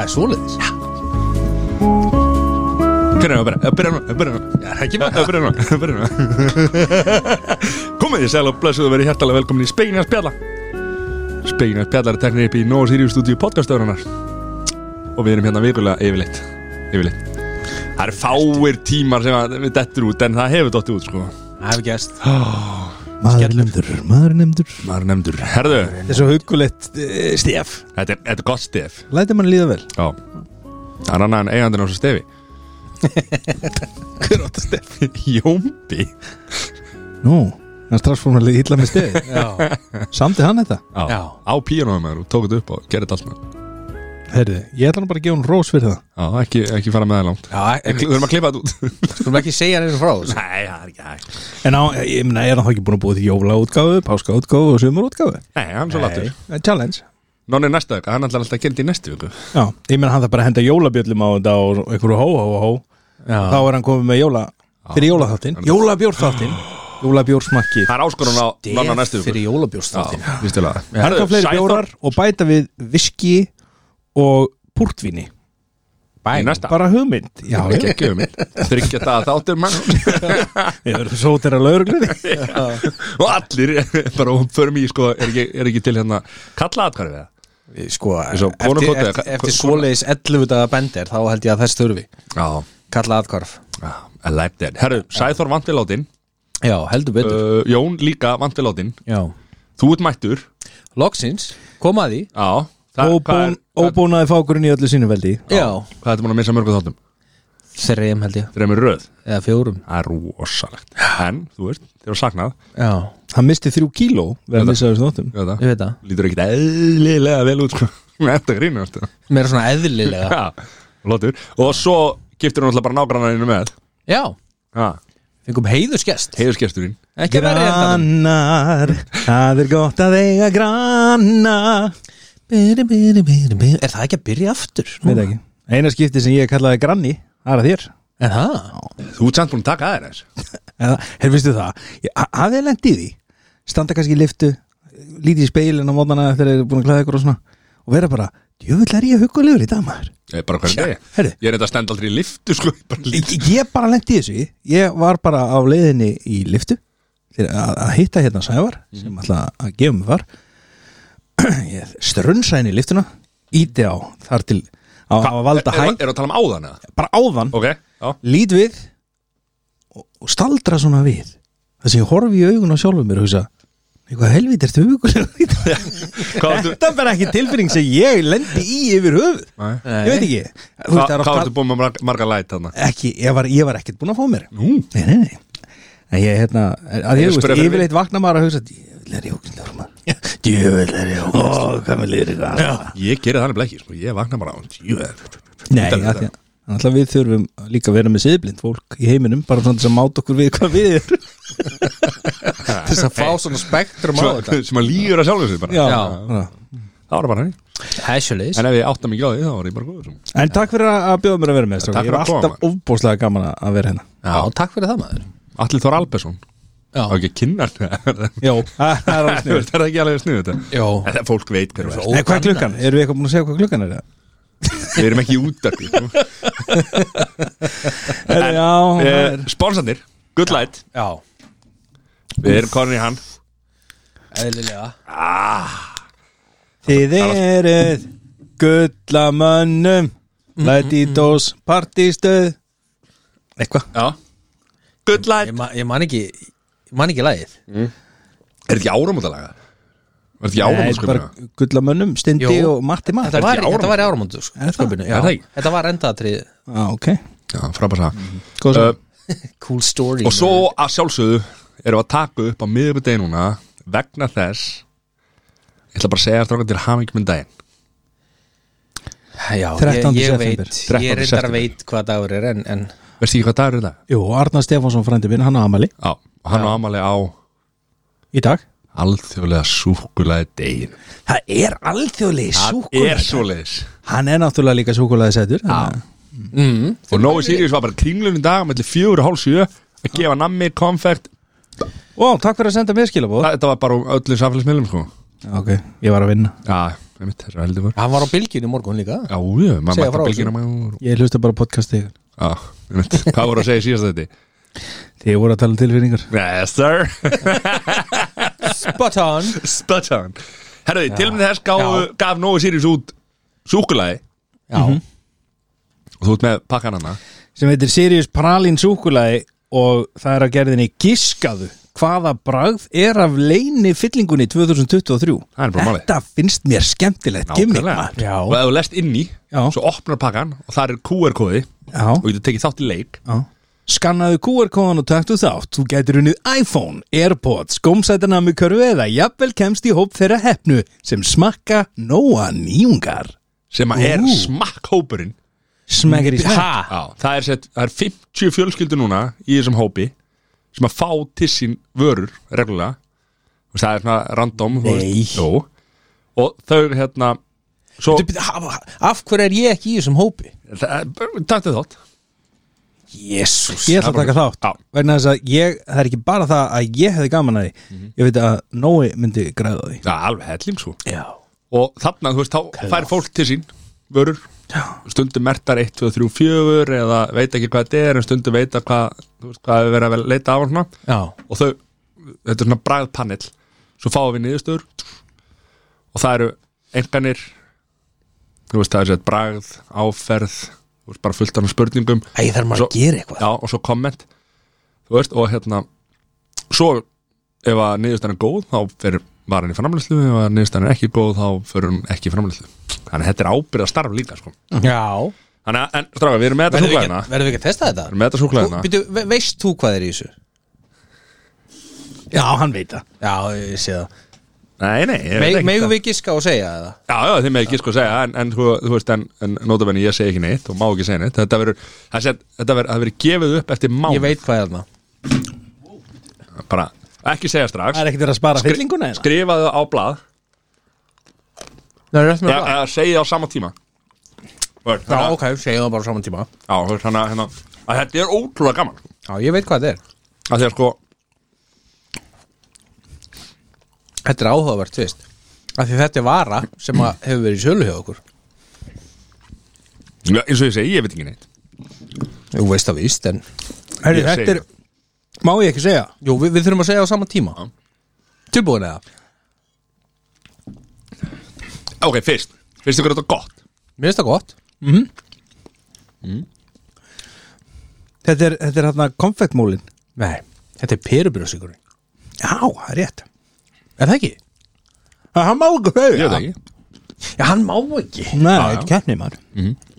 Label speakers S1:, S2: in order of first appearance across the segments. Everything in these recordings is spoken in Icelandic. S1: er svoleiðis
S2: Byrja núna, byrja- byrja núna, byrja núna
S1: Það er ekki
S2: Já, byrja núna, byrja núna Komið þið sæl og blessuð og verið hjertalega velkomin í Spegin að spjalla Spegin að spjalla er teknir upp í Nóa Sirius stúdíu podcastöðunar Og við erum hérna vikulega yfirleitt Yfirleitt Það eru fáir tímar sem að við dettur út En það hefur dottið út sko
S1: Það hefur gæst
S3: Maður nefndur, maður nefndur
S2: Maður er nefndur Herðu,
S3: Það er svo hugulegt eh, stef
S2: þetta er, þetta er gott stef
S3: Læta mann líða vel
S2: Já Það er annað en eigandinn á þessu stefi
S1: Hver átt að stef
S2: Jómbi
S3: Nú, hann strassfórnarlið illa með stefi
S1: Já,
S3: Samdi hann þetta?
S2: Já,
S1: Já.
S2: á píanóðum og tók þetta upp og gerði þetta allt með
S3: Herði, ég ætla nú bara að gefa hún rós fyrir það
S2: Já, ekki, ekki fara með það langt
S1: já
S2: Við erum að klippa þetta út
S1: Skulum ekki segja hann frá þessu
S2: Nei, það er ekki hægt
S3: En á, ég meina, er hann þá ekki búin að búið til jólaútgáfu, páskaútgáfu og sömurútgáfu?
S2: Nei, hann er svo latur
S3: Eh, Challenge
S2: Nonni er næsta vika, hann ætlar alltaf að gera þetta í næstu viku
S3: Já, ég meina hann það bara að henda jólabjöllum á þetta og einhverju hó, hó, hó Þá
S1: Já,
S3: er hann komið með jóla, fyrir jólaþáttinn Jólabjórþáttinn, jólabjórsmakki
S2: Það er áskorun á nonna næstu
S1: stef
S2: viku
S1: fyrir jólabjóðstáttin
S2: Já, vistulega
S3: Hækka fleiri bjórar og bæta við viski og púrtvíni
S2: Í næsta
S3: Bara hugmynd Já, já.
S2: Ekki ekki um mig Þryggja það að þáttur mann
S3: Ég verður sótir að lauruglunni
S2: Og allir Bara og förum í sko Er ekki, er ekki til hérna Kalla atkvæði við
S1: Sko,
S2: Eins og konukóti,
S1: eftir, eftir,
S2: eða-
S1: eftir svoleiðis 11 daga bendir þá held ég að þess þurfi
S2: það
S1: Kalla aðkvarf
S2: Já I like that Herru, Sæþór vantiláttinn
S1: Já, heldur betur
S2: uh, Jón líka vantiláttinn
S1: Já
S2: Þú ert mættur
S1: Loksins, koma að því
S2: Já það- hvað er-
S3: Óbón, Óbónaði fákurinn í öllu sínu veldi
S1: Já,
S2: Hvað ertu múin að missa mörgum þáttum?
S1: þreim held ég
S2: Þreimur röð
S1: Eða fjórum
S2: Það er rosalegt En, þú veist, þér var saknað
S1: Já,
S3: Hann misti þrjú kíló Við að missa þessu þóttum
S2: Ég veit það.
S1: ég veit það
S2: Lítur ekkit eðlilega vel út sko. Þetta grínu alltaf
S1: Mér er svona eðlilega
S2: Já, Lótur Og svo giftur hún alltaf bara nágrannarinn með
S1: Já,
S2: Já,
S1: fengum heiðuskest
S2: heiðurskesturinn
S1: Ekki verið þetta
S3: Grannar, það er gott að eiga granna
S1: Byrri, byrri, byrri, byrri Er það ekki að byrja aftur?
S3: Veit ekki Eina skipti sem ég kallaði granni Það er að þér
S1: Er það?
S2: Þú ert samt búin að taka aðeins
S3: Eða, Hér finnstu það Ég- ha- Hafið þið lent í því Standa kannski í liftu Lítið í speilin á mótana Þegar þið er búin að klæða ykkur og svona Og vera bara Jöfull er ég hugulegur í dag maður
S2: Ég er bara hvernig degi
S3: heyrðu.
S2: Ég er þetta að stenda aldrei í liftu sko Ég bara lít
S3: Ég- ég ég bara lendi í þessu ég var bara á leiðinni í liftu til að, að hitta hérna Sævar sem alltaf að gefa mig var ég strunsa henni í liftuna íti á þar til á, á að valda
S2: Er
S3: hæg,
S2: það að tala um áðan eða?
S3: bara áðan
S2: Ok, já
S3: lít við og, og staldra svona við þess að ég horfi í augun á sjálfum mér og hugsa eitthvað helvít ertu hugulega
S2: Hvað ertu
S3: þetta er bara ekki tilfinning sem ég lendi í yfir höfuð
S2: Nei.
S3: ég veit ekki Þú veist,
S2: Hvað
S3: það er oft
S2: hvað
S3: tal-
S2: ertu búin með marga- marga læt þarna?
S3: ekki, ég var, ég var ekkert búin að fá mér
S2: Nú.
S3: Nei, nei, nei En ég, hérna, að
S2: Ég
S3: ég, þú
S2: spurði
S3: veist,
S2: fyrir
S3: yfirleitt vakna maður að hugsa Djöfull er ég ógæslegur maður Djöfull er ég ógæslegur Ó, hvað með liður ykkur annað?"
S2: Ég geri þannig bleki sko Ég vakna bara á
S3: Nei,
S2: Utan-
S3: af því að Þannig að við þurfum líka að vera með siðblind fólk í heiminum bara svona til að máta okkur við hvað við er
S1: Til þess að fá svona spektrum á þetta
S2: Sem að líður að sjálfum sig bara
S3: Já.
S2: Það var bara henni
S1: Hæsjulegis
S2: En ef ég átta mig ekki á því þá var ég bara góður sko.
S3: En takk fyrir að að bjóða mér að vera með
S2: Takk
S3: strákar. Ég
S2: fyrir
S3: var
S2: að koma,
S3: alltaf ofbóðslega gaman að- að vera hérna
S1: Já, takk fyrir það maður
S2: Atli Þór Albersson Á
S1: Já,
S2: ekki að kynna hann?
S3: Jó, það er alveg
S2: Það
S3: sniður
S2: er ekki alveg snuð þetta
S1: já
S2: En það fólk veit hver verð
S3: Nei, hvað er klukkan? Erum við eitthvað búin að segja hvað klukkan er það?
S2: Við erum ekki út af því
S3: Já, það
S2: eh,
S3: er
S2: Sponsandir, good light
S1: Já,
S2: Við erum konin í hann
S1: eðlilega
S3: Þið eruð gullamönnum Lætítós partístöð Eitthvað
S2: Já Good light
S1: Ég, ma ég man ekki Ég man ekki lagið
S2: Er þetta ekki áramótalaga? Er þetta ekki
S3: Nei, bara
S2: áramótalaga?
S3: gullamönnum, stindi
S1: Jú.
S3: og matti matt
S1: Þetta
S2: Er
S1: var,
S2: ekki áramót?
S1: þetta var í áramóndu sköpinu
S2: Er það ekki?
S1: Þetta var endatrið
S3: ah, Ok,
S2: Já, frábærs að
S3: góð
S2: uh,
S3: sem
S1: Cool story
S2: Og svo að sjálfsögðu erum við að taka upp á miðvikudegi núna vegna þess Ég ætla bara að segja þér til hamingjum en daginn
S1: Já,
S3: 13.
S1: ég, ég
S3: september.
S1: veit Ég
S2: 13.
S1: reyndar
S2: september.
S1: veit hvað dagur er en, en
S2: Veist ekki hvað dagur er það?
S3: Jú, Arnar Stefánsson frændi minn, hann á Amali
S2: Já, og hann á amali á
S3: í dag
S2: alþjóðlega súkulega degin
S3: Það er alþjóðlegi
S2: er svoleiðis
S3: Hann er náttúrulega líka súkulega sætur
S1: mm,
S2: Og Nói Sirius var bara kringlunum dag mellir fjögur og hálf sjö að gefa nammi, konfekt
S3: Ó, takk fyrir að senda mér skilabóð
S2: Þetta var bara um öllum samfélagsmiðlum sko
S3: Ok, ég var að vinna
S2: Já, einmitt, þessar heldur var
S1: Hann var á bylginu í morgun líka
S2: Já, já, maður
S1: Segja frá
S2: mætti bylgina maður
S3: Ég hlusta bara á podcastið
S2: Já, einmitt, hvað voru að segja í síðast þetta?
S3: Þið voru að tala um tilfinningar
S2: Yes, sir
S1: Spot on
S2: Spot on Herðu, til og með þess gáfu, gaf Nói Sirius út súkulaði
S1: Já,
S2: og þú ert með pakkan hana
S3: sem heitir Sirius Pralin Súkulaði og það er að gerðinni giskaðu hvaða bragð er af leini fyllingunni 2023
S2: Það er bara málið.
S3: Þetta finnst mér skemmtilegt gimmick, maður.
S1: Já.
S2: og ef þú lest inn í
S3: Já.
S2: svo opnar pakkan og það er QR-kóði og
S3: Já,
S2: þú tekið þátt í leik
S3: já. Skannaðu QR-kóðan og taktu þátt Þú gætir unnið iPhone, Airpods, gómsætarnami körfu eða jafnvel kemst í hóp þeirra hefnu sem smakka nóa nýjungar
S2: sem að er
S3: Ú.
S2: smakkhópurinn
S3: Smekir í smekk
S1: Ha?
S2: Já, það er, sett, það er 50 fjölskyldur núna í þessum hópi sem að fá til sín vörur reglulega og það er svona random þú
S3: Nei.
S2: veist, jú. og þau hérna svo,
S1: Þú byrja- ha- ha- Af hverju er ég ekki í þessum hópi?
S2: taktu þátt
S1: Jésús
S3: Ég ætla að taka þátt
S2: Já.
S3: vegna þess að ég, það er ekki bara það að ég hefði gaman að því ég veit að Nói myndi græða á því
S2: það er alveg helling svo
S1: Já
S2: og þarna, þú veist, þá fær fólk til sín vörur, stundum mertar 1, 2, 3, 4 eða veit ekki hvað þetta er en stundum veit að hvað, þú veist, hvað við verið að leita á hana
S1: Já
S2: og þau, þetta er svona bræðpanel svo fáum við niðurstöður og það eru enganir þú veist það er sér bræð, áferð þú veist bara fullt af spurningum
S1: Æ, þarf maður
S2: Svo-
S1: að gera eitthvað
S2: já, og svo komment þú veist og hérna svo ef að niðurstaðan er góð þá fer var hann í framlæslu ef að niðurstaðan er ekki góð þá fer hann ekki í framlæslu þannig að þetta er ábyrða starf líka sko.
S1: Mhm. Já
S2: þannig að, en stráka, við erum með þetta
S1: Verðum við
S2: súklaðina
S1: ekki- verðum við ekki að testa þetta?
S2: við erum með þetta súklaðina
S1: Þú- Býtu, ve- veist þú hvað er í þessu?
S3: Já, hann veit það
S1: Já, ég sé það
S2: nei, nei, ég veit
S1: Me,
S2: ekki
S1: Megum
S2: það.
S1: við giska og segja það?
S2: Já, já, þið með ekki sko að segja en, en þú, þú veist, en, en notabenni ég segi ekki neitt og má ekki segja neitt þetta verður, það sé- þetta verður, það verður gefið upp eftir mánu
S1: Ég veit hvað er þarna
S2: bara, ekki segja strax
S3: Það er ekkert verið að spara fyllinguna eða
S2: skrifaðu á blað
S1: Það er rétt með
S2: eða eða segja á sama tíma Vör,
S1: Já,
S2: hana,
S1: ok, segjum það bara á saman tíma
S2: já, þú veist, hana, hana, að þetta er ótrúlega gaman
S1: Já, ég veit hvað þetta er
S2: að því að sko,
S1: Þetta er áhugavert, þú veist Af því þetta er vara sem að hefur verið í sölu hjá okkur
S2: já, eins og ég segi, ég veit ekki neitt
S1: Jú, veist það víst, en
S3: Herri,
S2: Ég
S3: þetta
S2: segi
S3: er, má ég ekki segja
S1: Jú, við, við þurfum að segja á saman tíma
S2: Já.
S1: Tilbúin eða?
S2: ok, fyrst, fyrst ykkur er þetta gott
S1: Mér finnst það gott
S3: Þetta er, þetta er hérna konfektmólin
S1: Nei, þetta er perubrjósikur
S3: Já, það er rétt
S1: Er það ekki?
S3: Það hann má ekki höfja
S2: ég veit ekki,
S1: Já, hann má ekki
S2: Já,
S3: Nei,
S2: já.
S3: þetta er keppni maður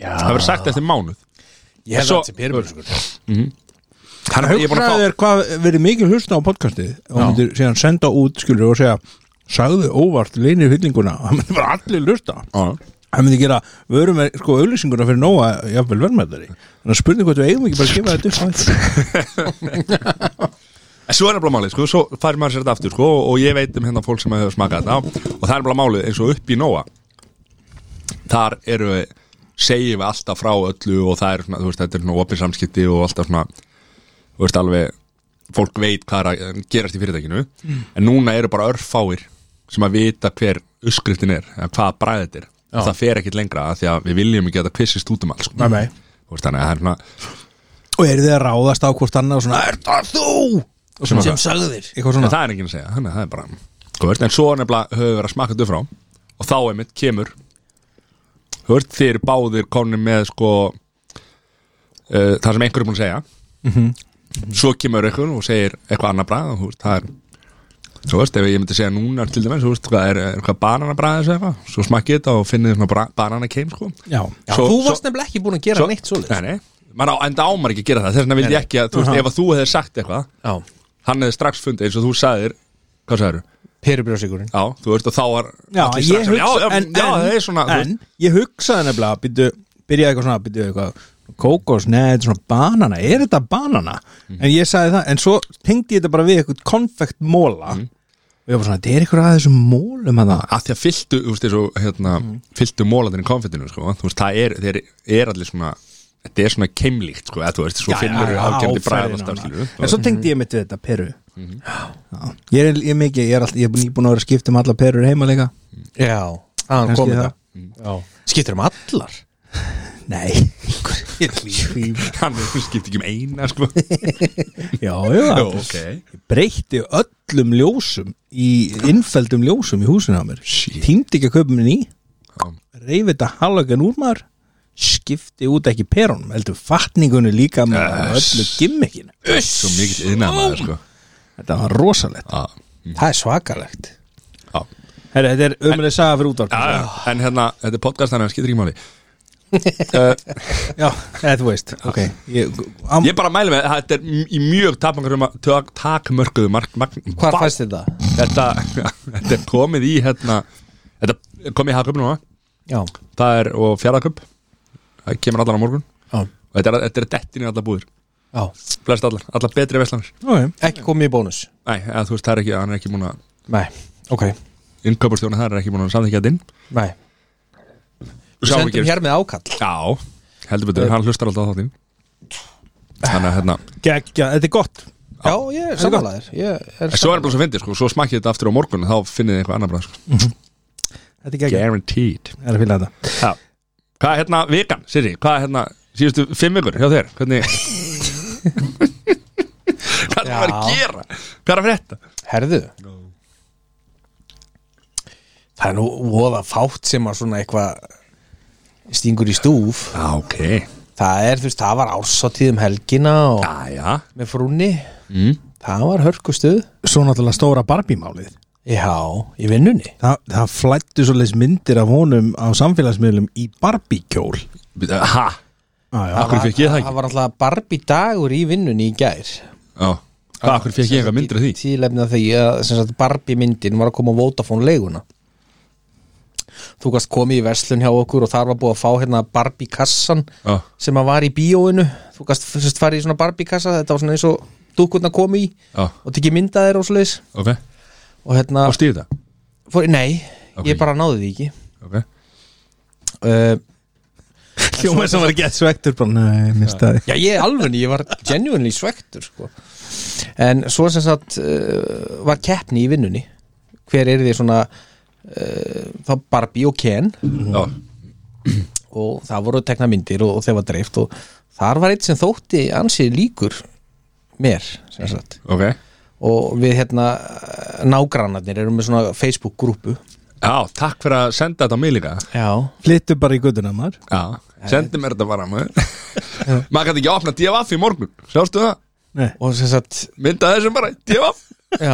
S1: Já,
S2: það verður sagt eftir mánuð
S1: Ég hef
S2: Svo-
S1: þetta perubrjósikur
S2: þannig að ég er búin að
S3: Hugsaðu
S2: fá
S3: þér hvað verið mikil hlusta á podcastið og
S1: Já.
S3: myndir síðan senda út skilur og segja sagðu óvart leini fyllinguna það myndir bara allir hlusta
S2: Já.
S3: það myndi gera vörum með sko auðlýsinguna fyrir nóa jafnvel verðmættari þannig að spurning hvort við eigum ekki bara að gefa þetta upp á þetta.
S2: En Svo er nefnilega málið, sko, svo fær maður sér þetta aftur, sko, og ég veit um hérna fólk sem hefur smakað þetta og það er nefnilega málið eins og upp í Nóa þar eru við, segjum við alltaf frá öllu og það er svona, þú veist, þetta er svona opið samskipti og alltaf svona, þú veist, alveg fólk veit hvað er að gerast í fyrirtækinu
S3: Mm.
S2: en núna eru bara örfáir sem að vita hver uppskriftin er eða hvað bræðið er,
S1: Já.
S2: það fer ekkit lengra af því að við viljum ekki að þetta kvissist út um allt, sko.
S3: Nei, nei.
S2: Þú veist, þannig að það er svona
S3: og eru þið að ráðast á hvort annað og svona er það þú og svona,
S1: sem sagðir
S3: eitthvað
S2: En
S3: svona
S2: það er enginn að segja, þannig að það er bara Þú veist, en svo nefnilega höfum við verið að smaka þetta frá Og þá einmitt kemur Þú veist, þeir eru báðir konum með sko uh, Það sem einhver er búin að segja
S1: Mhm.
S2: Svo kemur einhver og segir eitthvað annað bragð og, þú veist, Það er Þú veist, ef ég myndi segja núna til dæmis Þú veist, hvað er, er eitthvað bananabræði eða eitthvað Svo smakkið þetta og finnið svona bra- bananakeim sko
S3: já,
S1: Já,
S2: Svo-
S1: þú
S2: svo-
S1: varst nefnilega ekki búin að gera neitt svoleiðis
S2: Nei, nei, maður á, enda ámar ekki að gera það Þess vegna vildi ég ekki að, þú veist, ef að þú hefði sagt eitthvað
S1: Já,
S2: Hann hefði strax fundið eins og þú sagðir Hvað sagðir
S1: perubrjósikurinn
S2: Já, þú veist og þá var
S3: já,
S2: allir
S3: ég
S2: strax að-
S3: hugsa,
S2: já, já,
S3: en,
S2: já,
S3: en,
S2: það er svona þú
S3: en ég hugsaði nefnilega byrju, byrjaði eitthvað svona, byrjaði eitthvað kókos, neð, svona banana, er þetta banana
S2: Mm.
S3: en ég sagði það, en svo tengdi ég þetta bara við eitthvað konfektmóla
S2: Mm.
S3: og ég var svona, þetta er eitthvað að þessum mólum að það,
S2: að því að fylgdu, þú veist, eins og hérna,
S3: Mm.
S2: fylgdu mólandir í konfettinu, sko, þú veist, það er, þeir er allir svona, þetta er svona keimlíkt, sko, eða þú veist, svo finnur þú ákjæmdi bræðan alltaf, skilur
S3: en svo tengdi ég mitt við þetta peru
S2: Mhm.
S3: Já. ég er, ég er mikið, ég er, all, ég er búin að vera að skipta um alla perur heima líka
S1: Já, Þaðan
S3: Kannski
S1: komið
S3: það.
S1: það
S2: Mhm.
S1: Já. Skiptir um allar
S3: Nei Svíma.
S2: Hann skipt ekki um eina sko
S3: Já, já,
S2: Jó, ok
S3: Ég breytti öllum ljósum í innfældum ljósum í húsinu á mér
S2: Shit.
S3: Týmdi ekki að kaupa mér ný
S2: Já.
S3: Reyfið þetta halvögan úr maður Skipti út ekki perunum Heldur fatningunni líka með
S2: Yes.
S3: öllu gimmikinu
S2: Svo mikill yðna maður sko
S3: Þetta var rosalegt
S2: Já,
S1: Það er svakalegt
S2: já
S3: Herra, Þetta er umlega saga fyrir útvarp
S2: Já,
S3: Já,
S2: já, en hérna, þetta er podcast þannig að skiptir ekki máli Eh,
S3: eða þú veist okay. ég, am,
S2: Ég bara mæli með, þetta er m- í mjög tapmörkuðu tak, takmörkuðu mark, mark,
S1: Hvar
S2: Vá,
S1: fæst þetta?
S2: þetta, þetta er komið í hérna, þetta er komið í hagköp núna
S1: Já,
S2: það er, og fjaraðköp það kemur allan á morgun
S1: Já.
S2: og þetta er, þetta er dettin í allar búður,
S1: já
S2: flest allar allar betri veslanar,
S3: okay.
S1: Ekki komið í bónus
S2: nei, eða, þú veist, það er ekki hann er ekki múin að,
S1: Nei, ok
S2: innköpurstjóna það er ekki múin að samþykja þetta inn
S1: Nei Við
S2: Sá
S1: sendum
S2: ekki-
S1: hér með ákall
S2: já, heldur betur, hann hlustar alltaf á þáttinn þannig að hérna
S3: Gekkja, þetta er gott
S1: Já, ég er samanlæður Ég er
S2: en svo er bara svo fyndið, sko, svo smakkið þetta aftur á morgun þá finnið þið eitthvað annar bara, sko.
S3: Þetta er gekkja,
S2: guaranteed
S3: það er að fylga þetta
S2: Já. Hvað er hérna vikan, Siri? Hvað er hérna síðustu fimm vikur hjá þér? Hvernig Hvað er það að
S1: Já.
S2: gera? Hvað er að frétta?
S1: Herðu Það er nú voða fátt sem að svona eitthvað stingur í stúf
S2: Já, ok
S1: Það er, þú veist, það var ársatíð um helgina og
S2: Já, já
S1: með frúnni
S2: mm.
S1: Það var hörkustuð
S3: Svo náttúrulega stóra Barbie-málið
S1: Já, í vinnunni
S3: Þa, Það flættu svoleiðis myndir af honum á samfélagsmiðlum í Barbie-kjól
S2: Ha?
S3: ah, já.
S2: Akkur fekk ég það
S1: Það
S2: ekki?
S1: var alltaf Barbie dagur í vinnunni í gær
S2: Já Hvað, akkur fekk ég eitthvað myndir af því?
S1: Tílefna því að sem sagt, Barbie myndin var að koma á Vodafone leiguna Þú gast komið í verslun hjá okkur og þar var búið að fá hérna Barbie kassan
S2: Já,
S1: sem að var í bíóinu Þú gast sérst farið í svona Barbie kassa þetta var svona eins og dúkkurna komið í
S2: já,
S1: og tekið mynda þér og svoleiðis
S2: ok Og
S1: og hérna,
S2: stýði það?
S1: fór, nei,
S2: Ok.
S1: ég bara náði því ekki
S2: Ok
S1: uh,
S3: Hljóma sem var gett svektur bara, Nei, mista þið
S1: Já, ég alveg, ég var genuinely svektur sko. En svo sem sagt uh, var keppni í vinnunni Hver er því svona uh, þá Barbie og Ken
S2: Já,
S1: og það voru tekna myndir og, og þeir var dreift og þar var eitt sem þótti ansið líkur mér sem sagt
S2: ok
S1: og við hérna nágrannarnir erum með svona Facebook grúpu
S2: Já, takk fyrir að senda þetta á mig líka
S1: Já,
S3: Flyttu bara í guttuna maður
S2: Já, sendi mér þetta bara maður Maður gæti ekki opna DFF í morgun Sjástu það?
S3: Nei.
S1: og sem sagt
S2: Mynda þessum bara, DFF
S1: Já,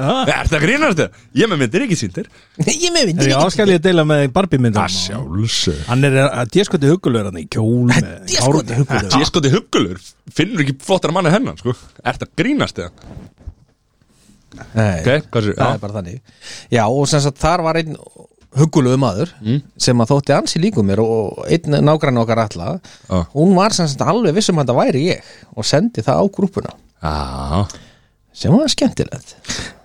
S2: Ha? Er það grínast þau? Ég með myndir ekki síndir
S1: ég með
S3: Er
S1: myndir
S3: ég áskallið að deila með Barbie-myndum
S2: sjálfsög
S3: Hann er að déskoti hugulur hann í kjól með
S1: Déskoti huggulegur.
S2: Ég sko til huggulur, finnur ekki flottar manni hennan sko. Er það grínast þau?
S1: Nei.
S2: Ok, hvað sér?
S1: það er bara þannig já og sem sagt þar var einn hugulegu maður sem að þótti ansi líku mér og einn nágrann okkar alla
S2: Já.
S1: hún var sem sagt alveg vissum að þetta væri ég og sendi það á grúpuna
S2: Já,
S1: sem var skemmtilegt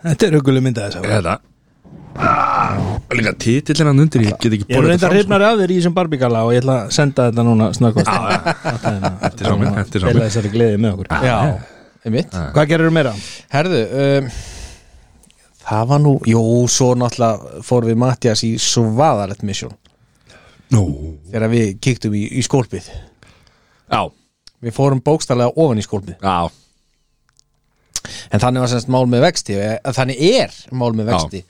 S3: Þetta er hugulur myndað þess að
S2: er það Líka titillin hann undir, ég get ekki
S3: Ég er hérna-
S2: borið
S3: reynda að reyfnar af þér í þessum Barbie-gala og ég ætla að senda þetta núna snarkost
S2: Eftir sá minn, eftir sá
S3: Deila
S2: minn
S3: þessari gleði með okkur
S1: já, einmitt
S3: Hvað gerir þú meira?
S1: herðu um, það var nú, jú, svo náttúrulega fór við Mattias í svaðalett misjón
S2: Nú
S1: þegar við kíktum í, í skólpið
S2: Já,
S1: við fórum bókstallega ofan í skólpið
S2: já,
S1: En þannig var semst mál með vexti eh, að þannig er mál með vexti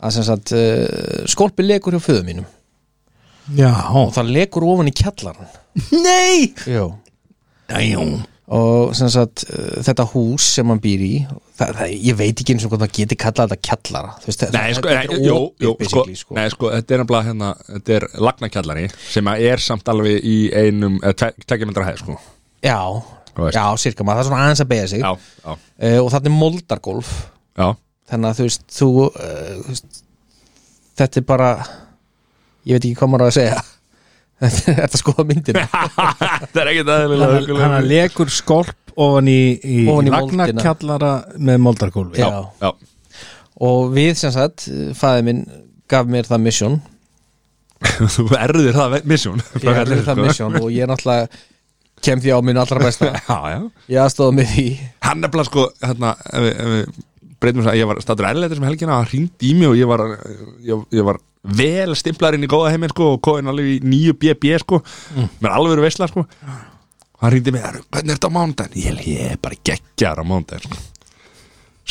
S1: að semst að uh, skolpi lekur hjá föðu mínum
S3: Já
S1: og það lekur ofan í kjallaran
S3: Nei
S1: Jó.
S3: Dæjum
S1: og semst að uh, þetta hús sem hann býr í það, það, ég veit ekki eins og hvað það geti kallað þetta kjallara Þú veist,
S2: Nei, sko,
S1: þetta
S2: nei,
S1: er
S2: jú,
S1: opið
S2: jú, sko,
S1: basically,
S2: nei, sko, þetta er nefnilega hérna, þetta er lagnakjallari sem að er samt alveg í einum, tekjumendra hæð, sko. Þú
S1: Já,
S2: veist.
S1: já, sirka maður, það er svona aðeins að beigja sig
S2: Já,
S1: uh,
S2: já,
S1: og þannig moldargolf
S2: já,
S1: þannig að þú veist, þú, uh, þú veist þetta er bara ég veit ekki hvað maður á að segja Þetta er að skoða myndina
S2: þetta er ekkert aðeinslega
S3: Hann að lekur skolp ofan í, í
S1: Ofan í moldina.
S3: Ragnarkjallara með moldarkólfi
S2: Já,
S1: Já.
S2: já,
S1: og við sem sagt, fæði minn gaf mér það misjón
S2: þú erðir það misjón.
S1: ég er það misjón og ég náttúrulega kem því á minn allra besta
S2: Já, já,
S1: ég aðstóða með því
S2: hann nefnilega, sko, hérna, ef við- ef við breytum þess að ég var statur erleitur sem helgina, hann hringdi í mig og ég var, ég, ég var vel stimplar inn í góða heiminn sko og kóðin alveg í 9BB sko með alveg veisla sko hann rýndi mig, "Herru, hvernig er þetta á mánudaginn? Ég, ég er bara geggjar á mánudaginn sko.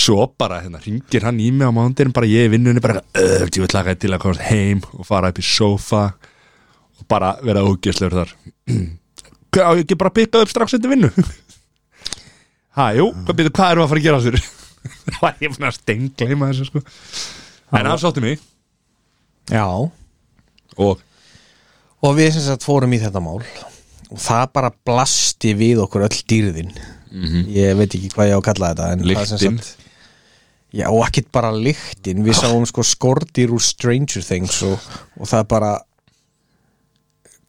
S2: svo bara hérna ringir hann í mig á mánudaginn bara ég í vinnunni bara öfð, ég vil laka til að komast heim og fara upp í sofa og bara vera ógjöslegur þar Hvað, á ég ekki bara að pikka upp strax eftir vinnu ha, jú, hvað, byrju, hvað erum við að fara að gera þér? það var ég fann að stengleima þessu sko en hann sátti mig
S1: Já
S2: og
S1: Og við sem sagt fórum í þetta mál og það bara blasti við okkur öll dýrðin Ég veit ekki hvað ég á að kalla þetta en það sem
S2: Mhm. Lyktin.
S1: sagt- Já, og ekkit bara lyktin Við sáum sko skordir úr Stranger Things og, og það bara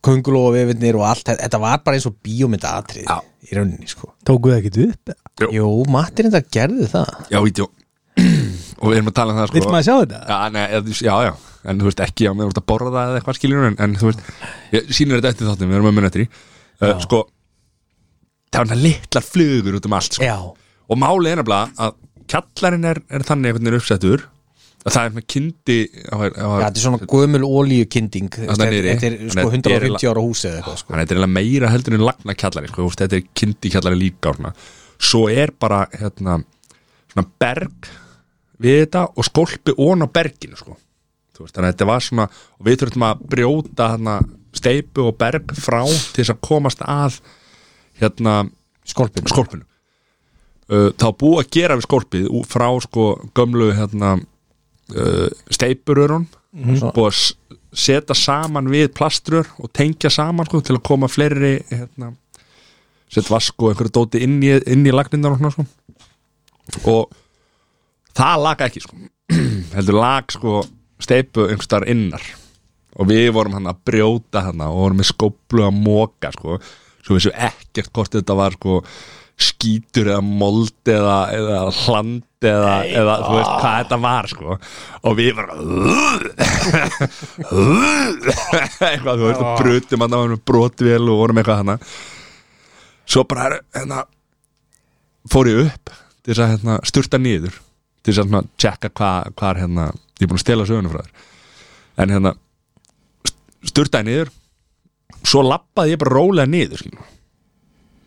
S1: köngulóa vefinnir og allt þetta- Þetta var bara eins og bíómynda atrið
S2: Já.
S1: í rauninni sko
S3: Tókuð ekkert upp
S2: Jú.
S1: Jú, mattirinn það gerði það
S2: já, vítjó og við erum að tala um það sko
S3: Vilt maður sjá þetta?
S2: Já, nei, eða þú- já, já, en þú veist ekki á meður að borða það eða eitthvað skiljur en, en þú veist, ég, sýnir þetta eftir þáttum við erum að munna eftir í uh, sko, það var hann litlar flugur út um allt sko.
S1: Já,
S2: og málið er nefnilega að kjallarinn er, er þannig einhvern veginn uppsettur að það er með kyndi á, á,
S1: Já, þetta er svona gömul ólíukinding Þetta er-
S2: niðri.
S1: þetta er
S2: Þannig
S1: sko
S2: að þetta er
S1: 150 ára húsi eða eitthvað sko
S2: Þannig að þetta er eiginlega meira heldur en lagna kjallari sko, þú veist, þetta er kyndi kjallari líka og svona. svo er bara hérna, svona berg við þetta og skólpi ón á berginu sko. Þú veist, þannig að þetta var svona og við þurfum að brjóta hérna, steipu og berg frá til þess að komast að hérna,
S1: Skolpin
S2: skólpinu uh, þá búið að gera við skólpið ú- frá sko gömlu hérna, uh, steipurörun búið að s- setja saman við plaströr og tengja saman sko, til að koma fleiri hérna, setja vask og einhverju dóti inn í, inn í lagnindar og, svona, sko. og það laga ekki sko. heldur lag sko, steipu einhverstaðar innar og við vorum hann að brjóta hann og vorum með skóplu að móka sko. svo vissu ekkert hvort þetta var sko, skítur eða mold eða, eða hland eða, eða þú veist hvað þetta var sko. og við bara eitthvað þú veist og brutum hann og vorum með brotvél og vorum eitthvað hann svo bara herru, hérna, fór ég upp til þess að hérna, sturta niður til þess að hérna, tjekka hvað hva er hérna, ég er búin að stela sögunu frá þér en hérna sturtaði niður svo lappaði ég bara rólega niður skilur.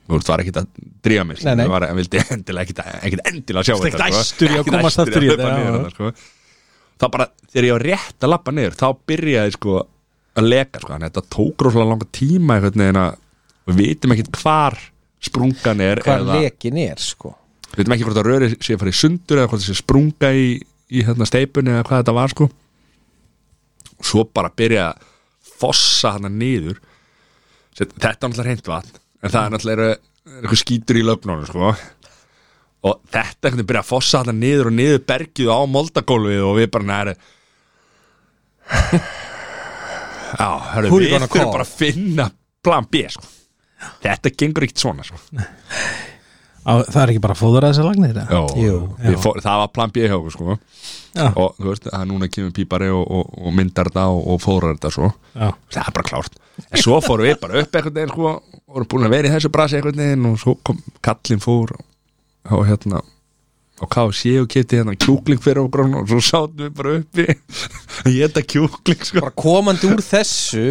S2: þú veist, var ekkit að drífa mig skilur,
S3: Nei, nei.
S2: var, en vildi endilega ekkit, að- ekkit endilega sjá
S3: Ekkert
S2: þetta sko.
S3: æstur í að
S2: Ekkit
S3: komast
S2: æstur
S3: aftur í
S2: að
S3: þetta,
S2: labba
S3: já,
S2: niður
S3: já.
S2: þarna, sko. þá bara, þegar ég var rétt að lappa niður þá byrjaði sko að leka sko, þannig að þetta tók rosalega langa tíma einhvern veginn að við vitum ekkit hvar sprungan er
S1: Hvað
S2: eða,
S1: lekin er sko
S2: við veitum ekki hvort að röri sé að fara í sundur eða hvort það sé sprunga í, í hérna steipunni eða hvað þetta var sko og svo bara byrja að fossa hana niður Sér- þetta er náttúrulega reynd vatn en það er náttúrulega eru- eru eitthvað skítur í lögnunum sko og þetta einhvern veginn byrja að fossa hana niður og niður bergið á moldagólfið og við bara næri Já, hörru,
S1: Who you
S2: við
S1: gonna
S2: þurfum
S1: call?
S2: bara að finna plan B sko. Þetta gengur ekkert svona sko.
S3: Á, það er ekki bara fóður að þessa lagnir þetta?
S2: Já,
S1: Jú.
S2: við fór, það var plan B hjá okkur sko
S3: Já.
S2: og þú veist, það er núna kemur pípari og, og, og myndar þetta og, og fórar þetta svo
S3: Já.
S2: það er bara klárt en svo fórum við bara upp einhvern veginn sko, og vorum búin að vera í þessu brasi einhvern veginn og svo kom kallinn fór og, og hérna og KFC og kefti hérna kjúkling fyrir okkur og svo sátum við bara uppi að geta kjúkling sko
S1: bara komandi úr þessu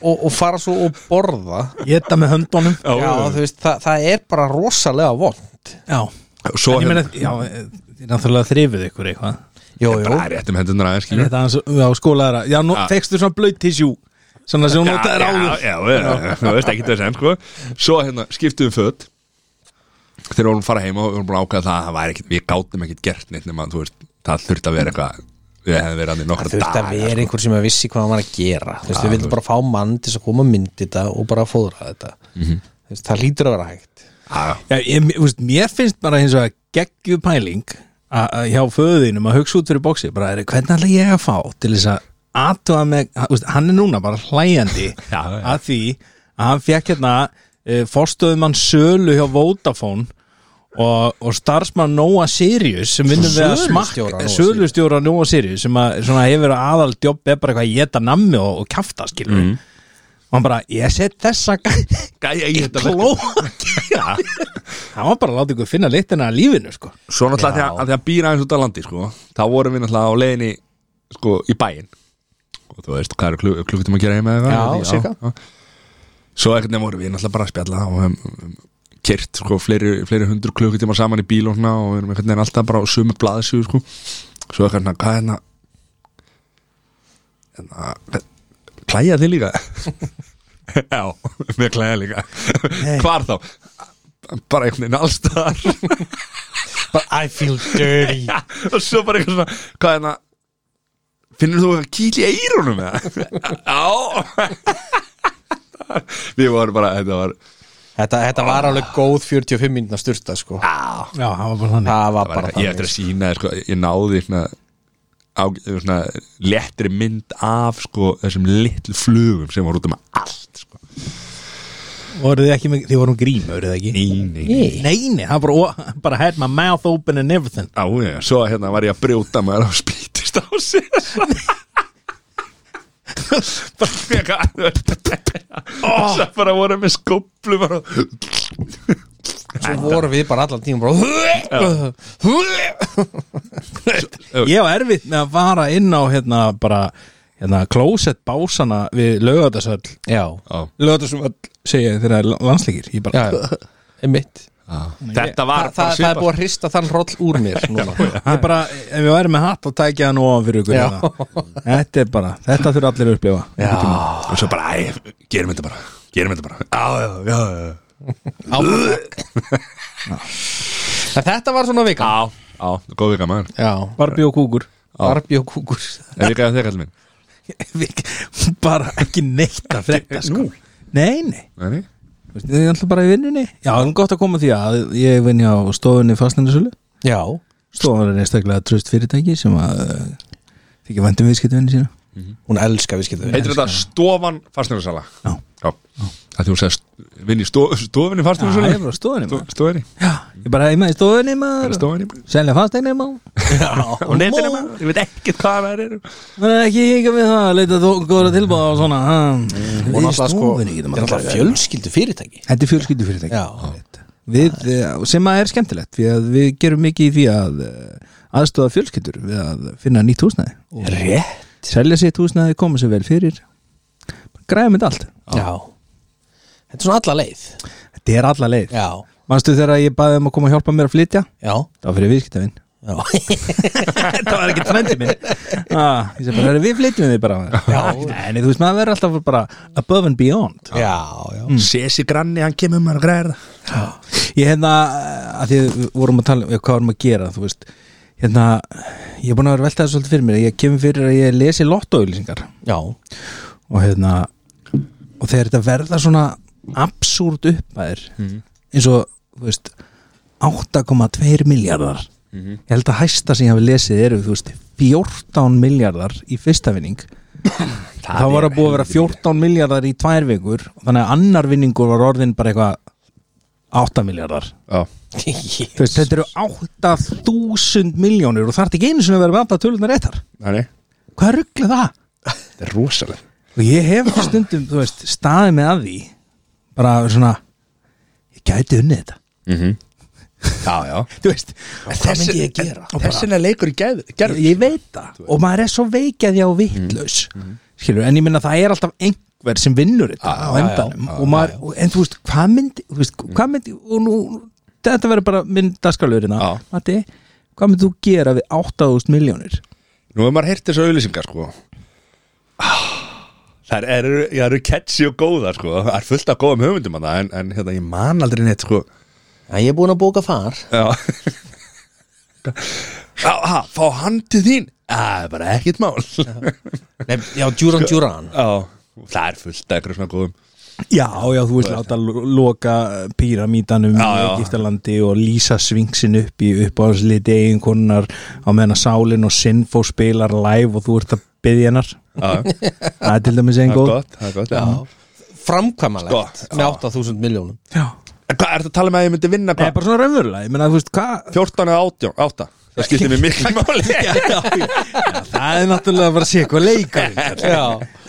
S1: og, og fara svo og borða
S3: Geta með höndunum
S1: já, þú veist, það, það er bara rosalega vond
S3: Já,
S2: og svo hérna-
S3: en ég meina, já, eh, þið náttúrulega þrifið ykkur eitthvað
S1: Jó,
S2: bara
S1: jó,
S2: rétt um hendunar aðeins
S3: En
S2: skilur
S3: þetta hans, já, skólaðara Já, nú,
S2: Já.
S3: fekstu svona blöyt tissjú Svona sem hún notaði
S2: já,
S3: ráður
S2: já, já, já, þú veist ekki þess enn sko Svo hérna, skiptum við föt Þegar við vorum fara heima og við vorum búin að ákveða það að það væri ekkit, Við gátum ekkit gert neitt nema, þú veist, það þurfti að vera eitthvað Við hefðum verið hann í
S1: það
S2: nokkra
S1: þurfti að
S2: daga
S1: vera einhver sem að vissi hvað hann var að gera þú veist, við vildum bara fá mann til þess að koma að myndi þetta og bara að fóðra þetta þú veist, það lítur að vera hægt
S2: Já,
S3: Já, ég, þú veist, mér finnst bara hins vegar geggju pæling að að hjá föðinum að hugsa út fyrir bóksi bara, er, hvernig ætla ég að fá til þess að aðtúa með, þú veist, hann er núna bara hlæjandi
S2: Já, já.
S3: að því að hann fekk hérna uh, forstöðumann Sölu hjá Vodafone og, og starfsmann Nóa Sirius sem vinnum við að
S1: Sölustjóra
S3: smakka
S1: Nóa
S3: Sölustjóra Nóa Sirius sem að, svona, hefur aðal djópp er bara eitthvað að geta nammi og, og kjafta skilur
S2: Mhm.
S3: og hann bara, ég set þessa gæ-
S2: gæja í þetta verkefni.
S3: klóa
S2: Já.
S3: hann var bara að láta ykkur finna litina að lífinu sko.
S2: Svo náttúrulega þegar- að því að býra aðeins út á landi sko Þá vorum við náttúrulega á leiðinni sko í bæinn og þú veist, hvað er kluk klukkutum að gera heima eða
S1: Já,
S2: eitthvað?
S1: cirka.
S2: Svo ekkert nefnum vorum við náttúrulega bara að spjalla og um, um, kert sko fleiri, fleiri hundru klukkutíma saman í bíl og svona og við erum einhvern veginn alltaf bara á sömu blaðsíðu sko Svo ekkert nefnum, hvað er hérna hérna klæja þið líka? Já, við klæja líka
S3: Nei.
S2: Hvar þá? Bara einhvern veginn allstaðar
S1: I feel dirty
S2: Já, og svo bara eitthvað svona hvað er það finnur þú eitthvað kýl í eyrunum með það já við vorum bara þetta var
S1: Þetta, þetta var alveg góð 45 mínúna styrta sko.
S3: Já, það var bara þannig
S1: Það var
S2: bara
S1: bara
S2: ég eftir að sína sko, ég náði svona, á, svona lettri mynd af sko, þessum litlu flugum sem var út um allt sko.
S3: Voruð þið ekki með, þið vorum grím, voruð þið ekki?
S2: neini
S3: Nei, nei, það bara, o- bara had my mouth open and everything
S2: Já, já, svo hérna var ég að brjóta maður á spýtist á sér bara feka og svo bara voru með skóplu bara
S1: Svo vorum við bara allan tíma bara
S3: Ég var erfitt með að vara inn á hérna bara, hérna, closet básana við lögatarsöll
S1: Já,
S2: Já.
S3: Lögatarsöll segja þegar það er landsleikir Ég
S1: já,
S3: bara,
S1: einmitt
S2: Þetta
S1: Þa,
S2: var
S1: það, það er búið að hrista þann roll úr mér núna.
S3: ég bara ef ég væri með hatt og tækja hann ofan fyrir ykkur
S1: Já.
S3: hérna. Þetta er bara, þetta þurfa allir að upplifa
S1: Já,
S2: Og svo bara, æ, gerum þetta bara Gerum þetta bara Já, já, já, já
S1: En þetta var svona vika
S2: Já, já, góð vika maður
S1: Já,
S3: Barbie og kúkur
S1: Barbie og kúkur
S2: En vika þegar allir minn
S3: bara ekki neitt að frekta sko. nei, nei
S2: Nei,
S3: Þú veist, ég er alltaf bara í vinnunni já, það er gott að koma að því að ég vinn á stofunni fastnæðarsölu
S1: Já,
S3: stofan er einstaklega tröst fyrirtæki sem að uh, þykja vandum viðskiptvinni sína
S1: hún elskar viðskiptum
S2: heitir þetta stofan fastnæðursala
S3: Já.
S2: Já, að þú sagði st- vinn í sto- stofinni
S3: já, ég er
S2: fastnæðursala
S3: bara á stofunni maður.
S2: Stofinni,
S3: já, ég bara heima í stofunni maður
S2: stofinni
S3: selja fastnæðinni maður
S2: Og netinu maður, ég veit ekkert hvað það er
S3: það er ekki hingað við það að leita þó góðra tilbúða og svona ha.
S1: Hún
S3: Við í
S1: alltaf sko,
S3: stofunni
S1: þetta
S3: getum
S1: er
S3: alltaf
S1: alltaf fjölskyldu fyrirtæki
S3: Þetta er fjölskyldu fyrirtæki
S1: Já.
S3: við, eh, sem að er skemmtilegt því að við gerum mikið í því að eh, aðstofa fjölskyldur við að finna nýtt húsnæði og
S1: Rétt
S3: selja sitt húsnæði, koma sér vel fyrir græðum þetta allt
S1: Já Þetta er svona alla leið
S3: Þetta er alla leið
S1: Já,
S3: Manstu þegar ég baði um að koma að hjálpa mér að flytja
S1: já,
S3: það var fyrir viðskiptavinn
S1: já
S3: Þetta var ekki trendi minn ah, Ég segi bara, "Herri, við flytjum þig bara
S1: Já.
S3: Nei, nei, þú veist, maður verður alltaf bara above and beyond
S1: Já, já
S2: Sesi granni, hann kemur maður og græðir það
S3: Ég hérna, að því við vorum að tala um hvað vorum að gera, þú veist hérna, ég er búin að vera að velta það svolítið fyrir mér ég kemur fyrir að ég lesi lottoauðlýsingar
S1: Já,
S3: og hérna og þegar þetta verða svona absúrt uppæðir eins og, þú veist 8,2 miljardar ég held að hæsta sem ég hafi lesið eru þú veist, 14 miljardar í fyrsta vinning það, var að búið að vera 14 miljardar í tvær vikur þannig að annar vinningur var orðin bara eitthvað 8 miljardar
S1: Ég-
S3: Þú veist, þetta eru 8000 miljónir og þarf ekki einu sem að vera með alltaf tölunar réttar
S2: Nei,
S3: hvað ruggla það?
S2: þetta er rosalega
S3: og ég hef stundum, þú veist, staðið með að því bara svona ég gæti unnið þetta
S2: Mhm. Já, já
S3: þú veist,
S1: Hvað myndi ég gera?
S3: Og bara-
S2: er leikur í gerð
S3: ég, ég veit það og maður er svo veikjaði
S2: Mhm,
S3: á vittlaus skilur, en ég minna það er alltaf einhver sem vinnur þetta á endanum og maður, og- en þú veist, hvað myndi þú veist,
S2: Mhm.
S3: hvað myndi, og nú þetta verður bara minn dagskalurina
S2: Já.
S3: Matti, hvað myndi þú gera við 8000 miljónir?
S2: Nú hefur maður heyrt þessu auðlýsingar sko Það eru, það eru catchy og góðar sko Það er fullt af góðum höfundum að það en, en hérna, ég man aldrei neitt sko
S1: Já, Ég er búin að bóka far
S2: Já Já, ha, fá hann til þín Já, Það er bara ekkert mál Já,
S1: Nei, já, Duran Duran
S2: það er fullt af eitthvað svona góðum
S3: Já, já, þú veist, láta lo- loka píramítanum í
S2: Já, já.
S3: Egiptalandi og lýsa svingsin upp í uppáhansliti eiginkonar á meðan að Sálin og Sinfo spilar live og þú ert að byggja hennar
S2: Já, já,
S3: Það er til dæmis
S2: það
S3: einn
S2: er
S3: góð
S2: gott, það er gott já.
S1: Framkvæmalegt
S2: Sko,
S1: Með 8000 miljónum
S3: Já,
S2: En hvað, ertu að tala með um að ég myndi vinna
S3: það er
S2: hvað?
S3: bara svona raunverulega, ég meina, þú veist, hvað
S2: 14 eða 18, 8 Það skiptir mér miklu máli
S3: Já, já, já, það er náttúrulega bara að sé hvað leikur
S1: Já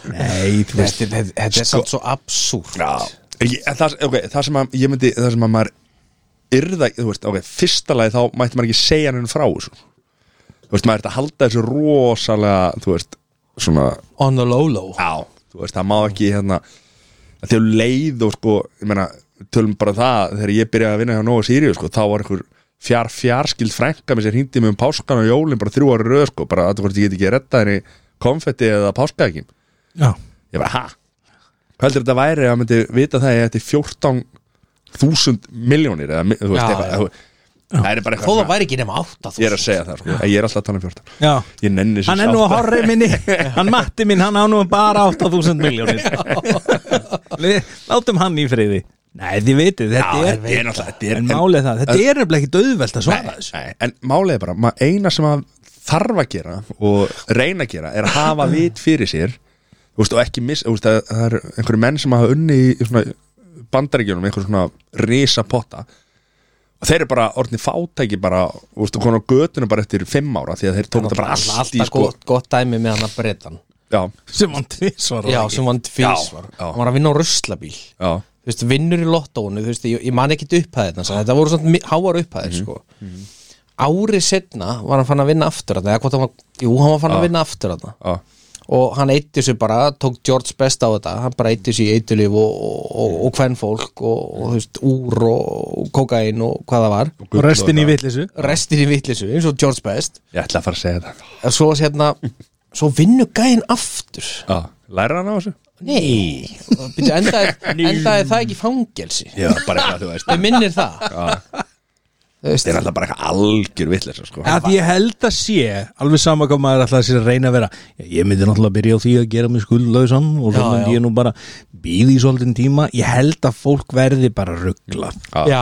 S1: Sko-
S3: Nei, þú veist, Sko-
S1: Þetta er- þetta- þetta er samt svo absúrt
S2: Já, ég, en það, okay, það sem að ég myndi, það sem að maður yrða, þú veist, ok, fyrsta lagi þá mætti maður ekki segja henni frá þessu þú veist, maður ert að halda þessu rosalega, þú veist svona
S1: On the low low
S2: Já, þú veist, það má ekki hérna að þjá leið og sko, ég meina tölum bara það, þegar ég byrjaði að vinna hjá Nóa Sirius, sko, þá var einhver fjár fjárskild frænka með sér hindi mig um páskan og jólin bara þrjú ára röð, sko, bara að þú veist, ég get ekki að retta henni konfetti eða páskaekin
S3: Já,
S2: ég bara, ha? Hvað heldur þetta væri að myndi vita það að ég ætti 14.000 miljónir eða, mi- þú veist,
S1: Já,
S2: eitthvað
S1: já.
S2: þú- það er bara
S1: Þó það
S2: eitthvað,
S1: væri ekki nema átta
S2: ég er að segja það, sko en ég er alltaf að tala um 14
S3: já
S2: ég nenni sem
S3: Hann er
S2: sagt
S3: nú að
S2: að-
S3: horri minni, hann matti minn, hann á nú bara 8000 miljónir Látum hann í friði Nei, þið veitir, þetta
S2: Já,
S3: er
S2: þetta er náttúrulega- þetta er-
S3: En málið er það, þetta er nefnilega ekki döðvelt að svara
S2: Nei,
S3: þessu
S2: nei, en málið er bara, maður eina sem maður þarf að gera og reyna að gera er að hafa vit fyrir sér þú veist, og ekki missa, þú veist, það, það er einhverju menn sem hafa unni í svona bandaríkjunum, einhverju svona risa potta og þeir eru bara orðni fátæki bara, þú veist, og konar á götuna bara eftir fimm ára því að þeir tók þetta bara allt í
S1: Alltaf
S2: sko
S1: gott, gott dæmi með hann að breytan
S2: já,
S3: Sem hann tvisvar
S1: Já, sem hann fyrst
S2: já.
S1: Hann var að vinna á ruslabíl
S2: já,
S1: Þú veist, vinnur í lottóinu Þú veist, ég, ég man ekkit upphæðin Þetta voru svona mi- háar upphæðir,
S2: Mhm,
S1: sko Árið setna var hann fann að vinna aftur þarna, eða hvort hann var, Jú, hann var fann að vinna aftur þarna
S2: já,
S1: og hann eitti sér bara, tók George best á þetta hann bara eitti sér í eitulif og, og, og, og kvennfólk og, og þú veist, úr og, og kokain og hvað það var
S3: Og restin í vitlisu
S1: restin í vittlisu, eins og George best
S2: ég ætla að fara að segja það
S1: en svo hérna, svo vinnu gæinn aftur
S2: já, læra hann á þessu?
S1: nei, Bíddu, endaði, endaði það ekki í fangelsi
S2: já, bara eitthvað, þú veist
S1: þau minnir það Þú veist,
S2: þeir er alltaf bara eitthvað algjör vitleis sko.
S3: að ég held að sé alveg sama hvað maður ætlaði sér að reyna að vera ég, ég myndi náttúrulega byrja á því að gera mig skuldlausan og svo
S1: Já,
S3: myndi
S1: já.
S3: ég nú bara býði í svolítinn tíma ég held að fólk verði bara rugglað
S1: já,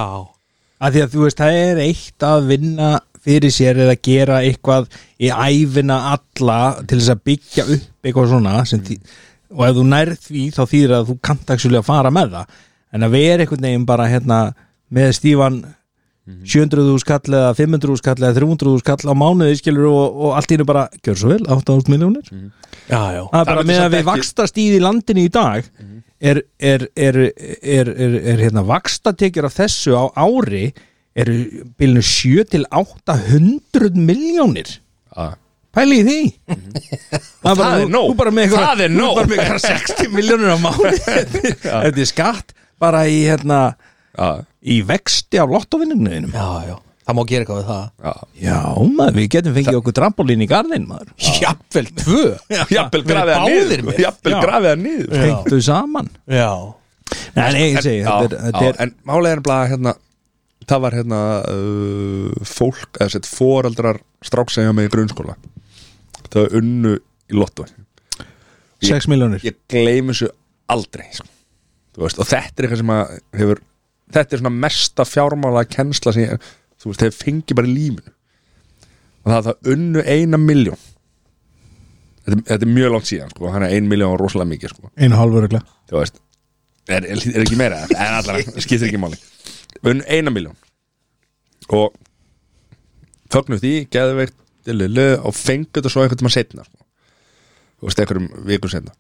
S3: að því að þú veist það er eitt að vinna fyrir sér eða gera eitthvað í æfina alla til þess að byggja upp eitthvað svona sem því, og ef þú nærð því þá þýðir að þú kannt að fara með það en að vera einhvern veginn bara hérna með stífan 700.000 kall eða 500.000 kall eða 300.000 kall á mánuði skilur og, og allt í einu bara, gjör svo vel, 8.000 miljónir
S1: já, já
S3: það er bara
S2: myndi
S3: með
S2: samt
S3: að við
S2: ekki- Mhm.
S3: vakstastýð í landinu í dag er, er, er, er, er, er hérna vakstatekjur af þessu á ári eru bylnu 7 til 800 miljónir
S2: Já.
S3: pæli í því það,
S2: Mhm. það er
S3: þú-
S2: nóg.
S3: þú bara með einhverja-
S2: Það er
S3: þú
S2: nóg.
S3: bara með einhverja 60 miljónir á mánu eftir skatt bara í hérna
S2: já,
S3: í vexti af lottovinningunum
S1: já, já, það má gera eitthvað við það
S2: já
S3: já maður, við getum fengið okkur trampolín í garðin maður
S1: jafnvel tvö
S2: Jafnvel
S1: Við
S2: grafið hann
S1: báðir
S2: niður sko.
S1: með.
S2: Jafnvel
S3: Já.
S2: grafið hann niður sko.
S3: tengdu saman
S1: já,
S3: Nei, nei, ég
S2: En- já,
S3: segi, þetta er, þetta
S2: já,
S3: er
S2: En málega er bara hérna Það var hérna uh, fólk, eða sett foreldrar stráksegja mig í grunnskóla Þau unnu í lotto
S3: 6 miljónir
S2: Ég gleymi þessu aldrei sko. Þú veist, og þetta er eitthvað sem að hefur, þetta er svona mesta fjármála kennsla sem ég, þú veist, þeir fengi bara í líminu og það að það unnu eina miljón þetta, er- þetta er mjög langt síðan sko, hann er ein miljón og rosalega mikið sko.
S3: Einu hálfurugla
S2: þú veist er, er, er ekki meira, en allara, skiptir ekki máli unn eina miljón og fögnu því, geðveikt dilili, og fengu þetta svo einhvern tíma setna sko. þú veist, einhverjum vikum setna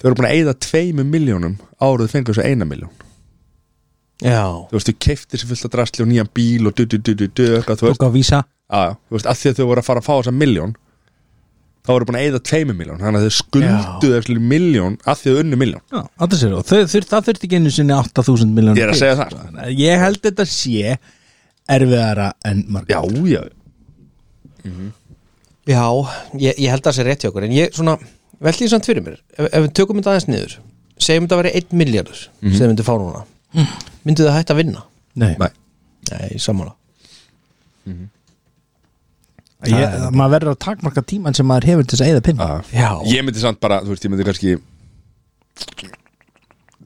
S2: þau eru búin að eyða tveimu miljónum árið fengu þessu eina miljón
S1: já,
S2: þú veist, þau keifti sér fullt að drastli og nýjan bíl og du du du du du eitthvað, þú veist,
S3: tók á vísa
S2: á, þú veist, að því að þau voru að fara að fá þessa miljón þá voru búin að eyða tveimu miljón þannig að þau skulduðu þessu miljón að því að þau unnu miljón
S3: Já, alltaf sér og þau, þur, það þurfti ekki einu sinni 8000 miljónir
S2: Ég er að segja það.
S3: sko. Ég held þetta sé erfiðara en marg
S2: já, já,
S1: já ég, ég held að það sé rétt hjá okkur en ég svona, veldi ég samt fyrir mér ef, ef við tökum þetta aðeins niður segjum þetta að vera 1 miljardur sem þið myndi fá núna myndi það hægt að vinna
S3: Nei,
S2: Nei.
S1: nei, sammála
S3: ég, maður verður að takmarka tíman sem maður hefur til þess að eða pinna
S2: Já.
S1: Já.
S2: Ég myndi samt bara, þú veist, ég myndi kannski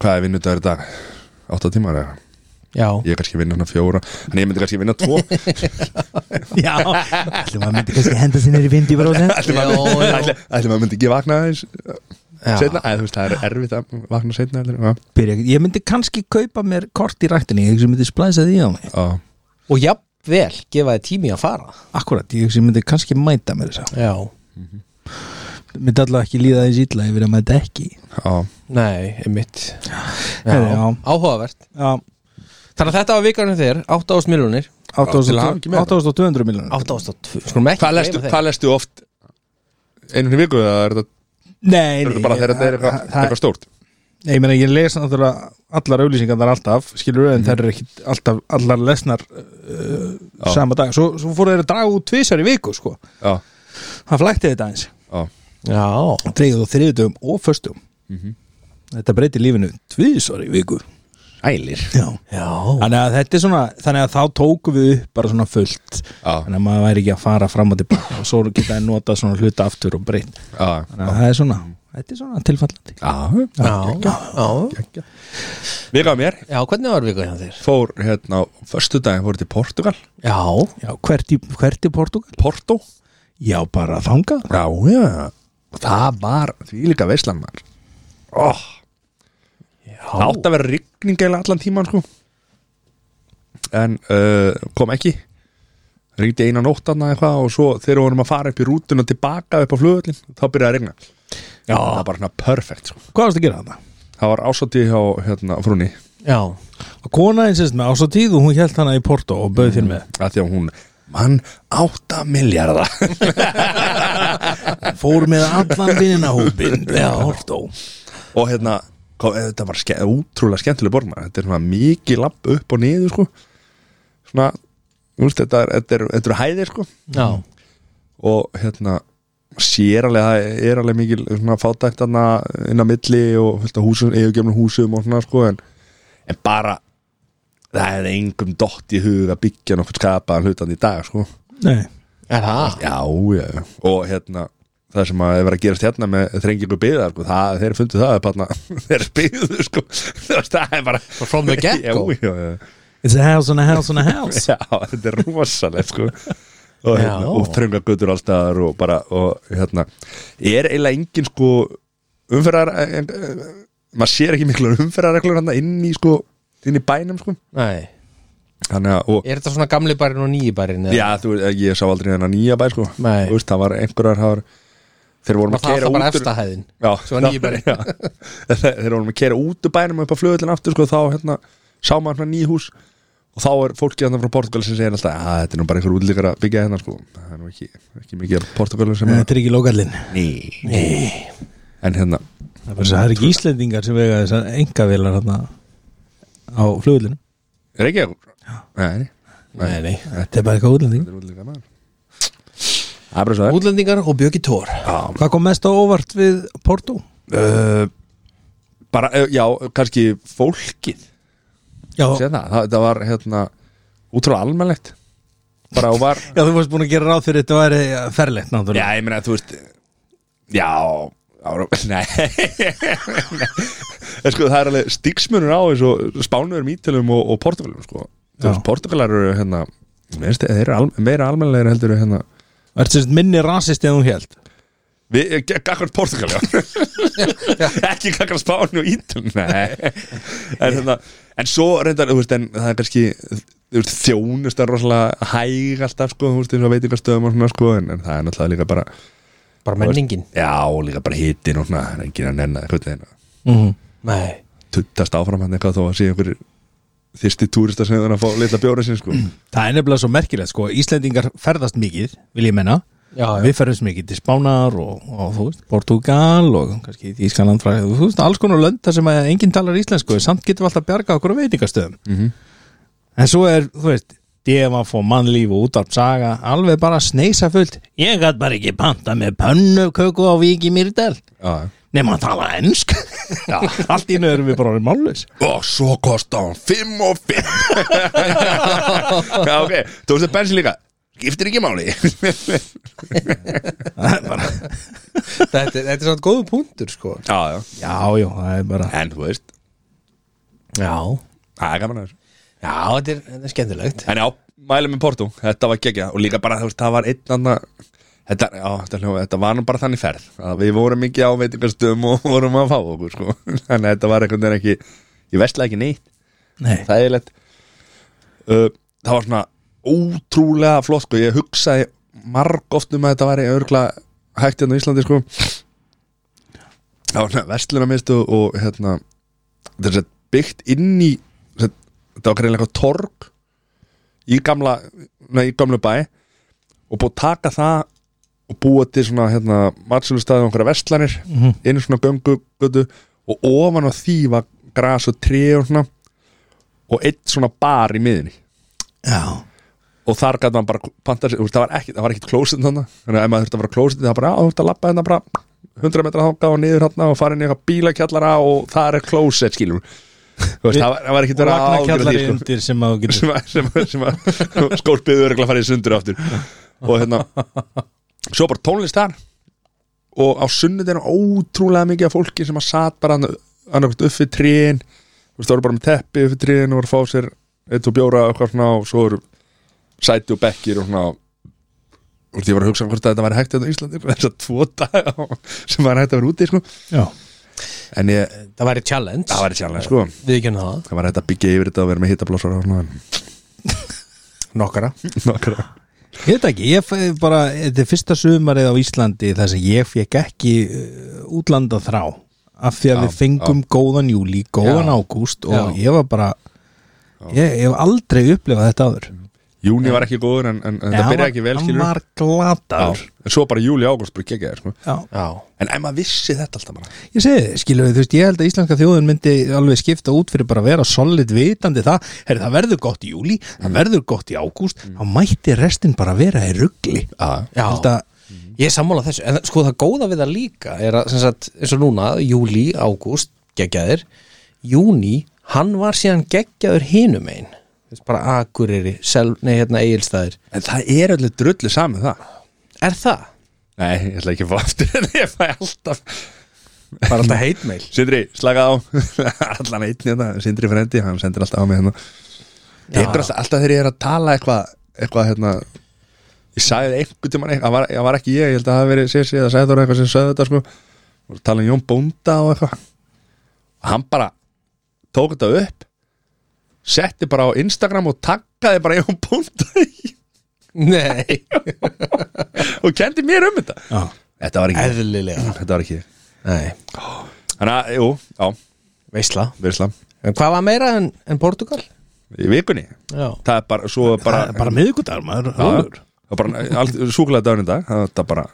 S2: Hvað er vinnudagur í dag? 8 tímar eða?
S1: já,
S2: Ég kannski vinna hana fjóra En ég myndi kannski vinna tvo
S3: Já, allir maður myndi kannski henda sinni í 50
S2: Ætli maður-
S1: Já, já.
S2: ætli- ætli maður myndi ekki vakna aðeins
S1: Já.
S2: Setna, eða þú veist, það er erfitt að vakna setna heldur, já.
S3: byrja Ég myndi kannski kaupa mér kort í rættinni Ég hugsa ég myndi splæsa því á mig
S2: Já.
S1: og jafnvel gefa þið tími að fara
S3: Akkurat, ég hugsa ég myndi kannski mæta mér þess að
S1: já,
S3: Myndi allavega ekki líða þess illa yfir að mæta ekki
S2: Já.
S1: nei, einmitt já.
S3: Heyrðu, já.
S1: áhugavert
S3: Já,
S1: þannig að þetta var vikarnir þér, 8.000 miljonir
S3: 8200 miljónir
S1: 8.200, skulum ekki
S2: Hvað
S1: gleyma
S2: lestu,
S1: þeim.
S2: hvað lestu oft Einu í viku eða er þetta
S3: Nei,
S2: Er
S3: nei,
S2: þetta bara
S3: ég-
S2: þegar þetta er
S3: það-
S2: eitthvað-
S3: það-
S2: eitthvað stórt
S3: Nei, ég meina, ég les náttúrulega allar auðlýsingarnar alltaf, skilur
S2: Mhm.
S3: en þær eru ekki alltaf, allar lesnar uh,
S2: Já.
S3: sama dag. Svo, svo fóru þeir að draga út tvisar í viku, sko.
S2: Já,
S3: Hann flækti þetta eins.
S2: já,
S1: Já,
S3: Dreigðuð og þriðutum og föstum.
S2: Mhm.
S3: Þetta breytir lífinu tvisar í viku.
S2: Ælir
S3: Já.
S1: já
S3: Þannig að þetta er svona, þannig að þá tókum við upp bara svona fullt.
S2: Já,
S3: Þannig að maður væri ekki að fara fram og tilbaka og svo geta að nota svona hluta aftur og breytt.
S2: já,
S3: Þannig að það er svona, þetta er svona tilfallandi.
S2: já
S1: Já, já,
S2: Vika mér
S1: já, hvernig var vika hjá þér?
S2: fór hérna á förstu daginn fór til Portugal
S1: Já,
S3: Já, hvert í, hvert í Portugal?
S2: Porto
S3: Já, bara þangað.
S2: Já, já Það var því líka veislan maður oh, Það átti að vera rigning eða allan tíman sko En uh, kom ekki Ringdi eina nótt aðna eitthvað og svo þegar við vorum að fara upp í rútun og tilbaka upp á flugvöllin þá byrjaði að regna
S1: Já.
S2: Það var bara svona perfect sko.
S3: Hvað varst að gera þarna?
S2: Það var ásatíð hjá hérna, frúni
S1: já,
S3: Og Kona eins og með ásatíð og hún held hana í Porto og bauð þér með
S2: að því að hún mann átta miljardar
S3: Fór með allan vinnina hópin Já, Porto
S2: og hérna kom, eh, þetta var ske, útrúlega skemmtileg borg maður. þetta er svona mikið lapp upp og niður sko. svona þú veist, þetta, er, þetta, er, þetta er hæðir sko.
S1: já
S2: og hérna sér alveg, það er alveg mikil svona fátækt þarna inn á milli og fullt af húsum, eigugefnum húsum og svona sko, en, en bara það er engum dott í hug að byggja nokkuð skapaðan hlutan í dag sko.
S3: Nei,
S1: Er það?
S2: já, já, já. og hérna það sem að vera að gerast hérna með þrengingu byggðar, sko, það, þeir fundu það upp hérna, þeir byggðu, sko þú veist, það er bara
S1: Bara from the get-go.
S2: já, já, já.
S3: it's a house and a house and a house
S2: já, þetta er rosalega, sko og, hérna,
S1: Já.
S2: og þrönga götur allstaðar og bara, og hérna er eiginlega engin, sko umferðar en, maður sér ekki miklu umferðarreglur hérna inn í, sko inn í bænum, sko
S1: Nei
S2: þannig að, og
S1: Er þetta svona gamli barinn og nýji barinn? eða?
S2: Já, þú veist, ég sá aldrei hennar nýja bæ, sko
S1: Nei.
S2: Þú veist, það var einhverjar það var, Þeir vorum
S1: Var
S2: að
S1: það
S2: keira
S1: alltaf bara
S2: út úr-
S1: efsta hæðin?
S2: Já,
S1: Svo var nýi bærinn.
S2: já. Þeir vorum að keira út úr bænum upp á flugvöllin aftur sko, þá hérna, sá maður hérna ný hús og þá er fólkið hérna frá Portugal sem segir alltaf að þetta er nú bara einhver útlíkar að byggja hérna sko. það er nú ekki, ekki mikið Portugal sem er
S3: Þetta er ekki lokallinn
S2: ný, ný. en hérna
S3: Það er bara- það er ekki Íslendingar sem vega þessar engavélar hérna á flugulinu
S2: er ekki nei,
S1: Nei, nei
S3: Þetta er bara eitthvað útlending
S2: þetta er útlíkar maður það er bara svo það er.
S1: Útlendingar og Bjöggi Tór
S2: Já,
S3: Hvað kom mest á óvart við Porto?
S2: uh, bara, uh, já, kannski fólkið
S3: Já,
S2: Sér það, það, það var hérna útrúlega almennlegt bara og var
S3: já þú varst búin að gera ráð fyrir þetta væri ferlegt náttúrulega
S2: Já, ég meina, þú veist Já, ára, nei En sko, það er alveg stíksmunur á eins og spánurum, ítalum og, og portugalum sko. Þú
S3: Já.
S2: veist, portugalar eru hérna veist, þeir eru al, meira almennlegir heldur en hérna
S3: Það er sérst minni rasist en hún held
S2: Við, eh, gakkvart Portugal, já Ekki gakkvart Spáni og Ítum Nei en, hérna, en svo reyndar, þú veist, en það er kannski þú veist, Þjónust er rosalega hæg alltaf, sko, þú veist, eins og veitingastöðum og svona, sko, en, en það er náttúrulega líka bara
S1: Bara menningin
S2: Já, og líka bara hitin og svona Það er enginn að nenna einhvern veginn að
S3: mm.
S1: Nei
S2: Tuttast áfram hann eitthvað þó að sé einhverjir Þyrsti túristar sem þannig að fá litla bjóra sinni sko
S3: Það er nefnilega svo merkilegt sko Íslendingar ferðast mikið, vil ég menna
S1: Já, já
S3: Við ferðast mikið til Spánar og, og þú veist, Portugal og kannski Ískaland frá, þú veist, alls konar lönd þar sem að enginn talar íslensku, samt getum við alltaf bjarga okkur á veitingastöðum.
S2: Mhm.
S3: En svo er, þú veist, devaf og mannlíf og útarpsaga, alveg bara sneisa fullt. Ég gæt bara ekki panta með pönnuköku á Vík í Mýrdal,
S2: Já
S3: nema að tala ensk. Allt í nöður við bara orðin mállus.
S2: Og svo kosta hann 5 og 5 Já, ok, þú veist að bensin líka Skiptir ekki máli
S1: Þetta er, þetta er svona góðu punktur, sko
S2: Já, já
S3: Já, já, það er bara...
S2: En þú veist,
S1: Já
S2: það er gaman að þessu
S1: Já, þetta er, þetta er skemmtilegt
S2: En já, mælum með Porto, þetta var gegja Og líka bara, þú veist, það var einn annan Þetta, já, þetta, hljóma, þetta var nú bara þannig ferð að Við vorum ekki á veitingastöðum og vorum að fá okkur sko. Þannig að þetta var einhvern veginn ekki Ég vestla ekki neitt
S3: Nei.
S2: þægilegt uh, það var svona ótrúlega flott sko, ég hugsaði marg oft um að þetta væri örgla hægt hérna á Íslandi sko það var svona verslunarmistu og hérna þetta er sett byggt inn í sett, þetta var greinlega eitthvað torg í gamla, nei, í gamlu bæ og búið að taka það og búa til svona hérna, matsölustaði og einhverja vestlanir mm -hmm. inn í svona göngugötu og ofan á því var gras og tré og svona og eitt svona bar í miðinni
S3: Já,
S2: og þar gæti maður bara panta sér, þú veist, það var ekkit, það var ekkit klósit þannig, þannig að ef maður þurfti að fara klósit það var bara, á, þú þurfti að labba hérna bara 100 metra þanga og niður hérna og fara inn í eitthvað bílakjallara og þar er klósit, skilur við. þú veist, það var, það var ekkit
S3: og
S2: verið að ágjöra
S3: vagnakjallari
S2: því, sko
S3: undir sem að þú getur
S2: sem, að- sem, að- sem að skólpiðu örgulega farið í sundur aftur og hérna svo bara tónlist þar og á sunnudinu ótrúlega mikið af fólki sem að satt bara annarkvæmt upp við tríin þú veist, það voru bara með teppi upp við tríin og voru að fá sér eitt og bjóra og eitthvað svona og svo eru sæti og bekkir og svona og því var að hugsa hvort að þetta væri hægt þetta á Íslandi þess að tvo daga sem var hægt að vera úti sko.
S3: Já,
S2: en ég,
S1: það væri challenge
S2: það væri sjálflega sko
S1: við ekki henni það
S2: það var hægt að byggja yfir þetta og vera með hittablásar og svona
S1: nokkara
S2: nokkara
S3: ég veit ekki, ég fæ- bara þetta er fyrsta sumarið á Íslandi þar sem ég fekk ekki uh, útlanda þrá af því að
S2: Já,
S3: við fengum góðan júli, góðan
S1: Já.
S3: ágúst og
S1: Já.
S3: ég var bara ég, ég hef aldrei upplifað þetta áður
S2: Júni var ekki góður en, en, en
S3: Nei,
S2: það
S3: hann
S2: byrja
S3: var-
S2: ekki vel
S3: Hann
S2: skilur
S3: var glataður
S2: Já, En svo bara júli ágúst bara geggjaði sko.
S3: Já.
S1: já,
S2: En ef maður vissi þetta alltaf bara
S3: Ég segi þið, skilur við, þú veist, ég held að íslenska þjóðun myndi alveg skipta út fyrir bara að vera solid vitandi það, herri það verður gott í júli
S2: Mm.
S3: það verður gott í ágúst þá mætti restin bara vera í ruggli
S2: ah.
S1: já.
S3: Held að-
S1: ég er sammála þessu en sko það góða við það líka er að sem sagt, eins og núna, júli, ágúst geggjaðir, júni hann var síðan geggjaður hinum einn bara akureyri, sel, nei hérna eigilstæðir
S2: En það er öllu drullu saman það
S1: er það?
S2: Nei, ég ætla ekki að fá aftur en ég fæ alltaf
S1: bara alltaf heitmeil
S2: Sindri, slaka á Allan einn hérna, Sindri frendi, hann sendir alltaf á mig hérna Tekur alltaf, alltaf þegar ég er að tala eitthvað Eitthvað hérna Ég sagði einhvern tímann eitthvað, það var, það var ekki ég Ég held að það hafi verið sér sér, það sagði það eitthvað sem sagði þetta sko Og tala um Jón Bónda og eitthvað Og hann bara tók þetta upp Setti bara á Instagram og taggaði bara Jón Bónda í
S1: nei,
S2: Og kendi mér um þetta
S3: Já.
S2: Þetta var ekki,
S1: eðlilega
S2: þetta var ekki ég.
S1: nei,
S2: Þannig að, jú, já,
S1: veisla
S2: veislam
S1: en hvað var meira en, en Portugal?
S2: Í vikunni
S1: já,
S2: Það er bara, svo er bara,
S3: bara, bara miðgudagur maður
S2: Já,
S3: rólegur.
S2: það er bara Súkulega daginn í dag Það það er bara,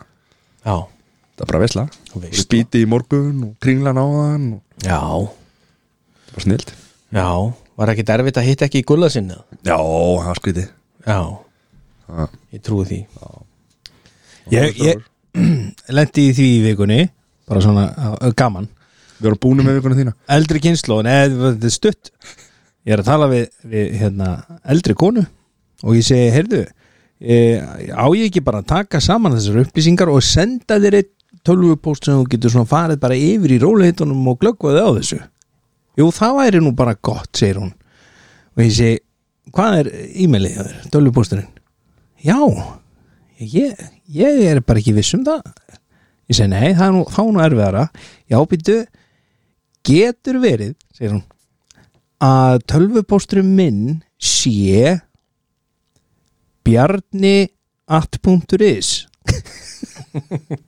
S1: já,
S2: það er bara vesla
S1: Veisla.
S2: Spíti í morgun og kringlan á þann og
S1: já,
S2: Það var snilt
S1: já. var ekki derfitt að hitta ekki í gulla sinna?
S2: Já, það var skrítið
S1: já,
S2: Já.
S1: ég trúi því
S3: ég, ég lendi í því í vikunni bara svona uh, gaman
S2: Við erum búinu með vikuna þína
S3: eldri kynnslóðin, eða þetta er stutt ég er að tala við, við hérna, eldri konu og ég segi, heyrðu e, á ég ekki bara að taka saman þessar upplýsingar og senda þér eitt tölvupóst sem þú getur svona farið bara yfir í róleitunum og glöggvaði á þessu jú, það væri nú bara gott, segir hún og ég segi, hvað er e-mailið hjá þér, tölvupósturinn já, ég, ég er bara ekki viss um það ég segi, nei, það er nú, þá er nú erfiðara já, býttu getur verið, segir hún að tölvupósturum minn sé bjarni at.is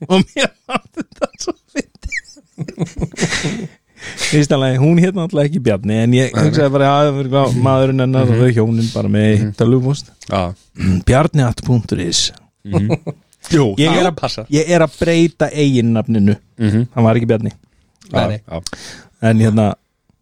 S3: og mér fannst þetta svo fyndi fyrst alveg, hún hérna alltaf ekki bjarni en ég hugsaði bara að maðurinn hennar og þau hjónin bara með mm -hmm. tölvupóst
S2: Já
S3: bjarni at.is
S2: Jú,
S3: Ég er að-
S2: passa
S3: ég er að breyta eiginnafninu
S2: Mhm.
S3: hann var ekki bjarni
S1: Nei, nei.
S2: Já.
S3: en hérna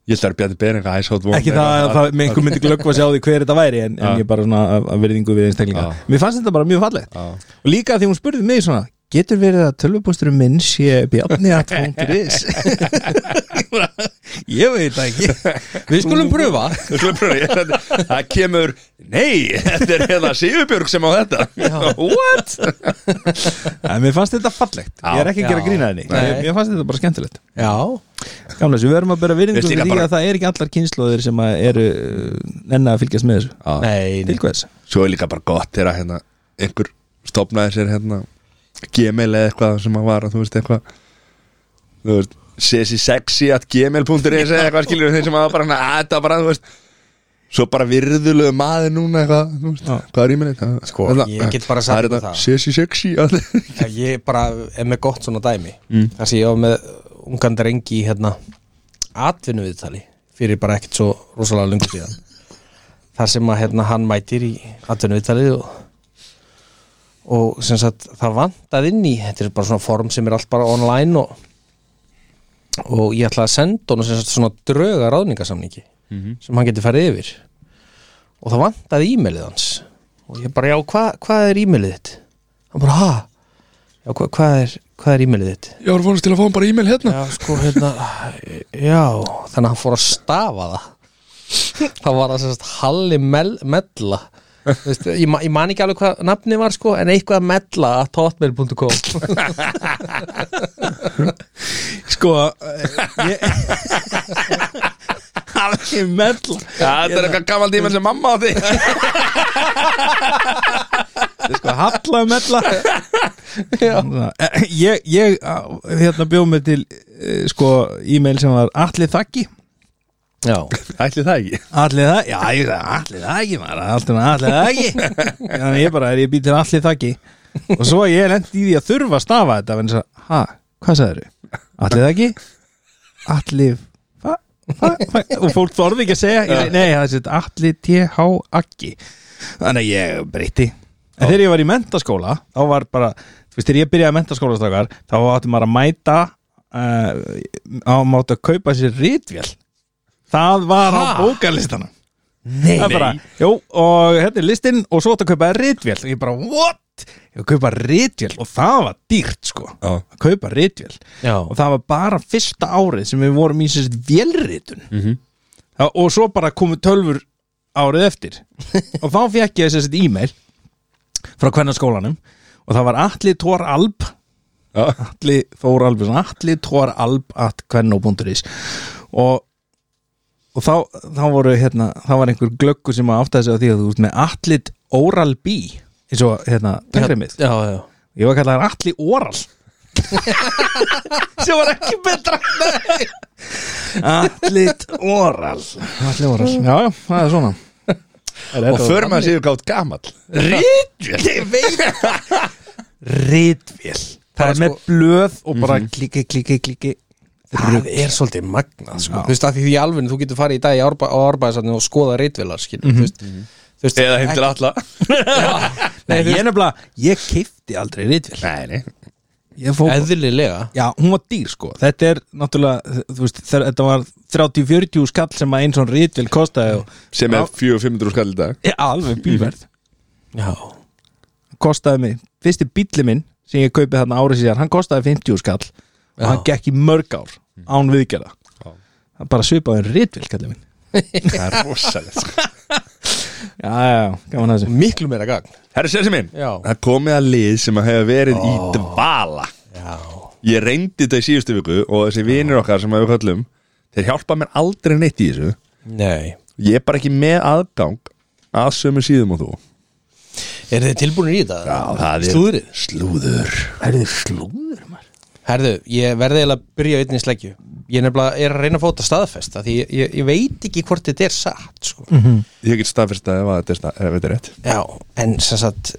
S2: Ég held að það er Bjarni Beringa Æsótt
S3: ekki það að það með einhver myndi glöggva sig á því hver þetta væri en,
S2: Já.
S3: en ég bara svona að- að verðingu við einstaklinga
S2: Já.
S3: mér fannst þetta bara mjög fallegt
S2: Já.
S3: og líka því hún spurði mig svona getur verið að tölvupósturum minn sé bjarni.is ég veit það ekki
S1: við skulum pröfa
S2: Við skulum pröfa, ég- þetta- Það kemur Nei, þetta er hérna Sigurbjörg sem á þetta What?
S3: en mér fannst þetta fallegt,
S2: Já.
S3: ég er ekki að gera
S1: Já.
S3: grína henni
S1: Nei.
S3: mér fannst þetta bara skemmtilegt
S1: já,
S3: gamla þessu, við verðum að bera verðingu
S2: Veist
S3: við
S2: líka
S3: því
S2: bara-
S3: að það er ekki allar kynnslóðir sem að eru uh, nenna að fylgjast með þessu
S2: Já.
S1: nei, nei.
S3: til hvers
S2: Svo er líka bara gott þegar hérna, einhver stopnaði sér hérna gmail eða eitthvað sem að vara þú veist eitthvað þú veist sesi sexy at gmail.is eða eitthvað skilur þeir sem að bara, að þetta var bara þú veist svo bara virðulegu maður núna eitthvað, þú veist,
S3: Já.
S2: hvað er í minni þetta
S1: Sko, ég get bara sagt ykkur það.
S2: sesi sexy at
S1: Já, ég bara er með gott svona dæmi þar sem ég var með ungan drengi í hérna atvinnuviðtali fyrir bara ekkert svo rosalega lungu síðan þar sem að hérna hann mætir í atvinnuviðtalið og og sem sagt það vantað inn í þetta er bara svona form sem er allt bara online og, og ég ætla að senda honum sem sagt svona dröga ráðningasamningi sem hann getur farið yfir og það vantaði e-mailið hans og ég bara já hva, hvað er e-mailið þitt hann bara ha já hva, hvað er, hvað er e-mailið þitt
S2: Ég var vonast til að fá hann bara e-mail hérna
S1: já sko hérna já þannig að hann fór að stafa það það var það sem sagt Halli Mel Mella Þú Veist, ég, ma- ég man ekki alveg hvað nafni var sko en eitthvað mella að hotmail.com
S3: Sko ég... Alveg mell
S2: Það er eitthvað gammal tíma sem mamma á því
S3: Sko halla mella Eh, Ég, ég á, hérna bjóð mig til eh, sko e-mail sem var allir þakki
S1: já,
S2: Ætli það ekki
S3: Allir það, já ég sagði allir það ekki maður, allir það, allir það ekki Þannig ég bara, er ég býtir allir það ekki Og svo ég lendi í því að þurfa að stafa þetta En þess að, ha, hvað sagðir þau? Allir það ekki? Allir, hva? hva? hva? Og fólk þorði ekki að segja, ég, sagði, nei, það er sitt allir TH ekki Þannig að ég breytti En þegar ég var í mentaskóla, þá var bara Þú veist, þegar ég byrjaði að mentaskóla strákar Þá átti maður að mæta uh, Á mátt að kaupa sér rítvél Það var
S1: Ha?
S3: á bókarlistana
S1: nei,
S3: Það er bara, jú, og hérna er listinn og svo átti að kaupa rítvél og ég bara, what? Ég var að kaupa rítvél og það var dýrt, sko
S2: Já.
S3: að kaupa rítvél
S1: já,
S3: og það var bara fyrsta árið sem við vorum í sérst vélritun
S2: Mhm.
S3: Þa, og svo bara komu tölfur árið eftir og þá fekk ég sérst e-mail frá hvernig skólanum og það var Atli Tór Alb
S2: Já,
S3: Atli Þór Albjörnsson Atli Tór Alb at kvenno.is og og þá, þá voru hérna þá var einhver glöggur sem áttaði sig á því að þú veist með Atlit Oral B eins og hérna tannkremið
S1: já, já, já.
S3: ég var kallar Atli Oral sem var ekki betra Atlit Oral Atli Oral, já já, það er svona
S2: Og förum að séu gátt gammal
S3: Rítvél Ég veit Rítvél Það
S1: Bara
S3: er með
S1: sko-
S3: blöð og bara kliki, kliki, kliki
S1: það er svolítið magnað sko. þú veist að því því alveg þú getur farið í dag í árba, á árbæðisarni og skoða reitvilar skil, þú veist, þú veist
S2: Eða heim til alla
S3: Nei, ég er nefnilega, ég kifti aldrei rítvél
S2: Nei, nei
S3: Ég fók
S1: eðlilega
S3: Já, hún var dýr sko Þetta er náttúrulega, þú veist, þegar- þetta var 30-40 skall sem að einn svona rítvél kostaði og,
S2: Sem er 4-500 skall í dag
S3: Já, alveg bílverð
S1: já,
S3: Kostaði mig, fyrsti bíli minn sem ég kaupið þarna árið síðan, hann kostaði 50 skall og
S1: Já.
S3: hann gekk í mörg ár án viðgerða Það bara svipaði en rítvél, kallið minn
S2: Það er rosalegt sko.
S3: Já, já, já, gaman að þessu
S1: miklu meira gagn
S2: Herra Sessi minn
S1: Já.
S2: Það er komið að lið sem að hefur verið í dvala
S1: já,
S2: Ég reyndi þetta í síðustu viku Og þessi vinir okkar sem að við höllum Þeir hjálpa mér aldrei neitt í þessu
S1: nei
S2: Ég er bara ekki með aðgang Að sömu síðum og þú
S1: er þið tilbúinir í þetta?
S2: Slúðrið
S1: slúðrið
S2: Slúður
S3: Er þið slúður, maður?
S1: herðu, ég verði eiginlega að byrja einnig sleggju ég nefnilega er að reyna að fóta staðfest af því ég, ég, ég veit ekki hvort þetta er satt sko.
S2: Ég get staðfyrst að ef að þetta er stað- ef þetta er rétt
S1: Já, en sem sagt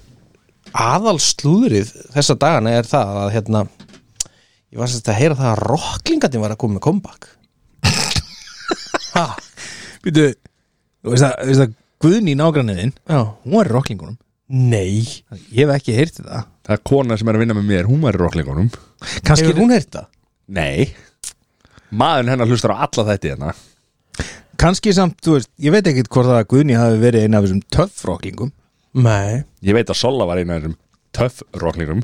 S1: aðal slúðrið þessa dagana er það að hérna ég var sem sagt að heyra það að rocklingandi var að koma með comeback Ha,
S3: Býtu, þú veist að, þú veist að Guðný nágranniðinn,
S1: já
S3: hún var í rocklingunum
S1: Nei,
S3: Ég hef ekki heyrt þetta
S2: Það er kona sem er að vinna með mér, hún var í rocklingunum
S3: Kannski,
S1: hefur hún heyrt það?
S2: Nei Maðurinn hennar hlustar á alla þetta hérna
S3: kannski samt, þú veist, ég veit ekkit hvort að Guðný hafi verið eina af þessum töffrocklingum
S1: Nei,
S2: Ég veit að Sola var eina af þessum töff rocklingum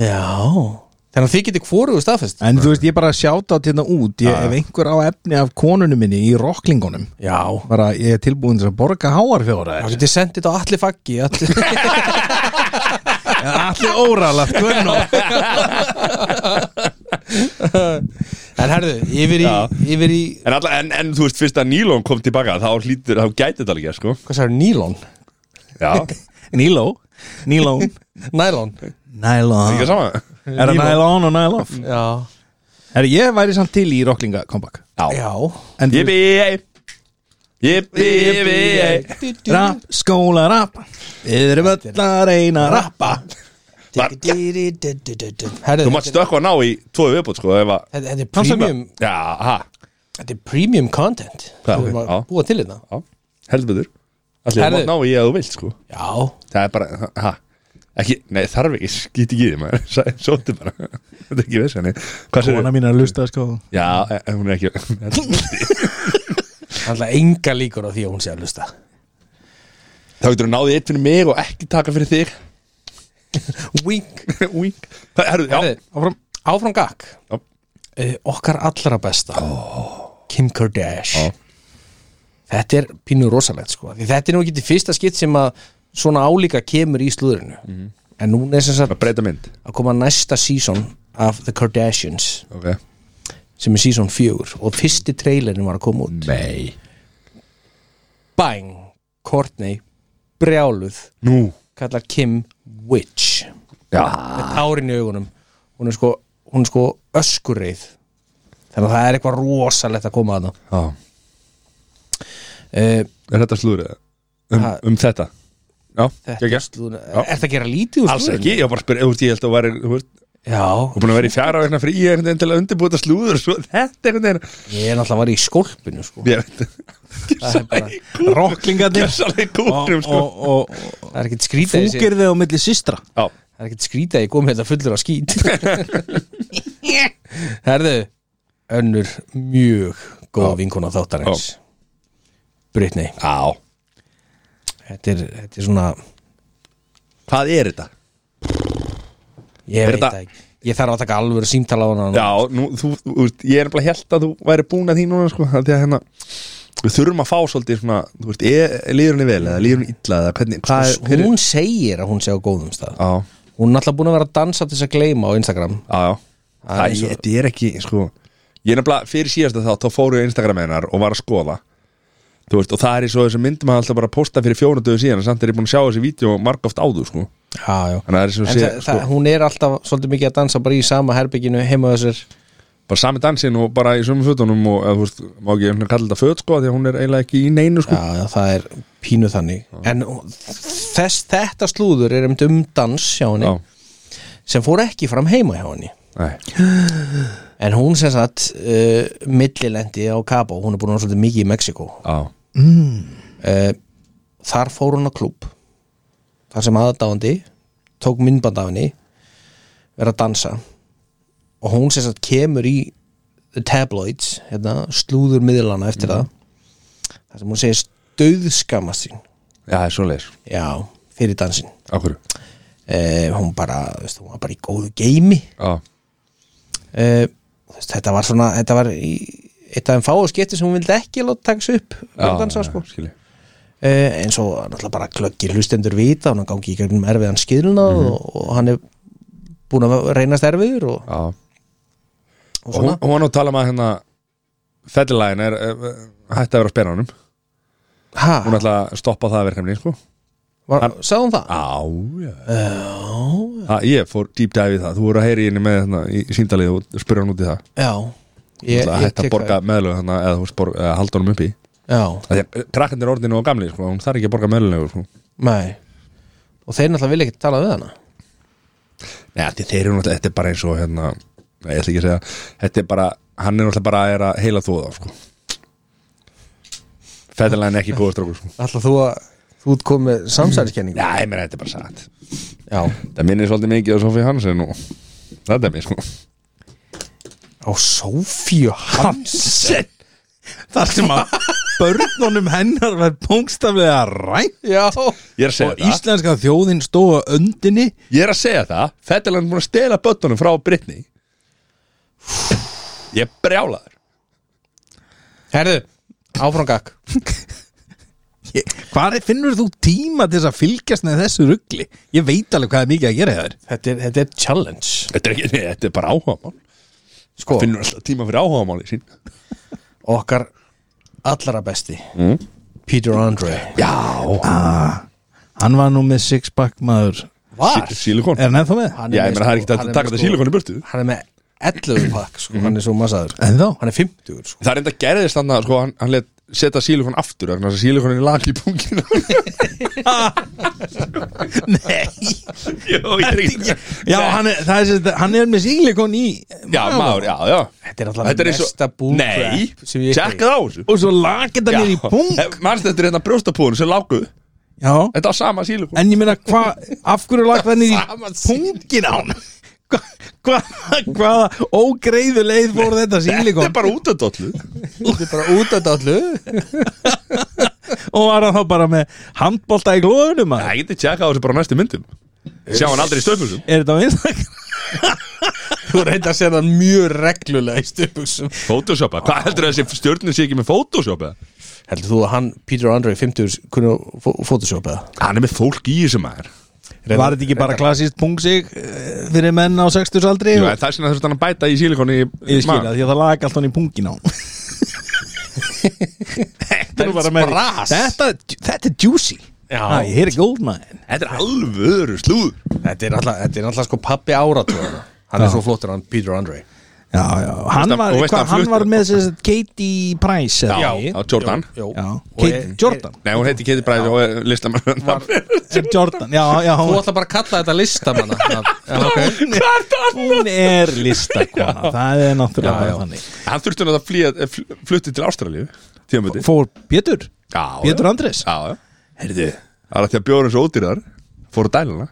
S1: já Þannig að þið getið hvorugu staðfest
S3: En þú veist, ég bara sjáta þetta út ég, Ef einhver á efni af konunum minni í rocklingunum
S1: Já,
S3: bara ég er tilbúin til að borga háar fjóra
S1: þá getið sendið þetta á allir faggi allir...
S3: Allir óralat, Guðnó
S1: En herðu, yfir í, yfir í
S2: en, alla, en, en þú veist, fyrst að Nílón kom tilbaka þá, hlýtur, þá gæti þetta alveg, sko
S1: hvað sagði, nýlón?
S2: Já,
S3: Níló, nílón
S1: Nælón?
S3: Nælón
S2: ekki sama
S3: Er það nælón og nælof?
S1: Já
S3: Er ég væri samt til í rocklinga comeback
S1: Já
S3: En þú
S2: Jippi, jippi, jippi
S3: Rapp, skóla, rapp Við erum öll að reyna að rappa
S1: Herðu,
S2: Þú mátt stökkva að ná í tvo viðbútt, sko ef að,
S1: Þetta þetta er premium
S2: Já, ha,
S1: Þetta er premium content
S2: Já,
S1: Þú erum
S2: já.
S1: að búa til hérna. þetta
S2: já, heldur betur Allir þú
S1: Herðu.
S2: mátt ná í að þú vilt, sko
S1: Já
S2: Það er bara, ha ekki, nei þarf ekki, skýt ekki í því maður Sæ- sóttu bara, þetta er ekki veist henni hvað sér
S3: Kona mín er að lusta sko
S2: já, e- e- hún er ekki
S1: Alltaf enga líkur á því að hún sé að hlusta
S2: þá getur hún náðið eitt fyrir mig og ekki taka fyrir þig
S1: Wink
S2: Wink. það er, já,
S1: Herðu, Áfram, áfram gakk
S2: Já.
S1: uh, Okkar allra besta Kim Kardashian
S2: Já.
S1: Þetta er pínu rosalegt sko Því þetta er nú ekki til fyrsta skitt sem að svona álíka kemur í slúðurinu
S2: Mhm.
S1: En núna er sem sagt
S2: að breyta mynd
S1: að koma næsta season af The Kardashians
S2: ok,
S1: sem er season 4 og fyrsti trailerin var að koma
S2: Mm.
S1: út
S2: nei
S1: Bang! Courtney brjáluð
S2: nú,
S1: kallar Kim Witch
S2: já,
S1: með tárin í augunum hún er sko, hún er sko öskurreið þannig að það er eitthvað rosalegt að koma að það
S2: já.
S1: uh,
S2: er þetta slúrið um,
S1: Ha.
S2: um þetta já,
S1: þetta
S2: ekki
S1: er slúðun
S2: Já.
S1: er það að gera lítið úr
S2: alls
S1: slúðrinu?
S2: ekki, ég var bara að spyrja, þú veist, ég held að þú væri þú veist, þú
S1: já,
S2: er búin að vera í fjara vegna frí einhvern veginn til að undirbúta slúður svo þetta er einhvern
S1: ég er náttúrulega var í skólpinu sko.
S2: veginn ég veit
S3: Rocklingarnir
S2: Gjörsalega
S3: og,
S2: kúknum sko
S3: og, og, og
S1: það er ekkert skrýta í þessi-
S3: fúkir þau á milli systra
S2: Já,
S1: það er ekkert skrýta í komið þetta hérna fullur á skýt herðu önnur mjög góð vinkona þáttarins Brittany
S2: á
S1: þetta er, þetta er svona
S2: Hvað er þetta?
S1: ég
S2: Er
S1: veit
S2: þetta-
S1: það ekki ég þarf að taka alvöru símtala á hana
S2: Já, nú, þú, þú, veist, ég er nefnilega held að þú væri búin að því núna sko af Því að hérna Við þurfum að fá svolítið svona Þú veist, er, líður henni vel eða líður henni illa eða hvernig Hvað er, hver er
S1: hún segir að hún sé á góðum stað
S2: Já,
S1: hún er alltaf búin að vera að dansa til þess að gleyma á Instagram
S2: já, já
S1: Það er
S2: Það
S1: svo-
S2: ég- þetta er ekki, sko Ég er nefnilega fyrir síðast að þá Þá fóru ég á Instagram hennar og var að skoða Þú veist, og það er í svo þessum myndum að alltaf bara posta fyrir fjórunduðu síðan en Samt er ég búin að sjá þessi vídeo margóft áður, sko
S1: já, já.
S2: Þannig að það er svo
S1: en
S2: sé,
S1: það,
S2: sko,
S1: það, hún er alltaf svolítið mikið að dansa bara í sama herbygginu heima á þessir
S2: bara sami dansinn og bara í sömu fötunum og eða, þú veist, má ekki einhvern veginn kalla þetta föt sko því að hún er eiginlega ekki í neinu sko
S1: já, já, það er pínu þannig en þess, þetta slúður er um, um dans hjá henni sem fór ekki fram heima hjá henni
S2: nei,
S1: en hún sem sagt uh, millilendi á Cabo, hún er búin að vera svolítið mikið í Mexiko
S2: já,
S1: uh, þar fór hún á klúb þar sem aðdáandi tók myndband af henni verið að dansa og hún sem sagt kemur í the tabloids, hérna, slúður miðlana
S2: Mhm.
S1: eftir það þar sem hún segist döðskamast sín
S2: já, það er svo leis
S1: já, fyrir dansin
S2: á hverju,
S1: uh, hún bara, þú veist, hún var bara í góðu geimi
S2: já,
S1: uh, þetta var svona, þetta var í eitt af þeim fáu skipti sem hún vildi ekki láta taka sig upp
S2: já,
S1: og dansa, sko
S2: skilji
S1: uh, eins og náttúrulega bara glöggir hlustendur vita hann gangi í gegnum erfiðan skilna
S2: Mhm.
S1: og, og hann er búin að reynast erfiður og,
S2: já, og
S1: og
S2: hún,
S1: svona
S2: hún var nú að tala um að hérna fettilægin er eh, hætti að vera á spenanum hún
S1: ha,
S2: ætla að stoppa það verkefni sko
S1: var, sagði hún það?
S2: á, já það, ég fór deep dive í það, þú voru að heyri henni með hérna, í í síndalið og spurði hann út í það
S1: já
S2: ég,
S1: ég,
S2: ætla að
S1: ég
S2: hætta að
S1: tek
S2: borga meðlög hérna, eða þú veist, borg- eða halda honum upp í
S1: það. já,
S2: krakkandir orðinu og gamli, sko, hún þarf ekki að borga meðlög sko.
S1: nei og þeir náttúrulega vilja ekki tala við hana
S2: Nei, þetta er þeir eru náttúrulega, þetta er bara eins og hérna, nei, ég ætla ekki að segja, þetta er bara, hann er náttúrulega bara að, er að heila þóða, sko. Fettilegin ekki góður strókur, sko.
S1: alltaf þú að þú ert komið samsæðiskenningu
S2: Já, ég meina, þetta er bara satt.
S1: já,
S2: Það minnir svolítið mikið á Sofí Hansen og þetta er mér, sko.
S1: á Sofíu Hans
S3: þar sem að börnunum hennar var bóngstaflega rænt
S1: já,
S2: Ég er að segja
S3: og
S2: það,
S3: íslenska þjóðin stóða öndinni
S2: ég er að segja það, Fettilegin er búin að stela böttunum frá Brittany. Ég er brjálaður.
S1: herðu áfram gakk
S3: hvað finnur þú tíma til þess að fylgjast með þessu ruggli ég veit alveg hvað er mikið að gera hjá þér
S1: þetta er, þetta er challenge
S2: Þetta er ekki, nei, þetta er bara áhugamál.
S1: sko,
S2: Finnur alltaf tíma fyrir áhugamáli sín.
S1: okkar allra besti
S2: Mm.
S1: Peter Andre
S2: Já.
S3: hann var nú með sixpack maður
S1: Var?
S2: Silikon.
S3: er hann ennþá með?
S1: Hann
S2: Já,
S1: með,
S2: ég
S1: sko,
S2: meina, það er ekki
S1: hann
S2: að taka
S1: með,
S2: þetta silikon í burtu. Mhm.
S1: Hann er með 11 pakk, sko, hann er svo massaður
S3: ennþá?
S1: Hann er 50, sko
S2: Það er enda gerðist þannig að sko, hann, hann let setja sílikon aftur vegna þess að sílikonin lag í punginu
S3: nei
S2: Jó, ég er ekki
S3: já, hann er, það er, sem sagt- hann er með sílikon í
S2: Já, maður, já, já
S1: Þetta er alltaf
S2: eins og-
S1: mesta bull
S2: Nei,
S1: crap sem ég-
S2: tjekka það á þessu
S3: og svo lakið hann er í pung
S2: Manst þetta er hérna brjóstapúðun sem láguð
S3: Já,
S2: Þetta var sama sílu
S3: en ég meina hvað af hverju lagt það niður í
S1: Sama
S3: pungin á hann hva, hva, hvaða ógreiðu leið fór
S2: Þetta
S3: þetta
S2: er
S3: sílikon
S2: bara út af dollu
S1: Þetta er bara út af dallu
S3: og var hann þá bara með handbolta í glóðunum maður?
S2: Það geti tjekka á þessu bara á næstu myndum Sjá hann aldrei í stöfnusum
S3: er þetta á Instagram
S1: Þú reynda að segja það mjög reglulega í stöpuksum
S2: Photoshopa, hvað heldur þessi stjörnur sé ekki með Photoshopa?
S1: Heldur þú að hann, Peter Andre, 50 kunni á fó- Photoshop eða?
S2: Hann er með fólk í þessu maður
S1: Reyndar-
S3: var þetta ekki bara klassíst pungsig eh, fyrir menn á 60s aldri
S2: Jú,
S3: og,
S2: en Það er svona þurft hann að bæta í sílikonni
S3: ég skilja því að það laga allt hann í pungin á hann. þetta er nú bara með
S1: Spras.
S3: þetta, þetta er juicy
S1: Já.
S3: Ah, ég heyri Goldmine
S2: Þetta er alvöru slúður
S1: Þetta er náttúrulega, þetta er náttúrulega sko pappi áratúðana Hann er
S3: Já.
S1: svo flottur hann, Peter Andre
S3: já, já. hann,
S2: Veist að-
S3: var,
S2: og veist
S3: hva,
S2: að
S3: hann
S2: fluttur-
S3: var með sem sagt Katie Price eða
S2: Já,
S3: ekki?
S2: á Jordan
S1: Jó,
S3: Já,
S1: Og
S3: Kate
S1: er-
S3: Jordan
S2: Nei, hún heiti Katie Price og er listamann
S3: er, Jordan, já, já
S1: Þú
S3: hún,
S1: ætla bara að kalla þetta listamanna Já, ok
S3: hún er listakona það er náttúrulega
S1: Já, já.
S3: bara þannig
S2: Hann þurfti hann að flýja, eh, fl- flutti til Ástralíu Tíðanböti
S3: fór Pétur,
S2: Já,
S3: Pétur Andrés
S2: Já, já Herðu Það er að því að bjóður eins og ódýrðar Fóru að dæla hana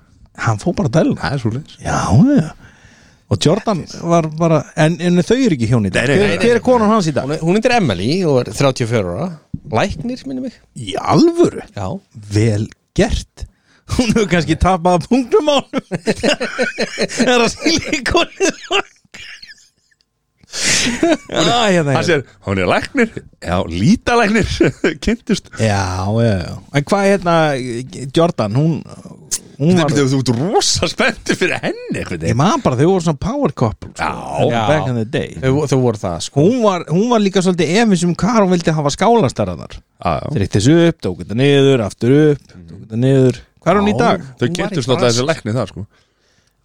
S3: hann fór bara að dæluna
S2: Það er svo leins
S3: já, já og Jordan var bara en, en þau eru ekki hjón í dag
S2: Nei, nei,
S3: hver,
S2: nei,
S3: hver er konan hans í dag?
S1: Hún er- Hún heitir Emily og er 34 ára Læknir, minni mig
S3: í alvöru,
S1: Já
S3: vel gert hún hefur kannski tapað punktum á honum það er að silikonið Já,
S2: Það
S3: hérna, hérna.
S2: sér, hún er læknir Já, lítalæknir Kynntust
S3: Já, já, já. En hvað hérna, Jordan, hún, hún
S2: Þetta
S3: var,
S2: betur þú ert rosa spennti fyrir henni einhvern
S3: ég
S2: veginn.
S3: man bara, þau voru svona power couple. sko,
S2: Já.
S1: Já.
S3: Back in the day.
S1: Þau, þau voru það sko
S3: Hún var, hún var líka svolítið efins um hvað hún vildi hafa skálastarðar.
S2: Já, já.
S3: Þeir þessu upp, tók þetta niður, aftur upp, tók þetta niður. Hvað er hún í
S1: Já.
S3: dag?
S2: Þau
S1: Hún var
S2: kynntust
S1: í
S2: alltaf
S1: brask.
S2: þessi lækni það sko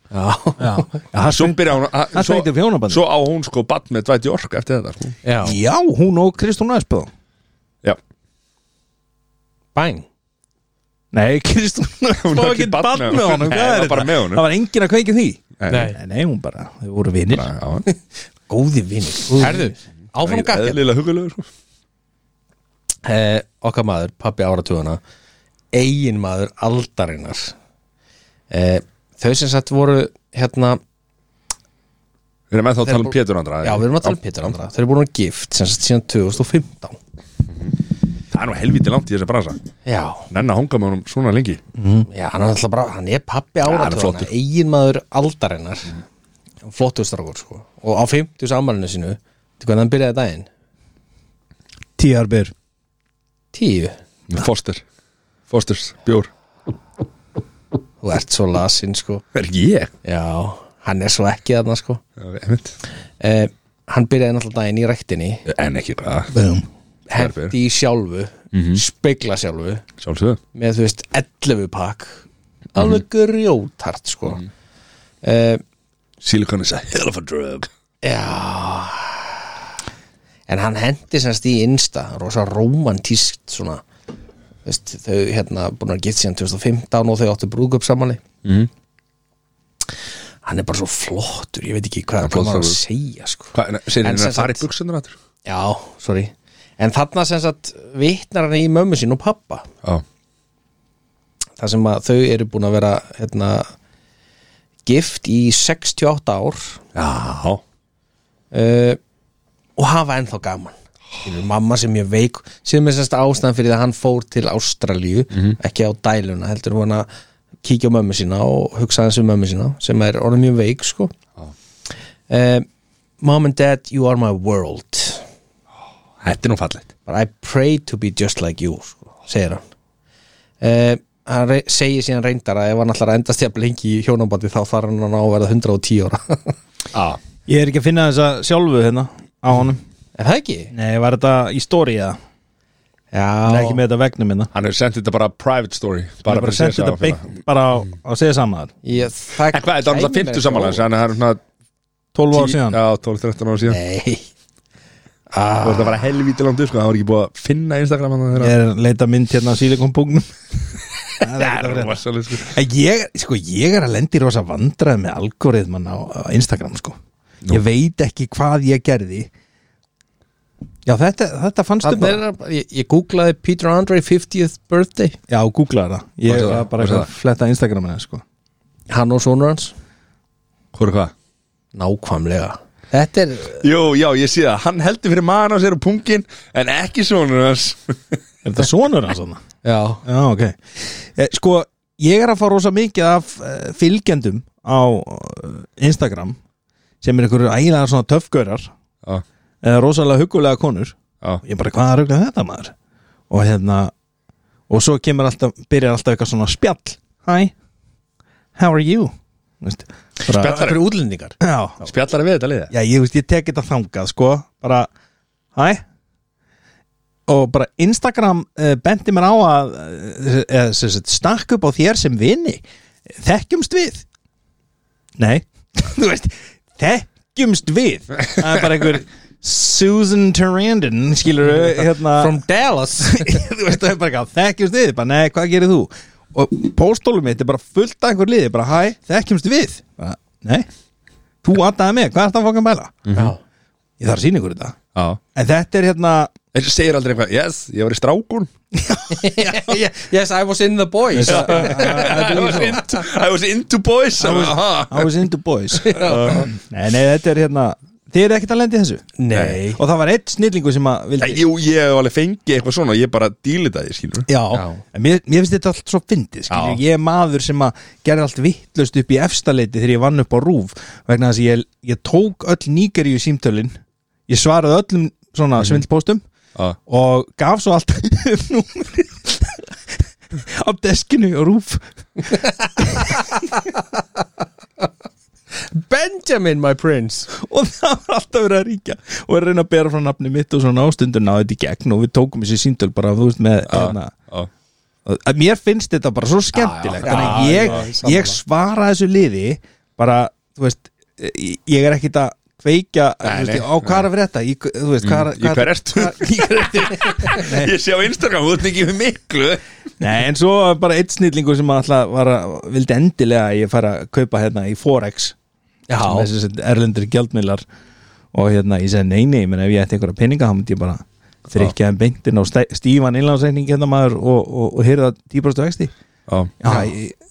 S1: Já,
S3: Já, það
S2: Svo
S3: söng-
S2: byrja hún að-
S3: Það
S2: svo-
S3: stendur hjónabandi.
S2: Svo á hún sko Batt með dvæti ork eftir þetta sko
S1: já
S3: já hún og Kristún Æspöð.
S2: Já
S1: Bæn
S3: Nei, Kristún
S2: Hún á
S3: Æspöð var
S2: ekki
S3: ekki
S2: barn
S3: bann
S2: með honum.
S3: með honum.
S2: Nei,
S3: Hvað
S2: það
S3: er
S2: var bara
S3: þetta?
S2: með honum.
S3: Það var engin að kveiki því.
S1: Nei.
S3: Nei, nei, hún bara, þau voru vinnir.
S2: Já,
S1: Góði vinnir Herðu, áfram gakk
S2: Eðlilega hugulegu sko
S1: eh, okkar maður, pappi áratugana eigin maður aldarinnar eh, þau sem sagt voru hérna,
S2: Við erum ennþá að tala um
S1: Þeir-
S2: Pétur Andra
S1: já við erum að tala um Pétur Andra þau eru búin að gift sem sagt síðan 2015
S2: Það er nú helviti langt í þessa bransa
S1: já,
S2: Nenna hanga með honum svona lengi
S1: já hann er alltaf bara hann er pappi
S2: hann er
S1: áratugana,
S2: flottur.
S1: eigin maður aldarinnar mm. flottur strákur sko og á 50 sammælinu sínu til hvernig hann byrjaði daginn
S3: Tíjar byr.
S1: 10,
S2: Foster Fosters, bjór
S1: þú ert svo lasinn sko
S2: Er ég?
S1: já, hann er svo ekki þarna sko
S2: En
S1: eh, hann byrjaði náttúrulega daginn í rektinni
S2: ekki hvað
S3: Bum.
S2: Herber.
S1: hendi í sjálfu
S2: Mhm.
S1: spegla sjálfu
S2: Sjálfsögðu
S1: með þú veist 11 pakk
S2: Mhm.
S1: alveg grjótart sko mm
S2: Silicon is a hell of a drug
S1: já en hann hendi semst í insta rosa romantískt svona þú veist, þau hérna búin að geta síðan 2015 og þau áttu brúðgöp samanli
S2: Mhm.
S1: hann er bara svo flottur ég veit ekki hvað
S2: flottur
S1: hann var að
S2: strákur.
S1: segja sko
S2: Hvað, en segir
S1: En
S2: henni
S1: sem
S2: að fara í
S1: sagt-
S2: buksunar aftur?
S1: já, sorry en þarna sem sagt vitnar hann í mömmu sín og pappa
S2: Já
S1: þar sem að þau eru búin að vera hérna, gift í 68 ár
S2: Já
S1: uh, og hafa ennþá gaman Skilur, mamma sem ég veik sem er semst ástæðan fyrir að hann fór til Ástralíu ekki á dæluna, heldur hún að kíkja á mömmu sína og hugsa hans um mömmu sína sem er orðin mjög veik sko uh, Mom and Dad, you are my world
S2: Þetta er nú fallegt
S1: But I pray to be just like you sko, segir hann uh, hann rey- segir síðan reyndar að ef hann ætlar að endast jafn lengi í hjónabandi þá þarf hann að ná að verða 110 ára er
S2: Já
S3: Ég er ekki að finna þessa sjálfu hérna á honum
S1: það ekki?
S3: Nei, var þetta í stóri eða?
S1: Já,
S3: Nei, ekki með þetta vegnum hérna
S2: Hann hefur sendið þetta bara private story
S3: Bara, bara
S2: fyrir
S3: sendið
S2: CSA
S3: þetta
S2: og félaga.
S3: beint bara á, á segja saman
S1: ég, það
S2: En hvað, þetta
S1: kæmi
S2: var
S1: mér
S2: náttúrulega 50
S1: ekki
S2: samanlega
S1: á óvart.
S2: Þannig að það er svona
S3: 12 ára
S2: tí-
S3: síðan
S2: Já, 12-13 ára síðan
S1: Nei,
S2: Það var þetta bara helvítið langt upp sko Það var ekki búið að finna Instagram hann
S3: Ég er að leita mynd hérna á silikonpungnum
S2: Það er rosalega sko
S3: En ég, sko, ég er að lendi rosa vandrað með algoritman á, á Instagram, sko Ég veit ekki hvað ég gerði Já, þetta, þetta fannstu
S1: Þarna
S3: bara
S1: er það- Ég, ég googlaði Peter Andre 50th birthday
S3: Já, googlaði það Ég
S2: Varstu það?
S3: var bara
S2: Varstu
S3: eitthvað að fletta Instagraminu sko.
S1: Hann og sonur hans
S2: Hvor er hvað?
S1: Nákvæmlega Þetta er
S2: Jó, já, ég sé það, hann heldur fyrir maðan á sér og pungin En ekki sonur hans
S3: Er þetta sonur hans þarna?
S1: Já
S3: Já, ok eh, Sko, ég er að fá rosa mikið af eh, fylgjendum á eh, Instagram sem er einhverju ægilega svona töfgörar
S2: Já,
S3: eða rosalega hugulega konur
S2: já,
S3: ég bara, hvaða rugl er þetta maður? Og hérna og svo kemur alltaf, byrjar alltaf eitthvað svona spjall Hi, how are you? Vist, bara,
S1: Það eru útlendingar
S3: já,
S2: spjallar við þetta liðið
S3: Já, ég veist, ég tek þetta þangað, sko Bara, hæ Og bara Instagram uh, bendi mér á að uh, eða, sem sagt, stakk upp á þér sem vini Þekkjumst við Nei, þú veist Þekkjumst við Það er bara einhver Susan Tarandon, skilur hérna,
S1: From Dallas
S3: þú veist, það er bara eitthvað, þekkjumst við bara, nei, hvað gerir þú? Og póstólum mitt er bara fullt af einhver liði bara, hæ, þekkjumst við bara, nei, þú aðdaði mig, hvað er það að fóka að bæla?
S1: Já
S3: Ég þarf að sína ykkur þetta
S2: Mhm. Já
S3: En þetta er hérna
S2: En segir aldrei eitthvað, yes, ég var í strákun
S1: Yes, I was in the boys
S2: I was, into, I was into boys I was,
S3: I was into boys Nei, nei, þetta er hérna Þið eru ekkert að lendi þessu
S1: Nei
S3: Og það var eitt snillingu sem að vildi
S2: Jú, ég hef alveg fengið eitthvað svona Ég bara dýlita því, skilur
S3: Já,
S1: Já.
S3: en mér, mér finnst þetta allt svo fyndið skilur.
S2: Já.
S3: Ég er maður sem að gerði allt vittlust upp í efstaleiti þegar ég vann upp á rúf vegna þess að ég, ég tók öll nýgeríu símtölin ég svaraði öllum svona mm svindlpóstum
S2: Já,
S3: og gaf svo allt númrið á deskinu og rúf
S1: Benjamin, my prince
S3: og það var alltaf verið að ríkja og er að reyna að bera frá nafni mitt og svona ástundur náði þetta í gegn og við tókum þessi síntöl bara þú veist með hérna,
S2: já
S3: að mér finnst þetta bara svo skemmtilegt
S1: Já, já,
S3: þannig
S1: já,
S3: að ég,
S1: já, sammála.
S3: ég svara þessu liði bara, þú veist ég ég er ekkit að kveikja
S2: Nei,
S3: þú veist,
S2: nei.
S3: á hvað er að frétta í, þú veist, hvað,
S2: Í
S3: mm, hvað,
S2: hver ertu?
S3: hvað, í hver ertu
S2: Ég sé á Instagram, þú ert ekki við miklu
S3: Nei, en svo var bara eitt snillingur sem alltaf var að, vildi endilega að ég fara að kaupa hérna í Forex
S1: Já.
S3: sem þessi sem erlendur gjaldmiðlar og hérna, ég segi nei, nei, menn ef ég ætti einhverja peninga, þá myndi ég bara þrykja þeim beintin á stæ- stífan innlánsreikning hérna maður og, og, og hyrða tíbrastu vexti
S2: Já,
S3: já, ég,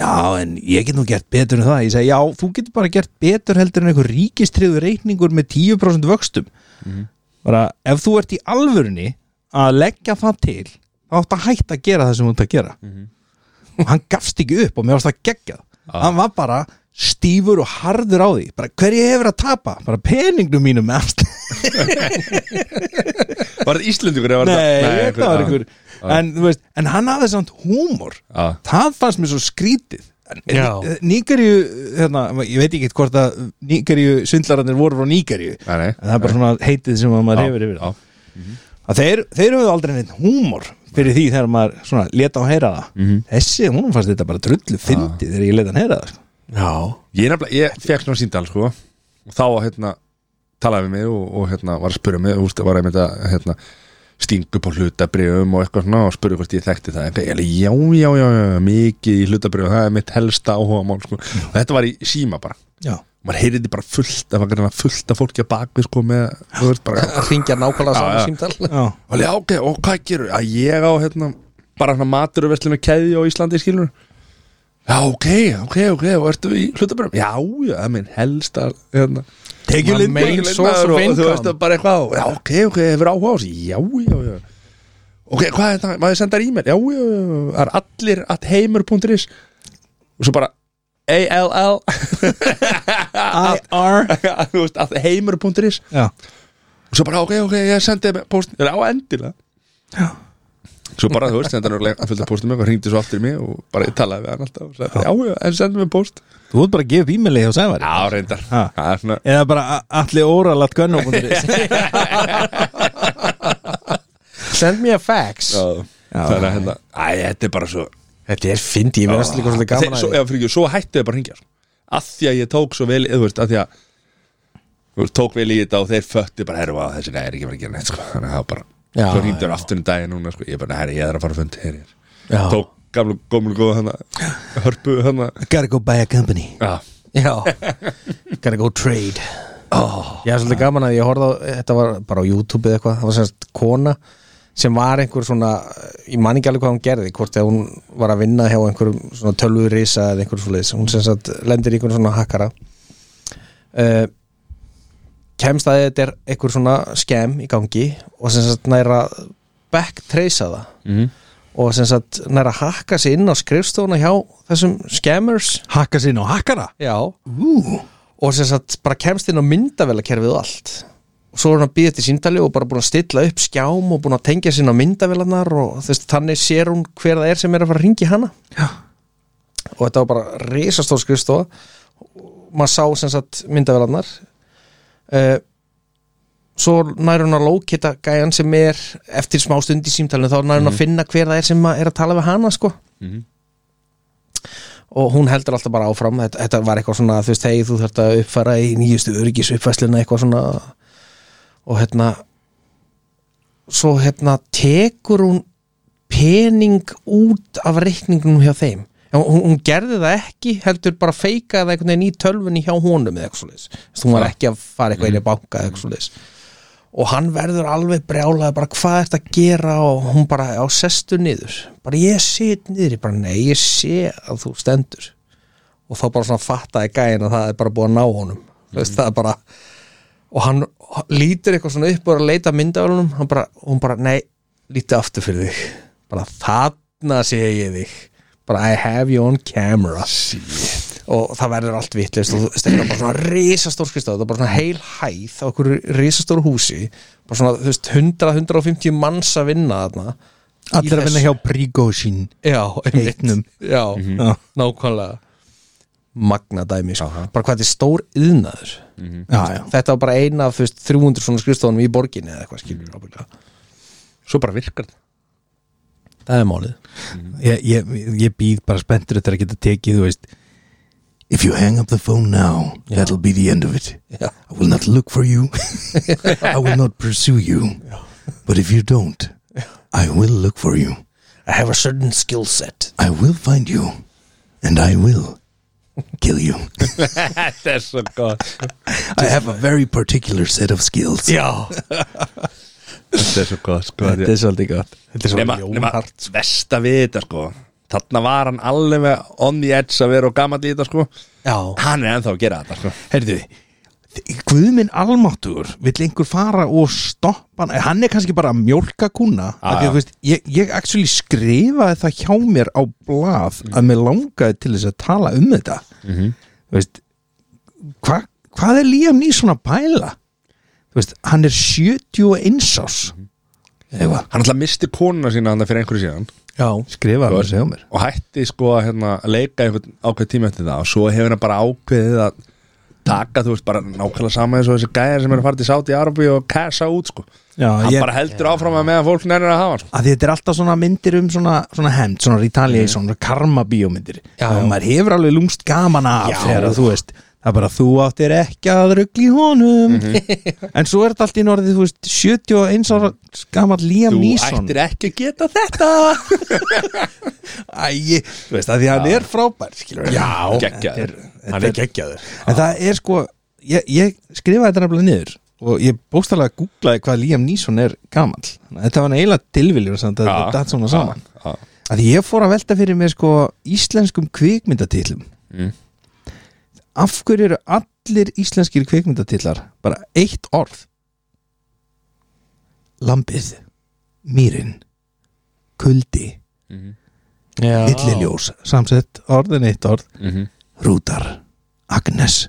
S3: já, en ég get nú gert betur en það, ég segi, já, þú getur bara gert betur heldur en einhver ríkistriðu reikningur með 10% vöxtum Mhm. bara, ef þú ert í alvörunni að leggja það til þá átt að hætta að gera það sem þú ert að gera og hann gafst ekki upp og mér varst að gegja
S2: Ah.
S3: hann var bara stífur og harður á því bara, hverju hefur að tapa? bara peningnum mínum með afslætti
S2: var þetta Íslendingur? eða var
S3: Nei, þetta var
S2: já.
S3: einhver en, þú veist, en hann hafði samt húmor
S2: Já.
S3: Það fannst mér svo skrítið
S1: Já.
S3: Nígarju, eh, hérna, ég veit ekki hvort að Nígarju svindlararnir voru frá Nígarju
S2: Nei, nei.
S3: En það er bara svona heitið sem að maður hefur yfir
S2: Já,
S3: það Að Þeir, þeir höfðu aldrei neitt húmor fyrir því þegar maður svona leta á að heyra það Þessi, hún fannst þetta bara drullu fyndið þegar ég leta hann heyra það sko.
S1: Já
S2: Ég nefnilega, ég fekk svona síndal sko og þá hérna talaði við mig og, og hérna var að spura mig úst, var einmitt að hérna stingu upp á hlutabrifum og eitthvað svona og spurði hvort ég þekkti það eitthvað, ég alveg, já, já, já, já, mikið í hlutabrifum, það er mitt helsta áhuga mál sko. og þetta var í síma bara
S3: Já,
S2: maður heyrði bara fullt af hérna, fullt af fólki að bakvið sko með, þú veist bara
S1: Að hringja nákvæmlega
S2: Já, já.
S1: saman símtal
S3: já,
S2: alveg, já, ok, og hvað gerur að ég á hérna, bara hérna maturverslinu keðju á Íslandi skilur já, ok, ok, ok, og ertu í hlutabröfum já, já, það er minn helsta hérna,
S1: Tekjulindmaður.
S2: main source of income. og þú veist bara eitthvað, og já, ok, ok, hefur áhuga á þessu já, já, já ok, hvað er þetta, maður sendar e-mail já, já, já, já, það er allir at heimur.is og svo bara A-L-L
S3: IR
S2: þú veist, at heimur.is
S3: Já,
S2: og svo bara ok, ok, ég sendi þeim post er á endilega
S3: Já.
S2: svo bara þú veist, sendi hann örugglega fullt af postum og hringdi svo aftur í mig og bara ég talaði við hann alltaf og sagði, já, já, en sendi mér post
S3: þú ert bara að gefa e-maili hjá Sævari
S2: já, reyndar,
S3: Ha.
S2: það er svona
S3: Eða bara a- allir óralat gönnum
S1: Send me a fax
S2: já, þannig að hérna, æ, þetta er bara svo
S1: Þetta er fyndi, ég verðast líka svolítið gaman
S2: Þeir- svo, já, fyrir ekki, svo hættu þau bara að hringja sko. að því að ég tók svo vel, þú veist, að því að þú veist, tók vel í þetta og þeir föttu bara, herru, vá, þessi, nei, er ekki verið að gera neitt sko. þannig að það var bara,
S1: Já,
S2: svo hringdi hann aftur um daginn núna, sko, ég bara, herru, ég er að fara að fundi herri,
S1: Já.
S2: tók gamlu, gómlu, góða hana hörpu hana,
S3: Gotta go buy a company
S2: já
S1: Já Gotta go trade Ég hef svolítið gaman að ég horfði á, þetta var bara á YouTube eða eitthvað, það var semst kona sem var einhver svona, ég man ekki alveg hvað hún gerði, hvort þegar hún var að vinna hjá einhverjum svona tölvurisa eða einhverjum svoleiðis, hún sem sagt lendir í einhverjum svona hakkara uh, kemst að þetta er einhver svona skem í gangi og sem sagt næra backtrace það
S2: Mhm.
S1: og sem sagt næra hakka sig inn á skrifstofuna hjá þessum scammers
S3: Hakka sín á hakkara
S1: Já
S3: Ú,
S1: og sem sagt bara kemst inn á myndavélakerfið og allt og svo er hann að býða til síndali og bara búin að stilla upp skjám og búin að tengja sinna myndavélarnar og þess, þannig sér hún hver það er sem er að fara að ringi hana
S3: Já.
S1: og þetta var bara risastór skrifstofa og maður sá sem sagt myndavélarnar uh, svo nær hún að lókita gæjan sem er eftir smá stund í símtalinu þá nær hún
S3: Mhm.
S1: að finna hver það er sem að er að tala við hana sko
S2: Mhm.
S1: og hún heldur alltaf bara áfram þetta, þetta var eitthvað svona, þú veist, hei, þú þarft að uppfara í nýjustu öryggis uppfæsluna eitthvað svona og hérna svo hérna tekur hún pening út af reikningnum hjá þeim En hún, hún gerði það ekki, heldur bara feikaði það einhvern veginn í tölvunni hjá honum eða eitthvað svoleiðis, Þess, hún var ekki að fara eitthvað inn í banka eða eitthvað svoleiðis og hann verður alveg brjálaði bara hvað er þetta að gera og hún bara á sestu niður bara ég sit niður, ég bara nei ég sé að þú stendur og þá bara svona fattaði gæin að það er bara búið að ná honum mm. veist, það er bara og hann lítur eitthvað svona upp og er að leita myndavælunum hann bara, og hún bara nei, líti aftur fyrir þig bara þarna sé ég þig bara I have you on camera og það verður allt vitlist og þú veist, þetta er bara svona risastór skrifstof þetta er bara svona heil hæð á okkur risastór húsi bara svona, þú veist, 100-150 manns að vinna þarna Í
S3: allir að vinna Mhm.
S1: þessu.
S3: hjá Prígósín
S1: já, einmitt.
S3: Heitnum.
S1: já,
S3: Já,
S1: nákvæmlega magna dæmi, sko. bara hvað þetta er stór yðnaður
S3: já,
S1: þetta var bara eina af þú veist, 300 svona skrifstofunum í borginni eða eitthvað skilur ábyggulega
S2: Svo bara virkar það
S1: það er málið
S3: Ég, ég, ég býð bara spenntur þetta að geta tekið, þú veist If you hang up the phone now, that'll be the end of it
S1: Já.
S3: I will not look for you I will not pursue you But if you don't, I will look for you
S1: I have a certain skill set
S3: I will find you And I will kill you
S2: Þetta er svo gott
S3: I have a very particular set of skills
S1: já,
S2: Þetta er svo gott sko
S1: þetta er svolítið gott þetta er
S2: Nema,
S1: svolítið
S2: nema
S1: jónhart
S2: besta við þetta sko Þarna var hann alveg on the edge að vera og gammal í þetta sko
S1: já,
S2: Hann er ennþá að gera þetta sko
S3: Herðu, Guðminn almáttur vill einhver fara og stoppa hann hann er kannski bara að mjólka kuna
S2: Ah,
S3: ah,
S2: já.
S3: ja. veist, ég, ég actually skrifaði það hjá mér á blað
S2: Mhm.
S3: að mér langaði til þess að tala um þetta mm veist, hva, hvað er Liam Neeson að pæla Þú veist, hann er 71 ás
S2: Mhm.
S3: eða,
S2: Hann alltaf misti konuna sína hann fyrir einhverju síðan
S1: já,
S3: skrifaði hann
S2: Góð.
S3: þess hjá mér
S2: og hætti sko að hérna, að leika einhvern ákveð tíma eftir það og svo hefur hann bara ákveðið að taka, þú veist, bara nákvæmlega saman eins og þessi gæjar sem er að fara til Sáti Arabi og kæsa út, sko
S3: Já,
S2: hann
S3: ég-
S2: bara heldur áfram að meðan fólk nærnir að hafa hann, sko.
S3: að því þetta er alltaf svona myndir um svona, svona hemmt, svona retaliation, svona karma bíómyndir
S1: Mhm. Já,
S3: og
S1: já.
S3: maður hefur alveg lúmst gaman af
S1: Já.
S3: þegar að þú veist það er bara þú áttir ekki að rugli honum
S1: Mhm.
S3: en svo er þetta allt í norðið þú veist 71 ára gammal Liam
S2: þú
S3: Neeson
S2: ættir ekki að geta þetta
S3: Æ, þú veist að því hann er frábær skilur við.
S2: Já,
S3: þetta
S2: geggjaður.
S3: er,
S1: hann er geggjaður
S3: en það er sko ég, ég skrifaði þetta nefnilega niður og ég bóstalega googlaði hvað Liam Neeson er gammal, þetta var eiginlega tilviljur sem
S2: Já.
S3: þetta ja. datt svona saman
S2: Já,
S3: að ég fór að velta fyrir mér sko íslenskum kvikmyndatitlum
S2: Mm.
S3: af hverju eru allir íslenskir kvikmyndatitlar bara eitt orð lambið mýrin kuldi, illiljós samsett orðin eitt orð
S2: mhm.
S3: rútar, Agnes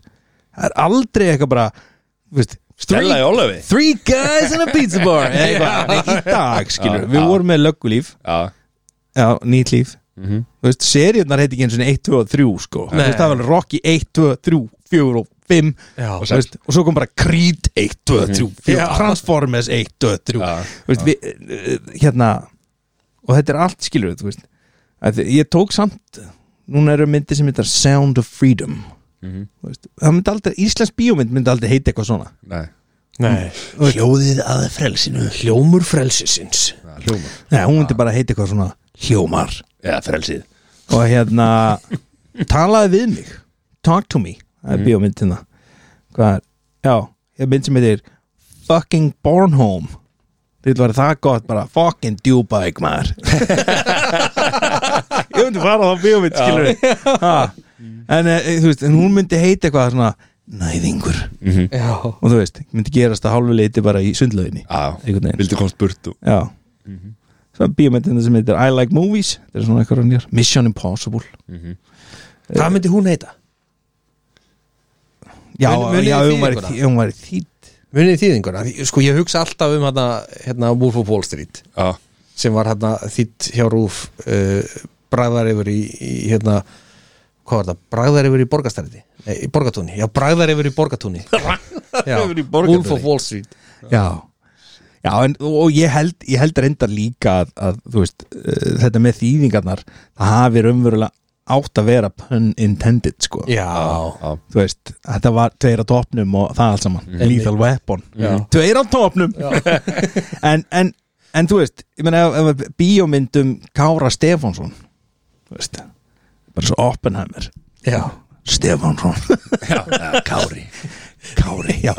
S3: það er aldrei eitthvað bara þú veist,
S2: Stella í Ólafi
S3: three guys in a pizza bar eða eitthvað, en í dag skilur við vorum með löggulíf,
S2: Já,
S3: já, nýtt líf
S2: mhm.
S3: þú veist, seríunar heiti ekki eins og 1, 2 og 3 sko, þú
S1: Nei.
S3: veist, það var Rocky 1, 2, 3, 4 og 5
S1: já,
S3: og, veist, og svo kom bara Creed 1, 2, 3, 4
S1: Já.
S3: Transformers 1, 2, 3
S2: Já.
S3: þú veist, við, eh, hérna og þetta er allt skilur þú veist, að ég tók samt núna eru myndi sem heitar Sound of Freedom
S2: Mhm.
S3: Þú veist, það myndi aldrei, Íslands bíómynd myndi aldrei heita eitthvað svona
S2: Nei,
S1: nei
S3: hljóðið að frelsinu
S1: hljómur frelsisins
S2: það er hljóma
S3: Nei, hún myndi bara heita eitthvað svona hljómar
S2: Eða frelsið
S3: og hérna
S2: Mhm.
S3: talaði við mig talk to me, það er bíómyndina hvað er já, ég mynd sem heitir fucking Bornholm Þetta var það gott, bara fucking djúbæk maður Ég myndi fara á þá bíómynd, skilur við Ha. En eh, þú veist, en hún myndi heita eitthvað svona Næðingur
S1: Já,
S3: Og þú veist, myndi gerast að hálfu leiti bara í sundlauginni Einhvern veginn.
S2: vildi komst burt og
S3: Já
S1: Mhm.
S3: Svona bíómyndina sem heitir I Like Movies Þetta er svona eitthvað nýjar Mission Impossible
S1: hvað myndi hún heita?
S3: Já,
S1: Mun- munið
S3: já,
S1: þið
S3: ef hún væri
S1: þýðinguna?
S3: þý- ef hún væri þýtt
S1: Munið þýðinguna, Því- sko ég hugsa alltaf um hérna, hérna Wolf of Wall Street
S2: já,
S1: sem var hérna þýtt hjá Rúf uh, bragðar yfir í, í hérna, hvað var það, bragðar yfir í borgarstæriði, nei, í borgartúni já, bragðar yfir í borgartúni Já,
S2: yfir í Borgartúni.
S1: Wolf of Wall Street
S3: Já Já, en, og ég held, ég held reyndar líka að, að þú veist, uh, þetta með þýðingarnar það hafi raunverulega átt að vera pun intended, sko
S1: Já,
S2: já,
S3: þú veist, þetta var tveir á topnum og það allt saman, lethal weapon
S1: Já.
S3: tveir á topnum en, en, en þú veist, ég meina ef, ef að bíómyndum Kára Stefánsson þú veist, bara svo Oppenheimer
S1: já,
S3: Stefánsson Kári Kári, já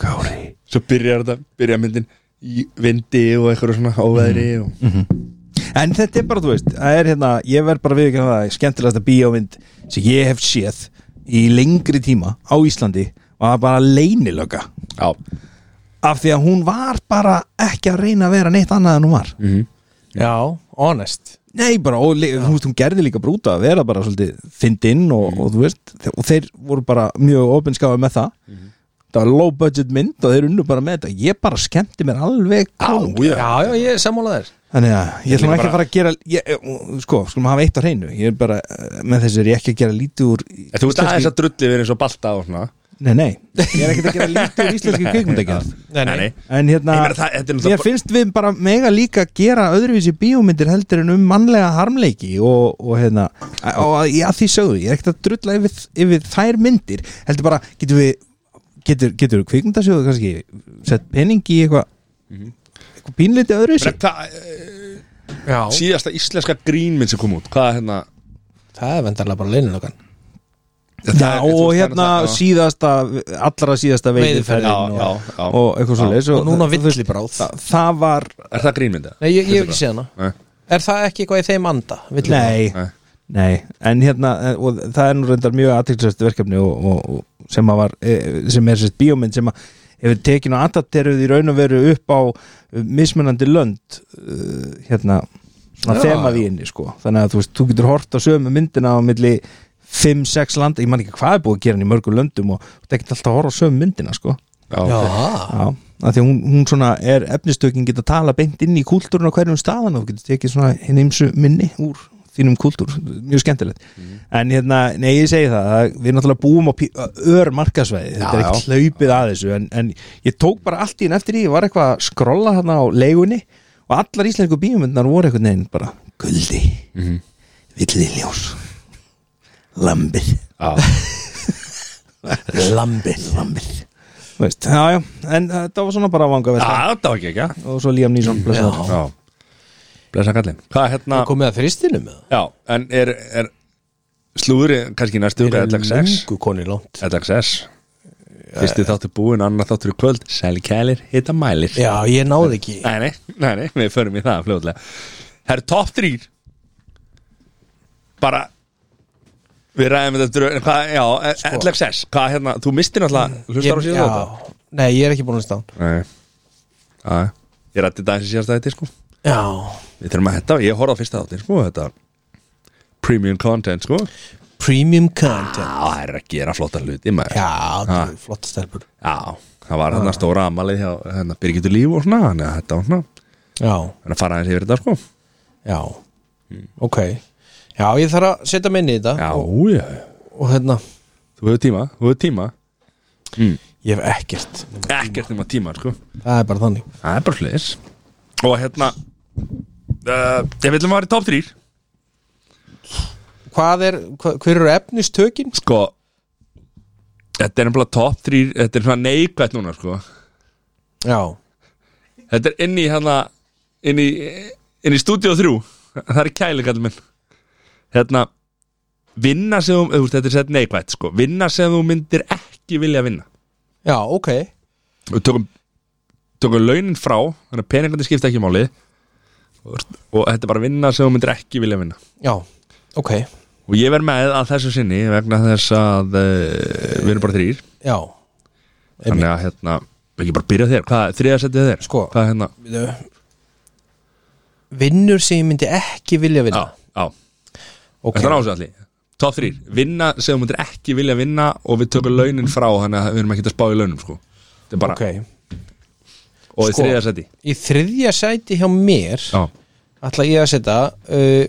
S3: Kári
S2: svo byrjar þetta, byrjar myndin í vindi og eitthvað svona áveðri og
S3: En þetta er bara, þú veist, það er hérna ég verð bara við ekki að það, skemmtilegasta bíómynd sem ég hef séð í lengri tíma á Íslandi og það er bara leynilöga
S2: já,
S3: af því að hún var bara ekki að reyna að vera neitt annað en hún var
S2: Mhm.
S1: já, honest
S3: Nei, bara, og le- þú veist, hún gerði líka brúta að vera bara svolítið fyndinn og, og þú veist, þe- og þeir voru bara mjög opinskáði með það það var low budget mynd og þeir unnu bara með þetta ég bara skemmti mér alveg gang
S1: Já, já, ég er sammála þér
S3: Þannig að ég ætlum
S2: líka
S3: ekki að
S2: bara-
S3: fara að gera ég, eh, sko, skulum hafa eitt á hreinu ég er bara, eh, með þessi er ég ekki að gera lítið úr
S2: En þú veist aðeins að drulli verið eins og balta og svona
S3: Nei, nei, ég er ekki að gera lítið úr íslenski kvikmyndagerð
S1: Nei, nei,
S3: En hérna,
S2: Ég meina það- þetta er náttúrulega
S3: mér
S2: bara-
S3: finnst við bara mega líka gera öðruvísi bíómyndir heldur en um mannlega harmleiki og, og hérna, og að- já því sögðu ég er ekkert að drulla yfir, yfir þær myndir heldur bara, getur við getur, getur við kvikmyndasjóðu kannski sett pening í eitthvað
S2: Mhm.
S3: eitthvað pínliti öðruvísi
S2: Bre- Hvað, eh,
S1: já
S2: síðasta íslenska grínmynd sem kom út Hvað er hérna
S1: Það er vendarlega bara leynilögan
S3: Já, og hérna síðasta allra síðasta veiðiferðin
S1: Veiðiferðin,
S3: og,
S2: já, já.
S3: og eitthvað svo leis
S1: Og núna villibráð
S3: það, það var,
S2: Er það grínmynda?
S1: Nei, ég, ég hef ekki séð hana
S2: Nei.
S1: Er það ekki eitthvað í þeim anda? Villibráð?
S3: nei,
S2: Nei.
S3: nei en hérna, eh, og það er nú reyndar mjög aðtilsvæst verkefni og, og, og sem að var eh, sem er sérst bíómynd sem að hefur tekin og adapteruð í raun og veru upp á eh, mismunandi lönd eh, hérna, svona
S1: Já,
S3: þemað í inni sko, þannig að þú veist, þú getur hort á sömu myndina á milli 5-6 landa, ég man ekki hvað er búið að gera hann í mörgum löndum og þú tekit alltaf að horfa á sömu myndina sko
S2: Já,
S1: Já,
S3: Já, af því að hún, hún svona er efnistökin geta tala beint inn í kúltúrun á hverjum staðan og þú getur tekið svona hinn eimsu minni úr þínum kúltúr, mjög skemmtilegt
S2: Mhm.
S3: en hérna, nei ég segi það að við náttúrulega búum á pí- ör markasvæði þetta
S2: Já,
S3: er ekki hlaupið að þessu en, en ég tók bara allt í enn eftir því, ég var eitthvað að skrolla hérna á leigunni og allar íslensku bíumundnar voru eitthvað neginn bara guldi,
S2: Mhm.
S3: villiljós lambið
S2: já
S3: lambið, lambið Veist, já, já, en uh, þetta var svona bara vanga
S2: Já, þetta var ekki ekki, já
S3: og svo Liam Neeson blessaður.
S2: Já Blessa kallinn Hvað er hérna
S1: það komið að fristinu með það
S2: Já, en er, er slúðri kannski í næstu
S1: Þeir
S2: huga
S1: eru
S2: LXS
S1: löngu konir langt
S2: LXS Fyrsti þáttur búinn, annar þáttur í kvöld Sæli kælir, hita mælir
S1: Já, ég náði ekki
S2: Nei, nei, nei, nei, við förum í það fljóðlega Það eru topp þrýr Bara Við ræðum þetta dröð hvað, Já, sko. LXS, hvað hérna Þú mistir náttúrulega hlustar á
S1: Mm, ég,
S2: síðan þóta
S1: já, Nei, ég er ekki búin að hlusta á hann
S2: Nei Já, Ég rætti þetta eins og síðast að þetta sko
S1: Já,
S2: Við þurfum að þetta, ég horfði á fyrsta þáttin sko Þetta premium content sko Já,
S1: premium content
S2: það er að gera flotta hluti maður
S1: Já, það er flott stelpur
S2: Já, það var þarna stóra amalið hjá hérna, Birgitur Líf og svona Þannig að þetta var svona
S1: Já,
S2: Þannig að fara aðeins yfir þetta sko
S1: já, ok Já, ég þarf að setja mig inn í þetta og,
S2: Já, já,
S1: og hérna,
S2: þú hefur tíma, þú hefur tíma
S1: ég hef ekkert
S2: Ekkert nema tíma sko
S1: Það er bara þannig
S2: Það er bara hlutis Og hérna uh, Ég vil maður í top 3
S1: Hvað er, hva, hver eru efnistökin?
S2: Sko Þetta er nefnilega top 3 Þetta er svona neikvætt núna sko
S1: Já,
S2: Þetta er inn í hérna Inn í, inn í stúdíu 3 Það er kæli kallum minn Hérna vinna sem þú, þú veist, þetta er sett neikvætt sko, vinna sem þú myndir ekki vilja vinna
S1: Já, ok
S2: við tökum, tökum launin frá þannig að peningandi skipta ekki máli og, og þetta er bara vinna sem þú myndir ekki vilja vinna
S1: Já, ok
S2: og ég verð með að þessu sinni vegna þess að uh, við erum bara þrýr
S1: Já,
S2: þannig að hérna, ekki bara byrja á þér hvað, þriðasettið þér,
S1: Sko.
S2: hvað hérna
S1: við Vinnur sem ég myndi ekki vilja
S2: já,
S1: vinna
S2: já,
S1: Ok,
S2: þetta er ásæðalli top 3, vinna sem þú myndir ekki vilja vinna og við tökum launin frá þannig að við erum ekki að spá í launum sko Þetta er bara,
S1: ok
S2: og í
S1: sko.
S2: þriðasetti
S1: Í þriðja sæti hjá mér
S2: já,
S1: ætla ég að setja uh,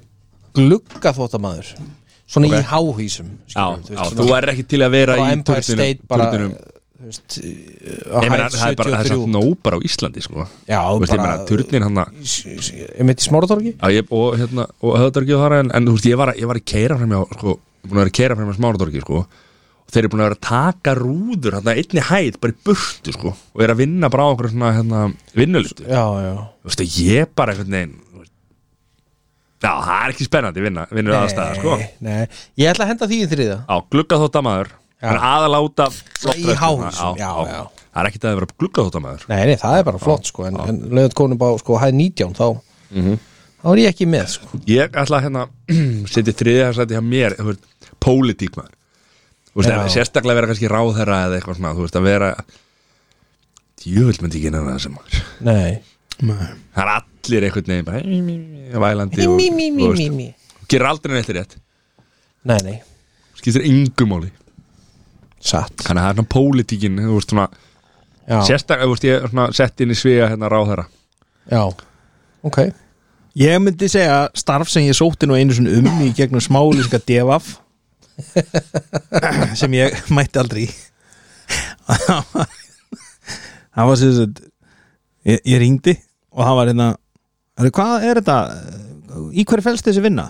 S1: gluggaþóttamaður Svona
S2: Ok.
S1: í háhýsum
S2: já,
S1: skilur,
S2: já, þú er ekki til að vera
S1: á
S2: í
S1: Empire State bara eh,
S2: turninum
S1: þú veist, uh, á
S2: Nei, menn,
S1: hæð
S2: það er bara, það er samt
S1: 73
S2: nóg bara á Íslandi sko.
S1: Já,
S2: Þú veist, ég
S1: bara-
S2: meina, turnin hann að
S1: Ég mitt í smáratorgi?
S2: Já, ég, og hérna, og höfðarki og þar en, en þú veist, ég var, að- ég var að keira fram hjá sko, ég er búin að vera að keira fram hjá smáratorki sko, og þeir eru búin að vera að taka rúður hérna, einni hæð, bara í burtu sko, og er að vinna bara á okkur svona hérna, vinnulistu,
S1: Já, já
S2: þú veist, og ég bara einhvern veginn þú veist, Já, það er ekki spennandi vinna, vinnur aðstæða sko.
S1: Nei, nei, ég ætla að henda því í þriða
S2: Já, gluggaþóttamaður
S1: Já.
S2: Hann aðaláta
S1: Í háhúsum, já, já.
S2: Það er ekkert að vera gluggaþóttamaður
S1: Nei, nei, það er bara flott sko En, en lögðat konum bá sko hæð 19 þá Þá er ég ekki með sko
S2: ég ætla að hérna setja þriðja sæti hjá mér þú veist, pólitík maður þú veist,
S1: Já.
S2: að sérstaklega vera kannski ráðherra eða eitthvað svona, þú veist að vera djöfull myndi ekki nefna þessi maður
S1: Nei
S2: það er allir einhvern veginn bara, mí, mí, mí, vælandi og,
S1: Mí, mí, mí,
S2: þú
S1: mí,
S2: veist,
S1: mí
S2: gerir aldrei neitt rétt
S1: Nei, nei,
S2: skiptir yngu máli
S1: satt
S2: þannig að það er svona pólitíkin þú veist svona,
S1: Já,
S2: sérstaklega, þú veist ég svona, sett inn í sviga hérna ráðherra
S1: já, ok
S3: Ég myndi segja starf sem ég sótti nú einu svona um í gegnum smálíska devaf sem ég mætti aldrei í Það var sem sagt ég, ég ringdi og það var hérna "Herru, Hvað er þetta? Í hverju fælst þessi vinna?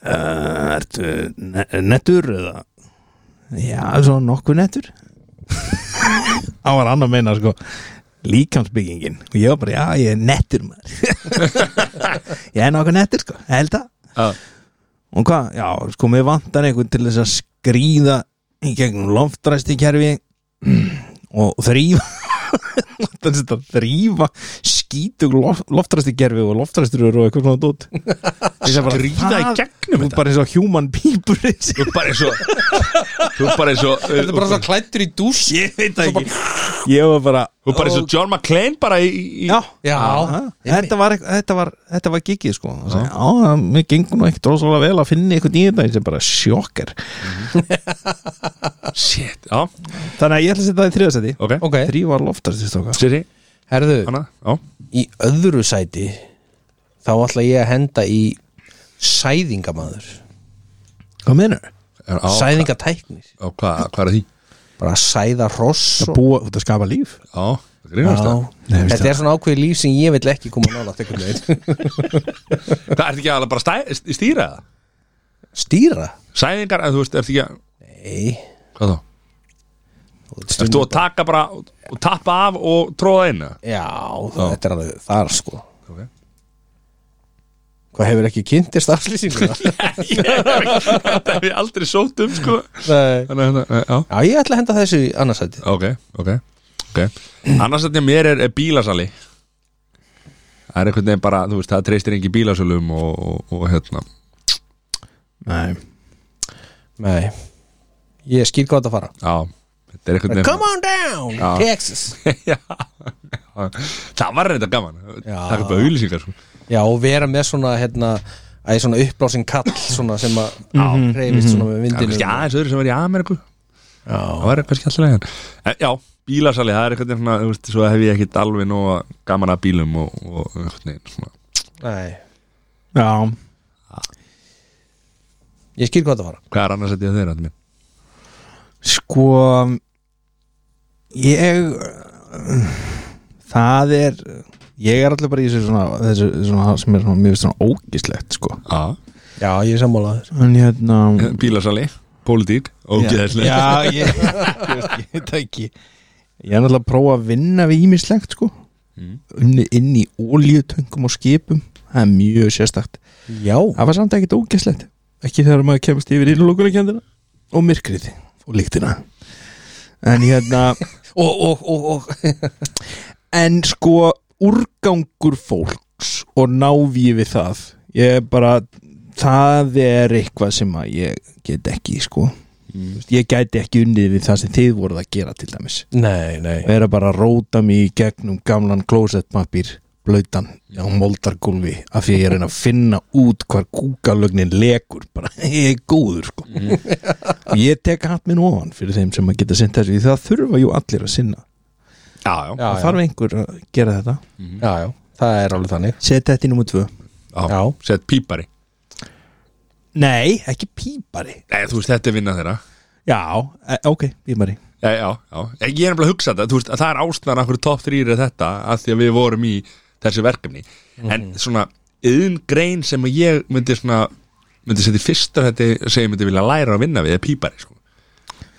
S3: Uh, ertu ne nettur eða? Já, svo nokkuð nettur Það var annar meina sko líkamsbyggingin og ég var bara, já, ég er nettur maður ég er nokkuð nettur sko, ég held að
S2: Já.
S3: og hvað, já, sko, mér vantar einhvern til þess að skrýða í gegnum loftræsti kerfi og þrýfa vantar þess að þrýfa skítug lof, loftræsti kerfi og loftræstur og eitthvað svona dót
S2: Skríða í gegnum
S3: þetta
S2: þetta
S3: bara eins og human people
S2: þú er bara eins og þú er bara eins og þú
S1: Þetta er bara svo klættur í dús
S3: ég veit ekki ég var bara,
S2: er bara eins og John McClane bara í, í
S3: já
S1: Já,
S3: Aha. Þetta var, eitthvað- þetta var, þetta var gigið sko og sagði, á, það- mér gengur nú ekkert rosalega vel að finna eitthvað í þetta, þetta er bara sjokkar
S2: shit, já,
S3: þannig að ég ætla að setja það í þriðasæti
S2: ok,
S1: ok
S3: þrýfa loftast í stóka
S2: Siri,
S1: Herðu,
S2: hana, já
S1: í öðru sæti þá ætla ég að henda í sæðingamaður
S3: hvað meinar?
S2: Er á,
S1: sæðingatæknir
S2: á, hvað, hvað er því?
S1: bara að sæða hross
S3: að
S1: og...
S3: búa út að skapa líf
S2: Já, það grínast það
S3: Nei, veist
S1: þetta er svona ákveðið líf sem ég vil ekki koma nálaft einhvern veginn
S2: Hvað, ertu ekki alveg bara stæ, st- stýra það?
S1: stýra?
S2: Sæðingar, eða þú veist, ertu ekki að
S1: nei
S2: Hvað þá? Ertu þú að taka bara og tappa af og tróða inn? eða?
S1: já, þetta er alveg þar sko
S2: Ok.
S1: hvað hefur ekki kynnt þér stafslýsinguna?
S2: Ég hef ekki- Þetta hef ég aldrei sótt um, sko
S1: nei
S2: Þannig að, hérna, já,
S1: já, ég ætla að henda þessu í annarsæti
S2: ok, ok, ok Annars að mér er, er bílasali Það er einhvern veginn bara, þú veist, það treystir engi bílasölum og, og, og hérna
S3: Nei.
S1: nei ég skýr hvað þetta fara
S2: Já, þetta er einhvern veginn
S1: come on down,
S2: Já.
S1: Texas
S2: já, það var reynda gaman
S1: Já.
S2: það er bara auðlýsingar sko.
S1: Já, og vera með svona hérna að ég svona uppblásin kall svona sem að reyfist svona með
S2: það er
S1: vindinu
S2: kannski aðeins öðru sem var í Ameríku
S1: Já,
S2: það var kannski alltaf legin hérna. en, já, bílasali, það er einhvern veginn svona, þú veist, svo hef ég ekkit alveg nóga gaman að bílum og, og einhvern veginn svona
S1: nei
S3: já,
S1: Ég skil hvað það var
S2: hvað er annars að ég þeirra minn?
S3: sko ég það er ég er allir bara í þessu svona, þessu svona sem er svona, mjög svona ógislegt sko
S2: já,
S1: Já, ég er sammálaður
S3: en hérna
S2: bílasali, pólitík ógeðslega,
S3: já, ég, ég, veist, ég veit það ekki ég er náttúrulega að prófa að vinna við ímislegt sko
S2: Mm.
S3: unni inn í oljutöngum og skipum það er mjög sérstakt
S1: Já,
S3: það var samt ekkert ógæslegt ekki þegar maður kemst yfir innlokunarkendina og myrkrið og líktina en hérna
S1: og, og, og, og
S3: en sko úrgangur fólks og návíi við það ég bara það er eitthvað sem að ég get ekki sko
S2: Mm.
S3: Þú veist, ég gæti ekki unnið við það sem þið voruð að gera til dæmis
S1: Nei, nei
S3: vera bara að róta mig í gegnum gamlan klósettpappir blautan á moldargólfi af því að ég er að reyna að finna út hvar kúkalögnin lekur bara ég er góður sko og ég tek hatt minn ofan fyrir þeim sem að geta sinnt þessu því það þurfa jú allir að sinna
S2: Já, já,
S1: Já,
S3: það
S1: já,
S3: þarf einhver að gera þetta
S1: já, já, það er alveg þannig
S3: setja þetta í nummer tvö
S2: já.
S1: Já.
S2: Sett pípari
S3: nei, ekki pípari
S2: Nei, þú veist, þetta er vinna þeirra
S3: já, e ok, pípari
S2: Já, já, já. Ég er nefnilega að hugsa þetta, þú veist, að það er ástæðan af hverju top 3 er þetta að því að við vorum í þessu verkefni en
S1: Mhm.
S2: svona, yðn grein sem að ég myndi svona, myndi setja í fyrsta þetta sem ég myndi vilja læra að vinna við er pípari, sko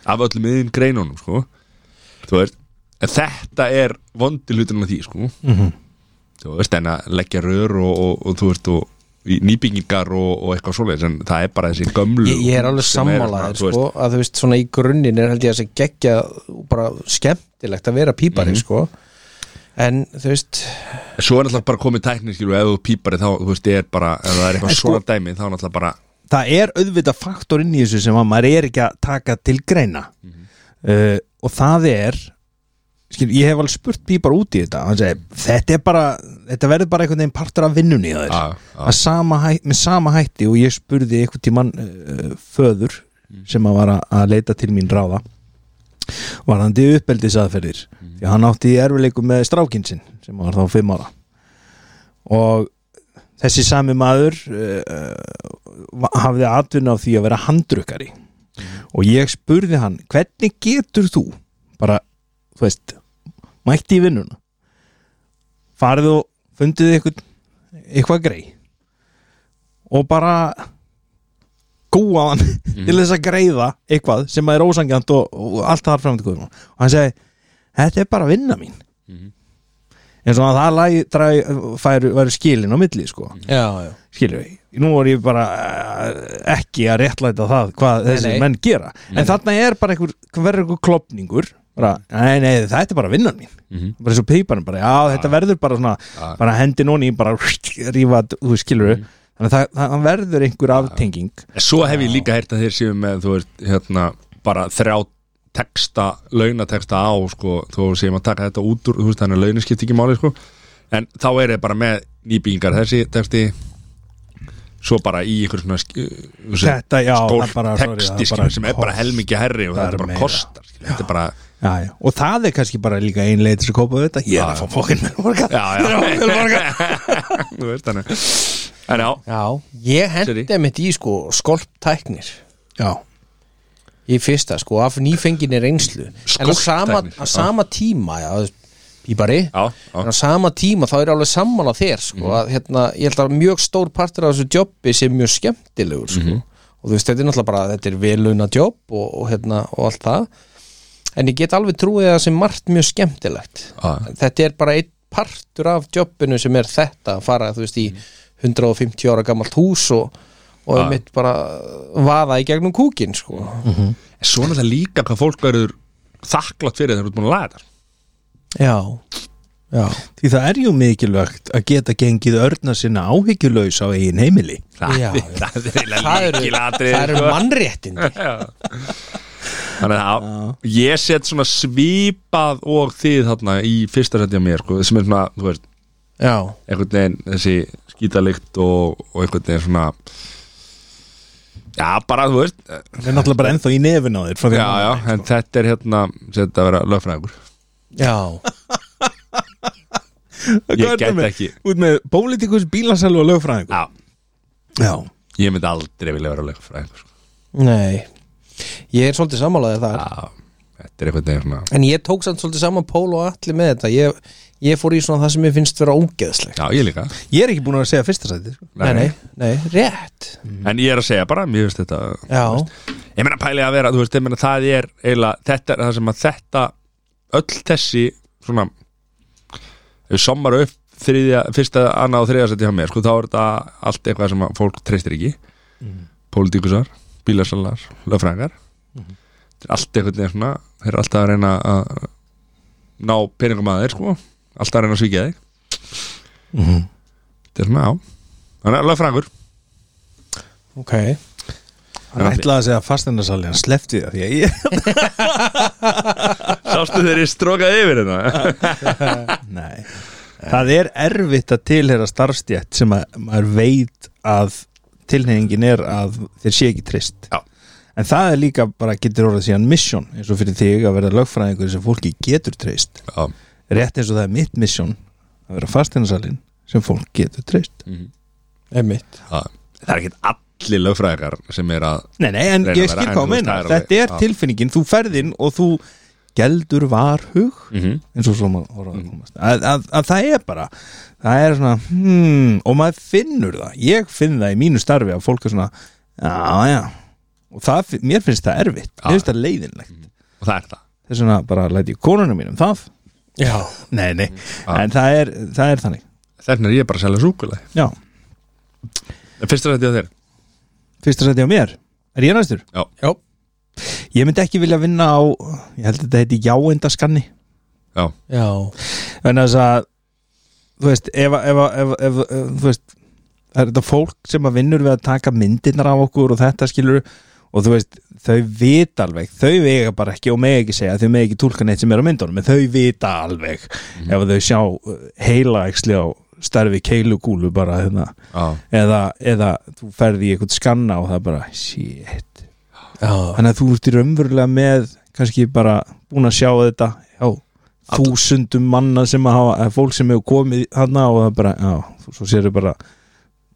S2: af öllum yðn greinunum, sko þú veist, en þetta er vondi hlutunum af því, sko
S3: Mhm.
S2: þú veist, en að leggja rör og, og, og þú veist, og í nýbyggingar og, og eitthvað svoleiðis, en það er bara þessi gömlu
S1: ég, ég er alveg
S2: sem
S1: sammálaður
S2: svona, þú
S1: sko, að þú veist svona í grunninn er held ég að þessi geggja og bara skemmtilegt að vera pípari sko en þú veist
S2: En Svo er náttúrulega bara komið tæknir skilu ef þú pípari þá, þú veist, er bara ef það er eitthvað
S3: En sko-
S2: svona dæmi, þá er náttúrulega bara
S3: það er auðvitað faktor inn í þessu sem að maður er ekki að taka til greina uh, og það er skil, ég hef alveg spurt pípar út í þetta hann segi, þetta er bara þetta verður bara einhvern veginn partur af vinnunni að þér
S2: að,
S3: Að sama hæ- með sama hætti og ég spurði einhvern tímann uh, föður sem að var að, að leita til mín ráða varandi uppeldisaðferðir því að hann átti í erfileikum með strákinn sinn sem var þá fimm ára og þessi sami maður uh, hafði atvinna á því að vera handrukkari og ég spurði hann hvernig getur þú bara, þú veist mætti í vinnuna farið og fundið eitthvað, eitthvað grei og bara gúa hann til þess að greiða eitthvað sem er ósangjant og, og allt það er framtíkuðum og hann segi, þetta er bara vinna mín eins og að það lagi, dræ, færu, væru skilin á milli sko
S1: já, já.
S3: skilur við, nú er ég bara eh, ekki að réttlæta það hvað þessir
S1: nei.
S3: menn gera, en þarna er bara einhver, verður einhver klopningur bara, nei, nei, þetta er bara vinnan mín
S2: Mhm.
S3: bara eins og peiparinn, bara, já, þetta verður bara svona,
S2: Já.
S3: bara hendi nóni bara rífa, þú skilur við þannig að það, það verður einhver aftenging
S2: En Svo hef ég líka heyrt að þeir séu með þú veist, hérna, bara þrjá texta, launateksta á sko, þú séum að taka þetta út úr þú veist, þannig að launin skipti ekki máli, sko en þá er þeir bara með nýbyggingar þessi texti svo bara í ykkur svona
S3: Þetta, já, það
S2: stólk
S3: bara- sorry,
S2: texti
S3: það
S2: sorry,
S3: bara
S2: sem er bara
S3: kost-
S2: helmingi herri og
S3: það
S2: þetta
S3: er
S2: bara
S3: meira.
S2: kostar skilur, þetta er bara
S3: já, já. og það er kannski bara líka einlega til þess að kópa þetta, ég er að fá fókinn með orga
S2: já, já þú veist þannig en já,
S1: já. ég
S2: Sorry.
S1: hendi mitt í sko skolptæknir
S3: já,
S1: í fyrsta sko af nýfenginni reynslu en á sama,
S2: Skolptæknir,
S1: á sama tíma já, þú veist, pípari
S2: já, já.
S1: en á sama tíma þá er ég alveg sammála þér sko, að, hérna, ég held að mjög stór partur af þessu jobbi sé mjög skemmtilegur sko. og þú veist, þetta er náttúrulega bara þetta er veluna jobb og, og, hérna, og allt það en ég get alveg trúið að það sé margt mjög skemmtilegt
S2: Já.
S1: þetta er bara einn partur af jobbinu sem er þetta að fara, þú veist, í 150 ára gamalt hús og, og
S2: Já.
S1: ja. mitt bara vaða í gegnum kúkin sko.
S2: En svo er þetta líka hvað fólk verður þakklátt fyrir þegar þú ert búin að laga þetta
S1: já já,
S3: því það er jú mikilvægt að geta gengið örna sinna áhyggjulaus á eigin heimili
S2: Það-
S1: Já.
S2: það er
S1: það
S2: eiginlega
S1: eru,
S2: lykilatriði,
S1: það eru
S2: sko.
S1: mannréttindi
S2: Þannig að það- ég set svona svipað og þið þarna í fyrsta setja mér sko, sem er svona, þú veist,
S1: já,
S2: einhvern veginn þessi skítalikt og, og einhvern veginn svona Já, bara, þú veist
S3: það er náttúrulega bara ennþá í nefin á þér frá því
S2: Já,
S3: að-
S2: já,
S1: sko.
S2: en þetta er hérna þetta að vera lögfræðingur
S1: já
S3: Hvað
S2: Ég
S3: ertu
S2: get
S3: með?
S2: ekki
S3: út með pólitíkus, bílasælu og lögfræðingu
S2: Já,
S3: já,
S2: ég myndi aldrei vilja vera lögfræðingur sko.
S1: Nei, ég er svolítið sammálaðið þar
S2: Já, þetta er einhvern veginn svona
S1: En ég tók samt svolítið saman pól og allir með þetta ég, ég fór í svona það sem ég finnst vera ógeðslegt
S2: Já, ég líka
S3: ég er ekki búin að segja fyrsta sæti sko.
S1: Nei, nei, nei, rétt
S3: Mm,
S2: En ég er að segja bara, mér finnst þetta
S1: Já,
S2: Ég meina pæli að vera, þú veist, ég meina það er eiginlega, þetta er það sem að þetta öll þessi svona ef við sommar upp þriðja, fyrsta, annað og þriðja seti hjá mér, sko, þá er þetta allt eitthvað sem að fólk treystir ekki pólitíkusar, bílarsalar lögfræðingar Þetta er allt einhvern veginn svona þeir eru alltaf að reyna að ná peningum að þeir sko alltaf að reyna að svíkja þig
S3: Mhm.
S2: þetta er svona á þannig að lögfræðingur
S1: ok
S3: Hann ætlaði að segja fastinarsali, hann slefti það því að ég,
S2: sástu þeir eru strókað yfir hérna? þetta
S3: nei Það er erfitt að tilhera starfstjætt sem að maður veit að tilhengin er að þeir sé ekki trist
S2: Já.
S3: En það er líka bara getur orðið síðan mission eins og fyrir þig að vera lögfræðingur sem fólki getur trist
S2: já,
S3: Rétt eins og það er mitt mission að vera fastinarsalinn sem fólk getur trist
S2: Mhm.
S1: einmitt
S2: já. það er ekkert allir lögfræðingar sem er að
S3: Nei, nei, en
S2: Reyna að
S3: ég
S2: vera- en
S3: skil hvað
S2: þú
S3: að
S2: veist,
S3: meina
S2: það er alveg-
S3: Þetta er
S2: já.
S3: tilfinningin, þú ferðin og þú geldur varhug
S2: Mhm.
S3: eins og svo maður horfður
S2: Mm.
S3: að komast að, að, að það er bara það er svona, hmm, og maður finnur það ég finn það í mínu starfi að fólk er svona já, já og það, fin- mér finnst það erfitt, mér finnst það leiðinlegt
S2: og það er það
S3: þess vegna bara læti ég konunum mínum það
S1: já,
S3: nei, nei, en það er, það er þannig
S2: þannig er ég bara að selja súkulega
S3: já,
S2: fyrst er þetta á þér
S3: fyrsta sæti á mér er ég næstur?
S2: já,
S1: já,
S3: Ég myndi ekki vilja vinna á, ég held að þetta heiti jáendaskanni
S2: já,
S1: já.
S3: Þannig að þess að þú veist, ef, ef, ef, ef, ef þú veist, það er þetta fólk sem að vinnur við að taka myndirnar af okkur og þetta skilur og þú veist, þau vita alveg þau vega bara ekki og mega ekki segja þau mega ekki túlka neitt sem er á myndunum en þau vita alveg ef þau sjá uh, heila eksli á starfi keilugúlu bara hérna
S2: já,
S3: eða, eða þú ferði í eitthvað skanna og það bara, shit
S1: já.
S3: þannig að þú ert í raunverulega með kannski bara búin að sjá þetta já, þúsundum manna sem að hafa, eða fólk sem hefur komið hana og það bara, já, svo sérðu bara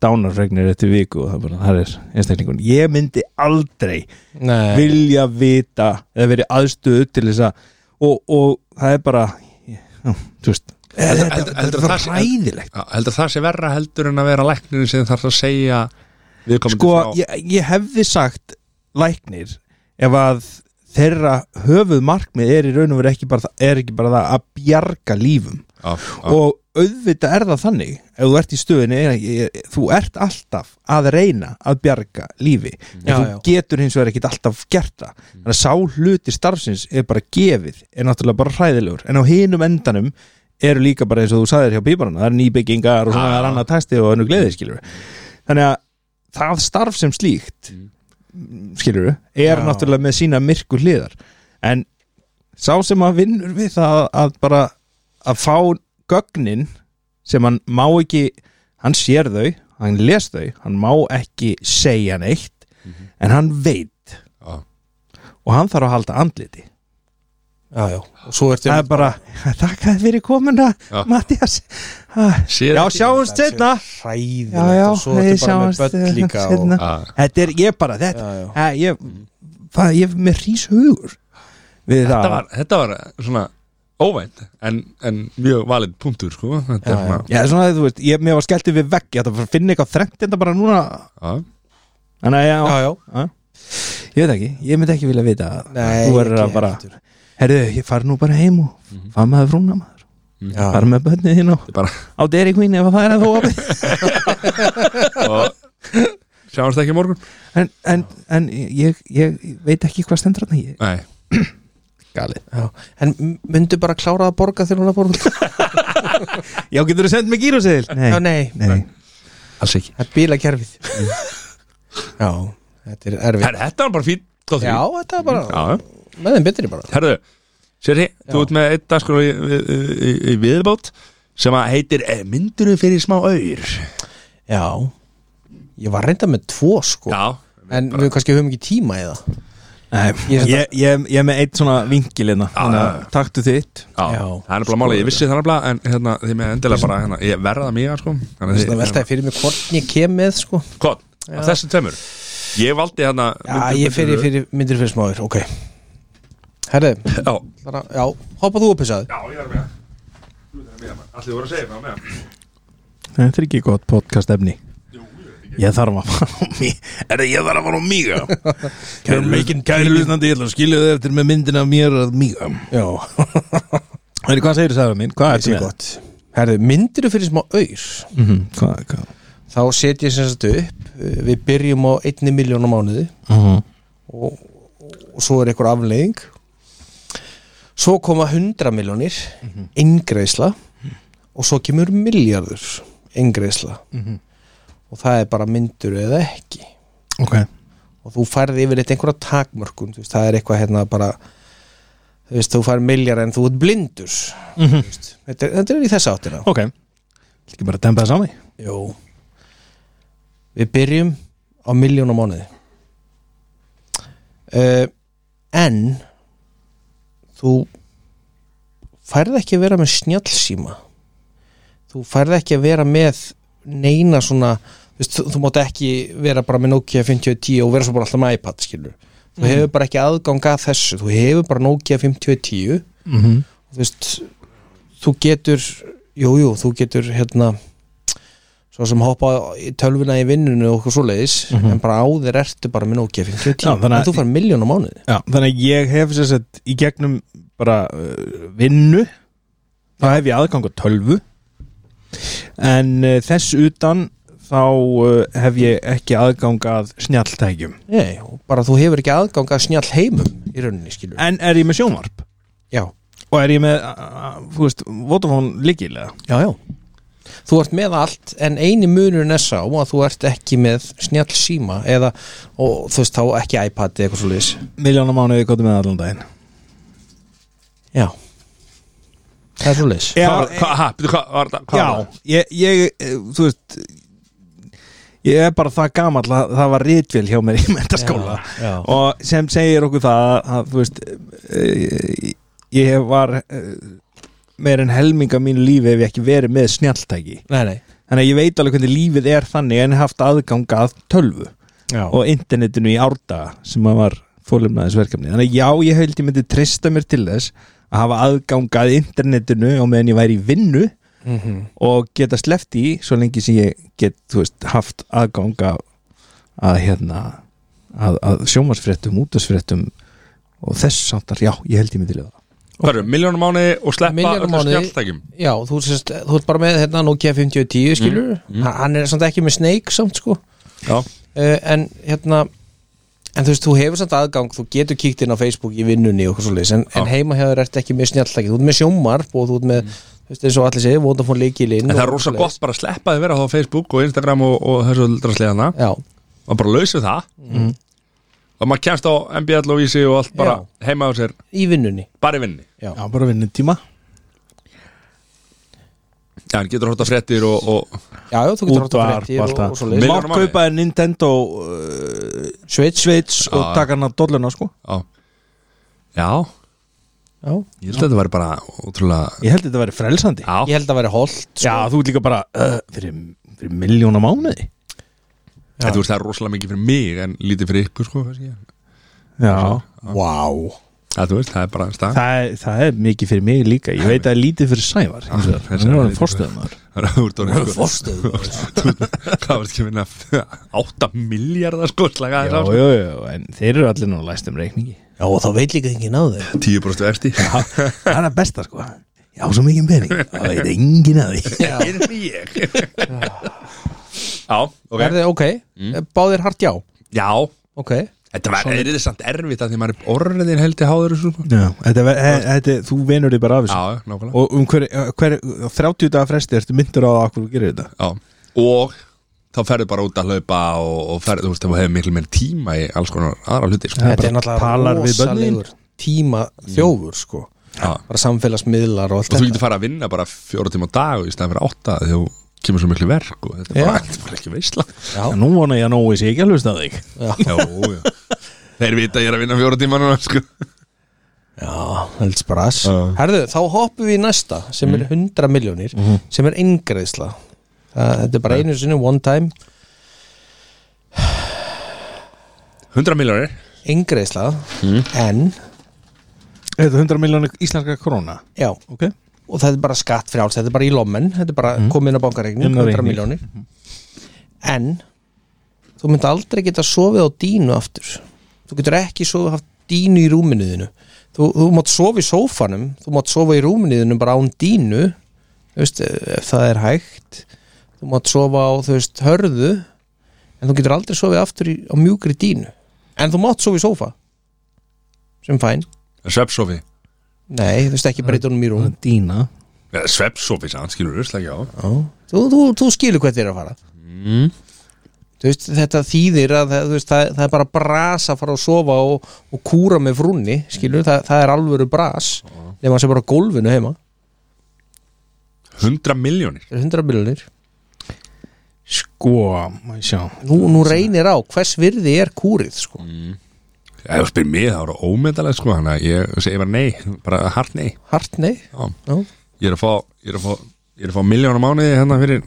S3: dánarfregnir eftir viku og það bara, það er einstaklingun ég myndi aldrei
S1: Nei,
S3: vilja vita eða verið aðstöðu til þess að og, og það er bara já, þú veist
S2: Heldur-
S3: þetta-
S2: heldur-
S3: þetta
S2: heldur
S3: er
S2: það
S3: svo
S2: sé-
S3: ræðilegt
S2: já heldur það sé verra heldur en að vera læknirinn sem þarf að segja viðkomandi
S3: sko,
S2: frá
S3: ég, ég hefði sagt læknir ef að þeirra höfuð markmið er í raun og veru ekki bara, það- er ekki bara það að bjarga lífum
S2: já, já,
S3: og auðvitað er það þannig ef þú ert í stöðinni, ég- ég- þú ert alltaf að reyna að bjarga lífi en
S1: Já,
S3: þú
S1: já.
S3: getur hins vegar ekkit alltaf gert það þannig að sá hluti starfsins er bara gefið, er náttúrulega bara hræðilegur en á hinum endanum eru líka bara eins og þú sagðir hjá píparana, það er nýbyggingar og svona
S2: Já,
S3: það er
S2: já.
S3: annað tæsti og önnu gleði skilur þannig að það starf sem slíkt
S2: Mm.
S3: skilur er
S1: Já.
S3: náttúrulega með sína myrku hliðar en sá sem að vinnur við það að bara að fá gögnin sem hann má ekki hann sér þau, hann les þau hann má ekki segja neitt en hann veit
S2: Mhm. já.
S3: og hann þarf að halda andliti
S1: já, já og svo ertu
S3: það er bara, þakka þið fyrir komuna
S2: Já.
S3: Mattias já,
S2: Sér ekki-
S3: sjáumst setna
S1: hræðilegt
S3: Já, já,
S1: og svo ertu
S3: við
S1: bara með
S3: sjáumst, eh,
S1: börn líka
S3: seinna.
S1: og,
S2: Já,
S3: þetta er, ég bara, þetta
S1: já, já.
S3: Æ, ég, það, ég er með hrís hugur við
S2: þetta
S3: það
S2: var, þetta var eh, svona óvænt en, en mjög valid punktur sko. þetta
S1: Já,
S2: er svona
S3: Já, svona, þú veist, ég, mér var skellt við vegg ég ætla að fara að finna eitthvað þrengt þetta bara núna
S2: já.
S3: Þannig að
S1: já,
S3: já,
S1: já,
S3: ég veit ekki, ég myndi ekki vilja vita að
S1: Nei,
S3: þú verður
S1: ekki
S3: að bara,
S1: heldur.
S3: herðu, ég fari nú bara heim og mm -hmm. fara með frúna maður
S1: já.
S3: fara með bönnið þín á,
S2: Þetta er bara,
S3: á Dairy Queen ef að það er að þú opið
S2: og sjáumst ekki í morgun
S3: en, en, en ég, ég veit ekki hvað stendur hann ég,
S2: nei,
S3: galið
S1: Já, en m- myndu bara klára að borga þegar hún er að borga
S3: Já, getur þú sendt mig gíruseðil? Nei,
S1: Já, nei,
S3: nei.
S2: alls ekki
S1: það er bílakerfið Já, þetta er erfið
S2: Her, þetta var bara fín gott því.
S1: Já, þetta er bara,
S2: já.
S1: með þeim betri bara
S2: herðu, Sérri,
S1: Já.
S2: þú ert með eitt dagskur í, í, í, í viðbót sem að heitir eh, mynduru fyrir smá auður
S1: Já, ég var reynda með tvo sko
S2: já,
S1: En við kannski höfum ekki tíma í það
S3: Nei,
S1: Ég-
S3: ég, ég, ég er með eitt svona vinkil hérna, þannig
S2: já,
S3: að taktu þitt
S2: Já,
S1: Já.
S2: það er bara málið, ég vissi það nefnilega en hérna, þið með endilega bara, hérna, ég verða mjög sko, þannig
S1: Það veltaði fyrir mig hvort ég kem með sko
S2: Hvað, af þessu tveimur Ég valdi hérna
S1: Já, ég fyrir, fyrir myndir fyrir smáður, ok Herðu,
S2: Já,
S1: bara, já, hoppa þú upp þessaði
S2: já, ég er með Allir voru að segja það með
S3: Þetta er ekki gott podcast efni
S2: Jú, ég veit ekki.
S3: Ég þarf að fara á mig Er það ég þarf að fara á miga Kæri lusnandi, ég ætla að skilja þau eftir með myndina af mér að miga
S1: Já,
S3: Veitir, hvað segir þú sagður minn? Hvað
S1: þetta er gott Herðu, myndir fyrir smá auður
S3: Mhm. Mm -hmm. hvað, hvað?
S1: þá set ég sem sagt upp eh, við byrjum á einni miljón á mánuði
S3: -hmm.
S1: og, og, og svo er einhver afleiðing svo koma 100 miljónir eingreisla og svo kemur miljardur eingreisla og það er bara myndur eða ekki
S3: Ok
S1: og þú færði yfir eitt einhverja takmörkun þú veist, það er eitthvað hérna bara þú veist, þú færði miljard en þú ert blindur
S3: mm -hmm.
S1: þú veist. þetta, er- þetta er í þess áttina
S3: Ok Ekki bara dempa það sami
S1: Jó Við byrjum á miljón á mánuði uh, En Þú færð ekki að vera með snjallsíma Þú færð ekki að vera með neina svona þú veist, þú, þú mátt ekki vera bara með Nokia 5010 og vera svo bara alltaf með iPad skilur Þú hefur bara ekki aðgang að þessu Þú hefur bara Nokia 5010
S3: mm -hmm.
S1: þú veist þú getur, jújú, jú, þú getur hérna svo sem hoppa í tölvuna í vinnunni og okkur svoleiðis, en bara á þér ertu bara með Nokia 5010,
S3: Já, þannig að-
S1: en þú fær miljón á mánuði
S3: Já, þannig að ég hef sér sett í gegnum bara uh, vinnu þá hef ég aðgang á tölvu en uh, þess utan þá uh, hef ég ekki aðgang að snjalltækjum
S1: Nei, og bara þú hefur ekki aðgang að snjall heimum í rauninni, skilur
S3: en er ég með sjónvarp
S1: Já,
S3: og er ég með, uh, uh, þú veist, Vodafone líkilega
S1: já, já Þú ert með allt, en eini munurinn er sá að þú ert ekki með snjall síma eða, og þú veist, þá ekki iPad eða eitthvað svoleiðis
S3: miljónum mánuði gotum með allan daginn
S1: Já Það er svoleiðis
S3: Já,
S2: Hvað, hvað, ha, byrju, hvað, var þetta? hvað var
S3: Já, ég, ég, eh, þú veist ég er bara það gamall að það var rítvél hjá mér í mentaskóla
S1: Já, já.
S3: og sem segir okkur það að, að þú veist eh, ég hef var eh, meir en helminga mínu lífi ef ég ekki verið með snjalltæki
S1: Nei, nei
S3: þannig að ég veit alveg hvernig lífið er þannig en haft aðgang að tölvu
S1: Já,
S3: og internetinu í árdaga sem að var fólumnaðis verkefni þannig að já, ég held ég myndi trista mér til þess að hafa aðgang að internetinu og meðan ég væri í vinnu
S1: mm
S3: og geta sleppt í svo lengi sem ég get þú veist, haft aðganga að hérna að, að sjómasfréttum, útasfréttum og þess samtar, já, ég held ég myndi lifa
S2: Hvað eru, miljónum mánuði og sleppa
S1: Milljón á
S2: öllum
S1: mánuði.
S2: snjáltækjum
S1: Já, þú, sérst, þú ert bara með hérna, Nokia 5010 skilur
S2: Mm,
S1: Ha- hann er samt ekki með Snake samt sko
S2: Já,
S1: uh, en hérna en þú veist, þú hefur samt aðgang, þú getur kíkt inn á Facebook í vinnunni og hvað svoleiðis en, en heima hefur ert ekki með snjalltæki, þú ert með sjómarp og þú ert með, þú veist, eins og allir segir Vodafone líkilinn
S2: Mm. en það er
S1: og
S2: rosa
S1: svoleiðis.
S2: gott bara að sleppa því að vera þá á Facebook og Instagram og, og þessu hérna. drasliðana
S1: Já,
S2: og bara lausa það og maður kemst á MBL og Ísi og allt bara heima á sér,
S1: í vinnunni
S2: bara í vinni
S3: Já, bara vinnum tíma
S2: Já, hann getur horta fréttir og, og
S1: Já, já, þú getur rátt
S3: út
S1: að fréttir og, og
S3: og
S1: svoleiðis
S2: Mil-
S3: mátt kaupa þér Nintendo uh,
S1: Sveits,
S3: Sveits og
S2: Já.
S3: taka hann að dolluna sko
S2: á. Já,
S1: já,
S2: ég held að þetta væri bara ótrúlega
S3: ég held þetta að vera frelsandi
S1: ég
S2: Já,
S1: held að vera holt sko.
S3: Já, þú ert líka bara uh, fyrir, fyrir miljóna mánuði
S2: þetta veist það er rosalega mikið fyrir mig en lítið fyrir ykkur sko kannski.
S3: Já,
S1: Wow
S2: Já, þú veist, það er bara en stað
S3: það er, það er mikið fyrir mig líka Ég veit að það er lítið fyrir Sævar hins vegar.
S2: Sævar
S3: Hann
S2: lítið
S3: er alveg
S2: fyrir-
S3: forstöðumar
S2: Þú ert orðinn, sko.
S1: Forstöð
S2: Þú- Hvað var ekki að vinna 8 miljardar sko slaga
S3: Já,
S2: þess á
S3: já, já, en þeir eru allir nú læst um reikningi
S1: Já, og þá veit líka enginn á þeir
S2: 10% vexti
S3: Það er að besta sko Já, svo mikið pening, það veit enginn að því
S2: Erum ég Já, ok
S1: okay. Ok,
S2: Mm.
S1: Eh, báðir hart já
S2: Já,
S1: Ok,
S2: þetta var, er þetta samt erfitt að því maður er orðin heldur háður þessu sko
S3: Já, þetta, er- he- þetta, þú venur þig bara af þessu
S2: Já, nákvæmlega
S3: Og um hver, hver, á 30 dagar fresti ertu myndur á það akkur þú gerir þetta
S2: Já, og þá ferðu bara út að hlaupa og, og ferðu, þú veist, þú hefur miklu meir tíma í alls konar aðra hluti sko.
S3: Já.
S1: þetta
S3: bara
S1: er náttúrulega
S3: talar við börnin.
S1: rosalegur tíma þjófur sko
S2: Já.
S1: bara samfélagsmiðlar og allt
S2: og þú
S1: þetta
S2: getur fara að vinna bara fjóra tíma á dag í staðan fyrir átta þegar þú kemur svo miklu verk og þetta er
S1: Já.
S2: bara, þetta er bara ekki veisla
S1: Já.
S3: En Nú vona ég að nógu sé ekki að hlusta á þig
S2: já, já. þeir vita að ég er að vinna fjóra tíma núna sko.
S1: Já, helds bara ass
S2: Já.
S1: Herðu, þá hoppum við í næsta sem
S3: Mhm.
S1: er 100 miljónir
S2: Mhm.
S1: sem er eingreðsla Það, þetta er bara einu sinni one time
S2: 100 miljónir
S1: eingreðsla
S2: Mhm.
S1: en,
S3: Er þetta 100 miljónu íslenska króna?
S1: já,
S3: Ok Mhm.
S1: og þetta er bara skatt frjáls þetta er bara í lommen, þetta er bara komið inn á bankareikning
S3: Inn á
S1: 100
S3: reikning. Mhm.
S1: miljónir en þú myndi aldrei geta sofið á dínu aftur þú getur ekki sofið haft dínu í rúminuðinu þú, þú mátt sofa í sófanum þú mátt sofa í rúminuðinu bara án dínu þú veist, ef það er eh, hægt þú þú mátt sofa á þú veist hörðu en þú getur aldrei sofið aftur í, á mjúkri dínu en þú mátt sofa í sófa sem fæn
S2: Svepsofi
S1: nei, þú veist ekki breyta honum í rúm
S3: Dína
S2: Svepsofi, sann, skilur þú, slækja á
S1: þú, þú, þú skilur hvað þér að fara
S2: mm.
S1: Þú veist, þetta þýðir að það, þú veist, það, það er bara bras að fara að sofa og, og kúra með frúnni skilur, það, það er alvöru bras þegar maður sé bara á gólfinu heima
S2: 100 miljónir
S1: það er 100 miljonir
S3: Sko, maður sjá
S1: nú, nú reynir á hvers virði er kúrið sko.
S2: Ef þú spyrir mig, það voru ómyndalega sko Þannig að ég segi bara nei, bara hart nei
S1: hart nei
S2: Já.
S1: Já.
S2: Ég er að fá, ég er að fá, ég er að fá miljónum mánuði hérna fyrir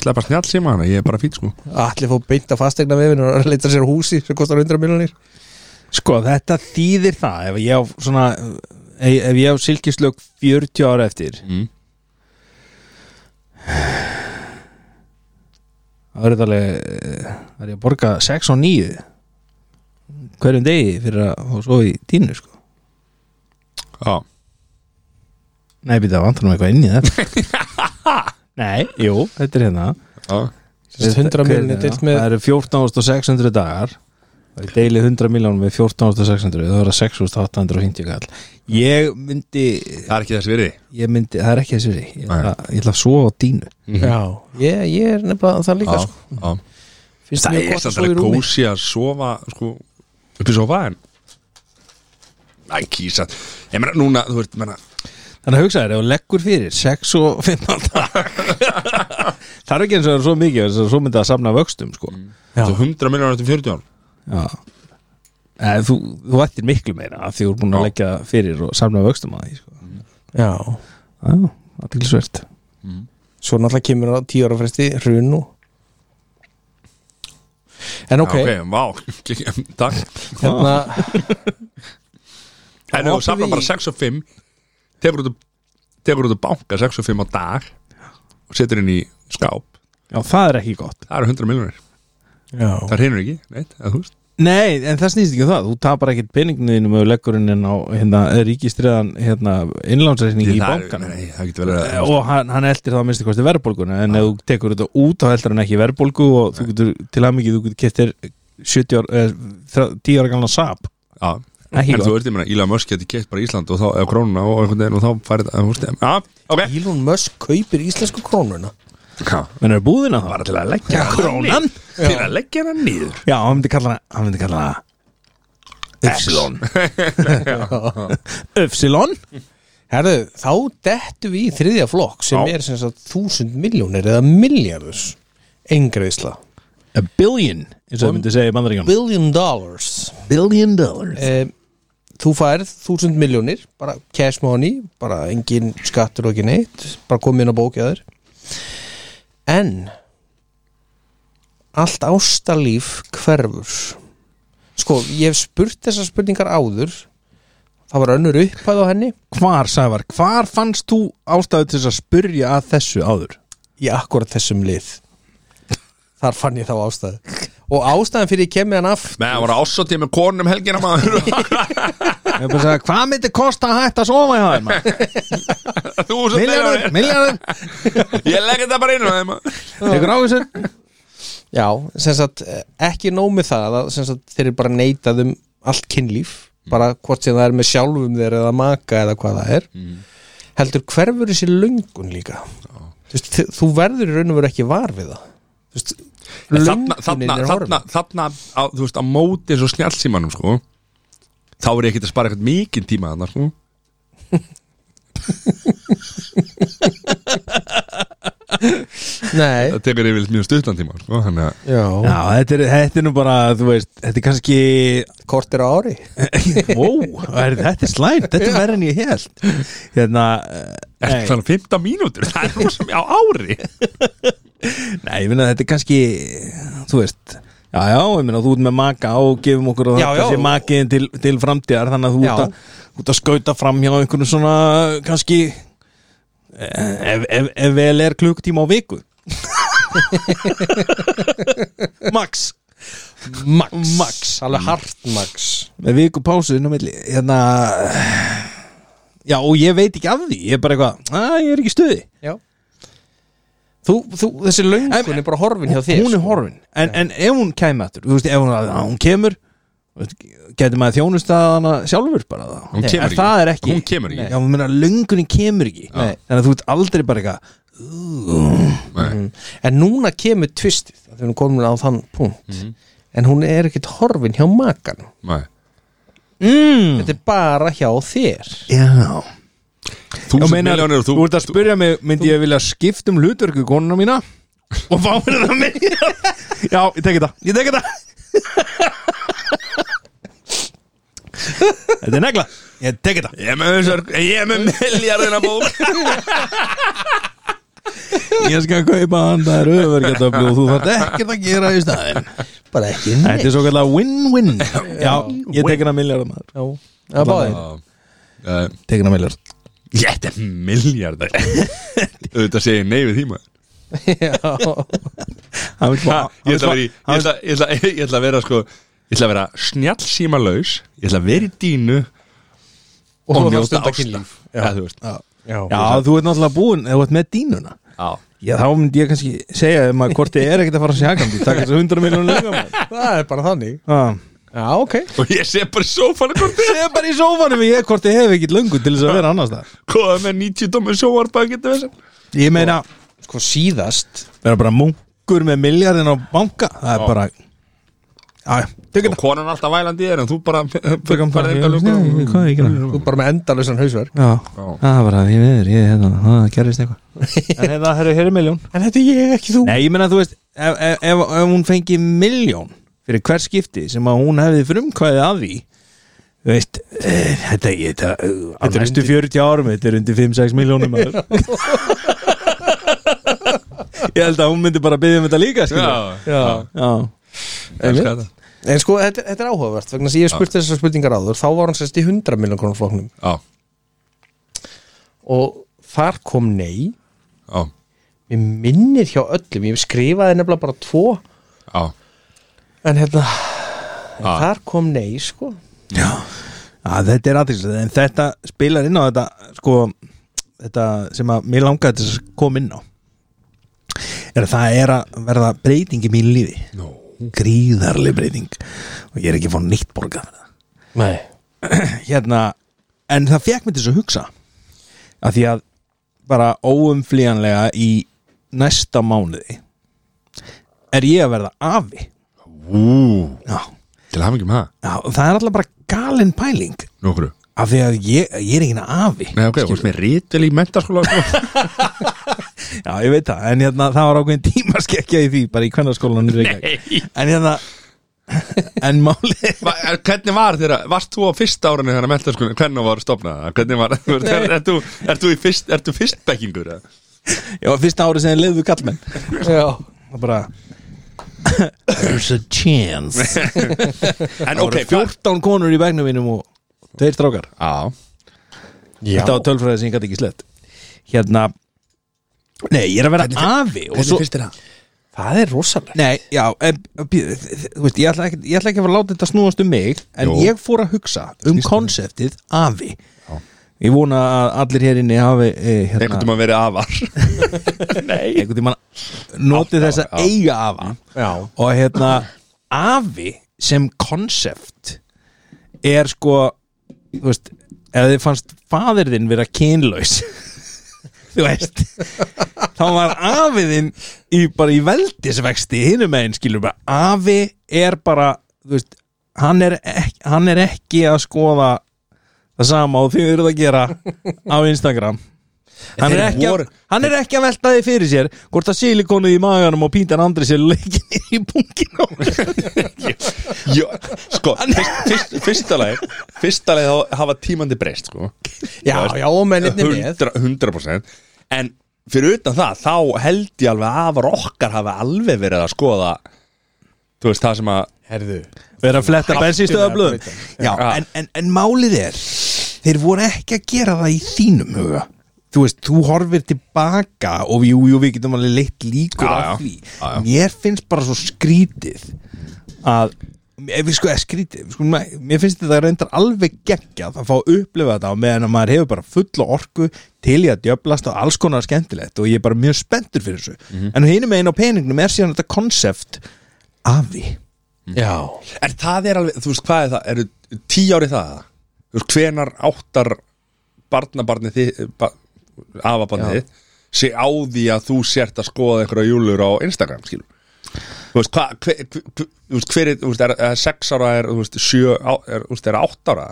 S2: Sleppa snjall síma hana, ég er bara fýt sko
S1: allir fór beint að fastegna vefinu og leita sér að húsi sem kostar 100 miljonir
S3: Sko, þetta þýðir það Ef ég á svona Ef, ef ég á silkislög 40 ára eftir
S2: mm.
S3: Það verður alveg eh, Það er ég að borga 6 og 9 Hverjum degi fyrir að fá svo í dínu, sko
S2: Já,
S3: Nei, býta, það vantar nú eitthvað inn í þetta Nei, jú, þetta er hérna
S2: já,
S1: 100
S3: Hver-
S1: miljonir
S3: já,
S1: dilt með
S3: Það eru 14.600 dagar og ég deili 100 miljónum með 14.600 það verða 6.850 kall ég myndi,
S2: það er ekki þess virði
S3: ég myndi það er ekki þessi verið, ég
S2: Nei.
S3: ætla- ég ætla að svo á dínu
S1: já, ég, ég er nefnilega það líka
S2: Já,
S1: sko.
S2: já
S1: finnst
S2: Það
S1: mjög
S2: er
S1: gott að
S2: samt
S1: sofa í
S2: alveg
S1: rúmi
S2: kósi að sofa sko, upp í sofa en Æ, kýsa Ég meina, núna, þú veist, meina
S3: þannig að hugsa þér, ef þú leggur fyrir 6 og 15 dag það er ekki eins og það er svo mikið þess að svo myndi að samna vöxtum sko.
S1: Já.
S2: Þú 100 miljonar eftir 40 ár
S3: já Eða, þú, þú ættir miklu meira af því þú er búin að
S2: Já.
S3: leggja fyrir og samna vöxtum að því sko.
S1: já,
S3: já, það er til svert
S1: svo náttúrulega kemur á 10 ára fresti hrun og en ok,
S2: Já, ok, vá, takk
S1: hérna
S2: En ef þú
S1: Hoppum
S2: safnar
S1: í-
S2: bara 6 og 5 Tekur út Tekur út að banka 6 og 5 á dag Og setur inn í skáp
S3: já, það er ekki gott
S2: Það eru 100 miljonar
S1: já,
S2: Það reynir ekki, neitt, að þú veist
S3: Nei, en það snýst ekki um það, þú tapar ekkert peninginu þínum ef þú leggur henni inn á hérna, ríkistriðan hérna, innlánsreikning í
S2: Það er-
S3: bankan
S2: Nei, það getur vel verið að
S3: og hann, hann eldir það að minnstu kosti verðbólguna en ef þú tekur þetta út þá eldir hann ekki verðbólgu og þú getur til að mikið þú getur kettir 70 ára, eh, þrjá- 10 ára galna sap
S2: Já
S3: Ekki
S2: En
S3: gott.
S2: þú veist, ég meina, Íla Mösk geti keitt bara Ísland og þá, eða krónuna og einhvern veginn og þá færið, að þú veist, já, ok
S1: Elon Musk kaupir íslensku krónuna
S2: Já,
S3: menn er búðina þá
S2: bara til að leggja krónan til að leggja hana nýður
S3: Já, hann myndi kalla hana- hann myndi kalla hana Epsilon Epsilon
S1: herðu, þá dettu við í þriðja flokk sem
S2: Já.
S1: er sem sagt þúsund miljónir eða miljardus engreisla,
S3: A billion, eins og það myndi segja í bandaríkan
S1: billion dollars
S3: Billion dollars
S1: e, þú færð þúsund miljónir bara cash money, bara engin skattur og ekki neitt, bara komið inn á bókjaður en allt ástalíf hverfur sko, ég hef spurt þessar spurningar áður það var önnur upphæð á henni
S3: Hvar, Sævar, hvar fannst þú ástæðu til þess að spurja að þessu áður?
S1: í akkurat þessum lið þar fann ég þá ástæðu og ástæðan fyrir ég kemur hann af
S2: með að voru ásótið með konum helgina maður
S3: Ég bara sagði, hvað myndi kosta að hætta að sofa í hafði?
S2: þúsund
S3: Miljarður,
S2: miljónir
S3: miljarður,
S2: ég legg þetta bara inn á þeim
S3: tekur á þessu
S1: já, sem sagt, ekki nóg með það að sem sagt, þeir eru bara neitað um allt kynlíf bara hvort sem það er með sjálfum þeir eða maka eða hvað það er heldur hverfur þessi löngun líka þú, veist, þi- þú verður í raun og veru ekki var við það Þú veist,
S2: þarna,
S1: löngunin
S2: þarna,
S1: er horfin.
S2: þarna, þarna á, þú veist, á móti eins og snjálfsímanum sko þá er ég ekkert að spara eitthvað mikinn tíma þarna sko
S1: nei,
S2: það tekur yfirleitt mjög stuttan tíma sko þannig að
S1: já,
S3: Já, þetta er, þetta er nú bara, þú veist, þetta er kannski
S1: kort er á ári
S3: Wow, er, þetta er slæmt, þetta er verið en ég held Hérna, eh,
S2: er
S3: nei,
S2: það 15 mínútur það er rosa mjög á ári
S3: nei, ég finna þetta er kannski, þú veist Já, já, ég meina, þú ert með maka og gefum okkur og
S1: Já,
S3: þetta
S1: já.
S3: sé makiðin til, til framtíðar þannig að þú ert
S1: Já.
S3: að, þú ert að skauta fram hjá einhvern svona, kannski eh, ef, ef, ef vel er klukkutíma á viku Max
S1: max, max alveg hart max
S3: með viku pásu inn á milli hérna "Ah, já og ég veit ekki af því ég er bara eitthvað, að ég er ekki í stuði
S1: Já þú, þú, þessi löngun
S3: En-
S1: er bara horfin hjá þér
S3: hún er
S1: sko.
S3: horfin en, en ef hún kæmi aftur, þú veist, ef hún, að, hún kemur getur maður þjónust að hana sjálfur bara þá
S2: Hún
S3: Nei,
S2: kemur
S3: en
S2: ekki.
S3: það er ekki
S2: Hún kemur ekki.
S3: já, hún meina löngunin kemur ekki
S1: Nei.
S3: þannig að þú ert aldrei bara eitthvað
S2: Nei.
S3: Mhm.
S1: en núna kemur tvistið þegar hún er komin á þann punkt en hún er ekkit horfin hjá makan
S2: Nei.
S3: mm.
S1: þetta er bara hjá þér
S3: já
S2: Þúsund miljónir og þú
S3: þú ert að spyrja mig, myndi ég vilja skipta um hlutverku konuna mína og fá mér það mig já, ég teki það, ég teki það þetta er negla ég teki það
S2: Ég er með þessar, ég er með
S3: Mm.
S2: miljardina bók
S3: ég skal kaupa hann, það er auðverkjartöflu og þú þarft ekkert að gera í staðin
S1: bara ekki
S3: þetta er svo kallar win-win já, ég teki það miljardar maður
S1: Já, það báðir
S2: Eh,
S3: teki það miljardar
S2: Ég er miljardar Þetta segir nei við því maður
S1: Já,
S3: hann vil fá
S2: Ha, Ég ætla að vera í- ég
S3: hann vill-
S2: ætla- ég ætla- ég ætla að vera sko Ég ætla að vera snjallsímalaus Ég ætla að vera í dínu
S1: Og
S2: Og
S1: svo þarf
S2: njóta
S1: stunda
S2: ástaf
S1: kynlíf. Já.
S2: Já, þú veist
S1: já,
S3: já, þú ert náttúrulega búinn, þú ert með dínuna
S2: Já
S3: Já, þá myndi ég kannski segja um að hvort ég er ekkert að fara að sjaka um því takk þessu 100 miljónu líka maður.
S1: það er bara þannig
S3: Ah.
S1: Já, ok
S2: Og ég sé bara í sófana hvort
S3: Ég er bara í sófanum ég hvort ég hef ekkert löngu til þess að vera annars þar
S2: Góða með 90 dómur sjóarbæk Þetta veist
S3: Ég meina,
S1: Sko síðast
S3: vera bara munkur með miljardin á banka það er bara Já, tökum
S2: Og konan alltaf vælandi í þér En þú bara
S3: Tökum
S2: bara
S3: það.
S2: enga löngu.
S3: Nei, ég- hvað er ég að gera?
S1: Þú er bara með endalösan hausverk
S3: það Ah, Það var að ég meður, ég hefði það gerðist eitthvað En hérna, hefði það hefði miljón
S1: En þetta er ég ekki þú
S3: Nei, ég meina þú veist, ef, ef, ef, ef hún fengi miljón fyrir hver skipti sem að hún hefði frumkvæðið að því þú veist, e, þetta, ég, þetta, eh, þetta er undir 40 árum þetta er undir 5-6 miljónum maður. ég held að hún myndi bara byggja um þetta líka skilur.
S2: Já,
S1: Já,
S3: Já.
S2: elska þetta.
S1: En sko, þetta, þetta er áhugavert vegna sem ég hef spurt þessar spurningar áður þá var hann sérst í 100 miljonar krónar flóknum
S2: já,
S1: og þar kom nei
S2: já,
S1: Mér minnir hjá öllum, ég skrifaði nefnilega bara tvo
S2: já
S1: en hérna, en
S2: Ah.
S1: þar kom nei sko
S3: Já, þetta er aðeinslega, en þetta spilar inn á þetta, sko, þetta sem að mér langaði til þess að koma inn á er að það er að verða breyting í mínu lífi
S2: No.
S3: gríðarlega breyting og ég er ekki fór neitt borgað fyrir það.
S1: Nei
S3: hérna, en það fekk mér til þess að hugsa að því að bara óumflýjanlega í næsta mánuði er ég að verða afi
S2: Ú,
S3: já,
S2: til hafa ekki um það
S3: já og það er alltaf bara galin pæling
S2: Nókru
S3: af því að ég, ég er ekki afi
S2: Nei, ok, þú veist mér rítil í mentaskóla sko.
S3: Já, ég veit það, en hérna, það var ákveðin tímaskekkja í því, bara í kvennarskólanum í Reykjavík.
S2: Nei
S3: En hérna, en máli
S2: Va, en Hvernig var þeirra, varst þú á fyrsta árunni þegar mentaskóla, hvernig var stopnaða Hvernig var, er, er, er, þú, er þú í fyrst, er þú fyrstbekkingur eða?
S3: Ég var fyrsta ári sem leiðu kallmenn
S1: Já,
S3: Og bara There's a chance
S2: En ok, hvað
S3: 14 konur í begnum mínum og Tveir strákar
S2: Já,
S1: já.
S3: Þetta var tölfræði sem ég gæti ekki slett Hérna Nei, ég er að vera afi og svo,
S2: þér það?
S1: það er rosalega
S3: Nei, já, en, býðu, þú veist, ég ætla, ekki, ég ætla ekki að fara að láta þetta snúast um mig En
S2: Jú.
S3: ég fór að hugsa um konseptið afi Ég vona að allir hér inni hafi eh,
S2: Einhvern
S3: hérna,
S2: tímann verið afar Nei
S3: einhvern tímann notið þess að
S2: já. Mm.
S3: eiga afa
S1: Já,
S3: og hérna afi sem konsept er sko þú veist, ef þið fannst fadir þinn vera kynlaus þú veist þá var afiðinn í, bara í veldisvexti hinum meginn skilur bara afi er bara þú veist, hann er ekki, hann er ekki að skoða það sama og þið eruð að gera á Instagram Hann er,
S2: þeir
S3: ekki,
S2: voru-
S3: að, hann er ekki að velta því fyrir sér hvort að silikonið í maganum og píntan andri sér leikin í punginu
S2: Jó, sko, fyrst, fyrst, fyrsta leið Fyrsta leið þá hafa tímandi breyst sko.
S1: já,
S2: Þú veist,
S1: já og menninni með
S2: 100%, 100% En fyrir utan það, þá held ég alveg að afar okkar hafa alveg verið að skoða Þú veist, það sem að
S1: Herðu
S3: vera að fletta bensinstöðablöðum
S1: Hættu með
S3: Já, en, en, en málið er þeir voru ekki að gera það í þínum huga þú veist, þú horfir tilbaka og jú, jú, við getum alveg leitt líkur
S2: Já,
S3: af
S2: já.
S3: því
S2: Já, já.
S3: mér finnst bara svo skrítið að Mér, við sko, eða skrítið, við sko, mér mér finnst þetta reyndar alveg geggjað að fá að upplifa þetta á meðan að maður hefur bara fulla orku til í að djöblast og alls konar skemmtilegt og ég er bara mjög spenntur fyrir þessu
S2: Mhm.
S3: en hinum einn á peningnum er síðan þetta konsept afi
S1: Já,
S2: En það er alveg, þú veist hvað er það, eru tí ári það? Þú veist hvenar áttar barnabarnið þið, ba, afabarnið þið, sé á því að þú sért að skoða einhverja júlur á Instagram, skilur? Þú veist, hvað, hver, hver, hver, þú veist, hver er, þú veist, er, er sex ára, er, þú veist, sjö, á, er, þú veist, er átt ára?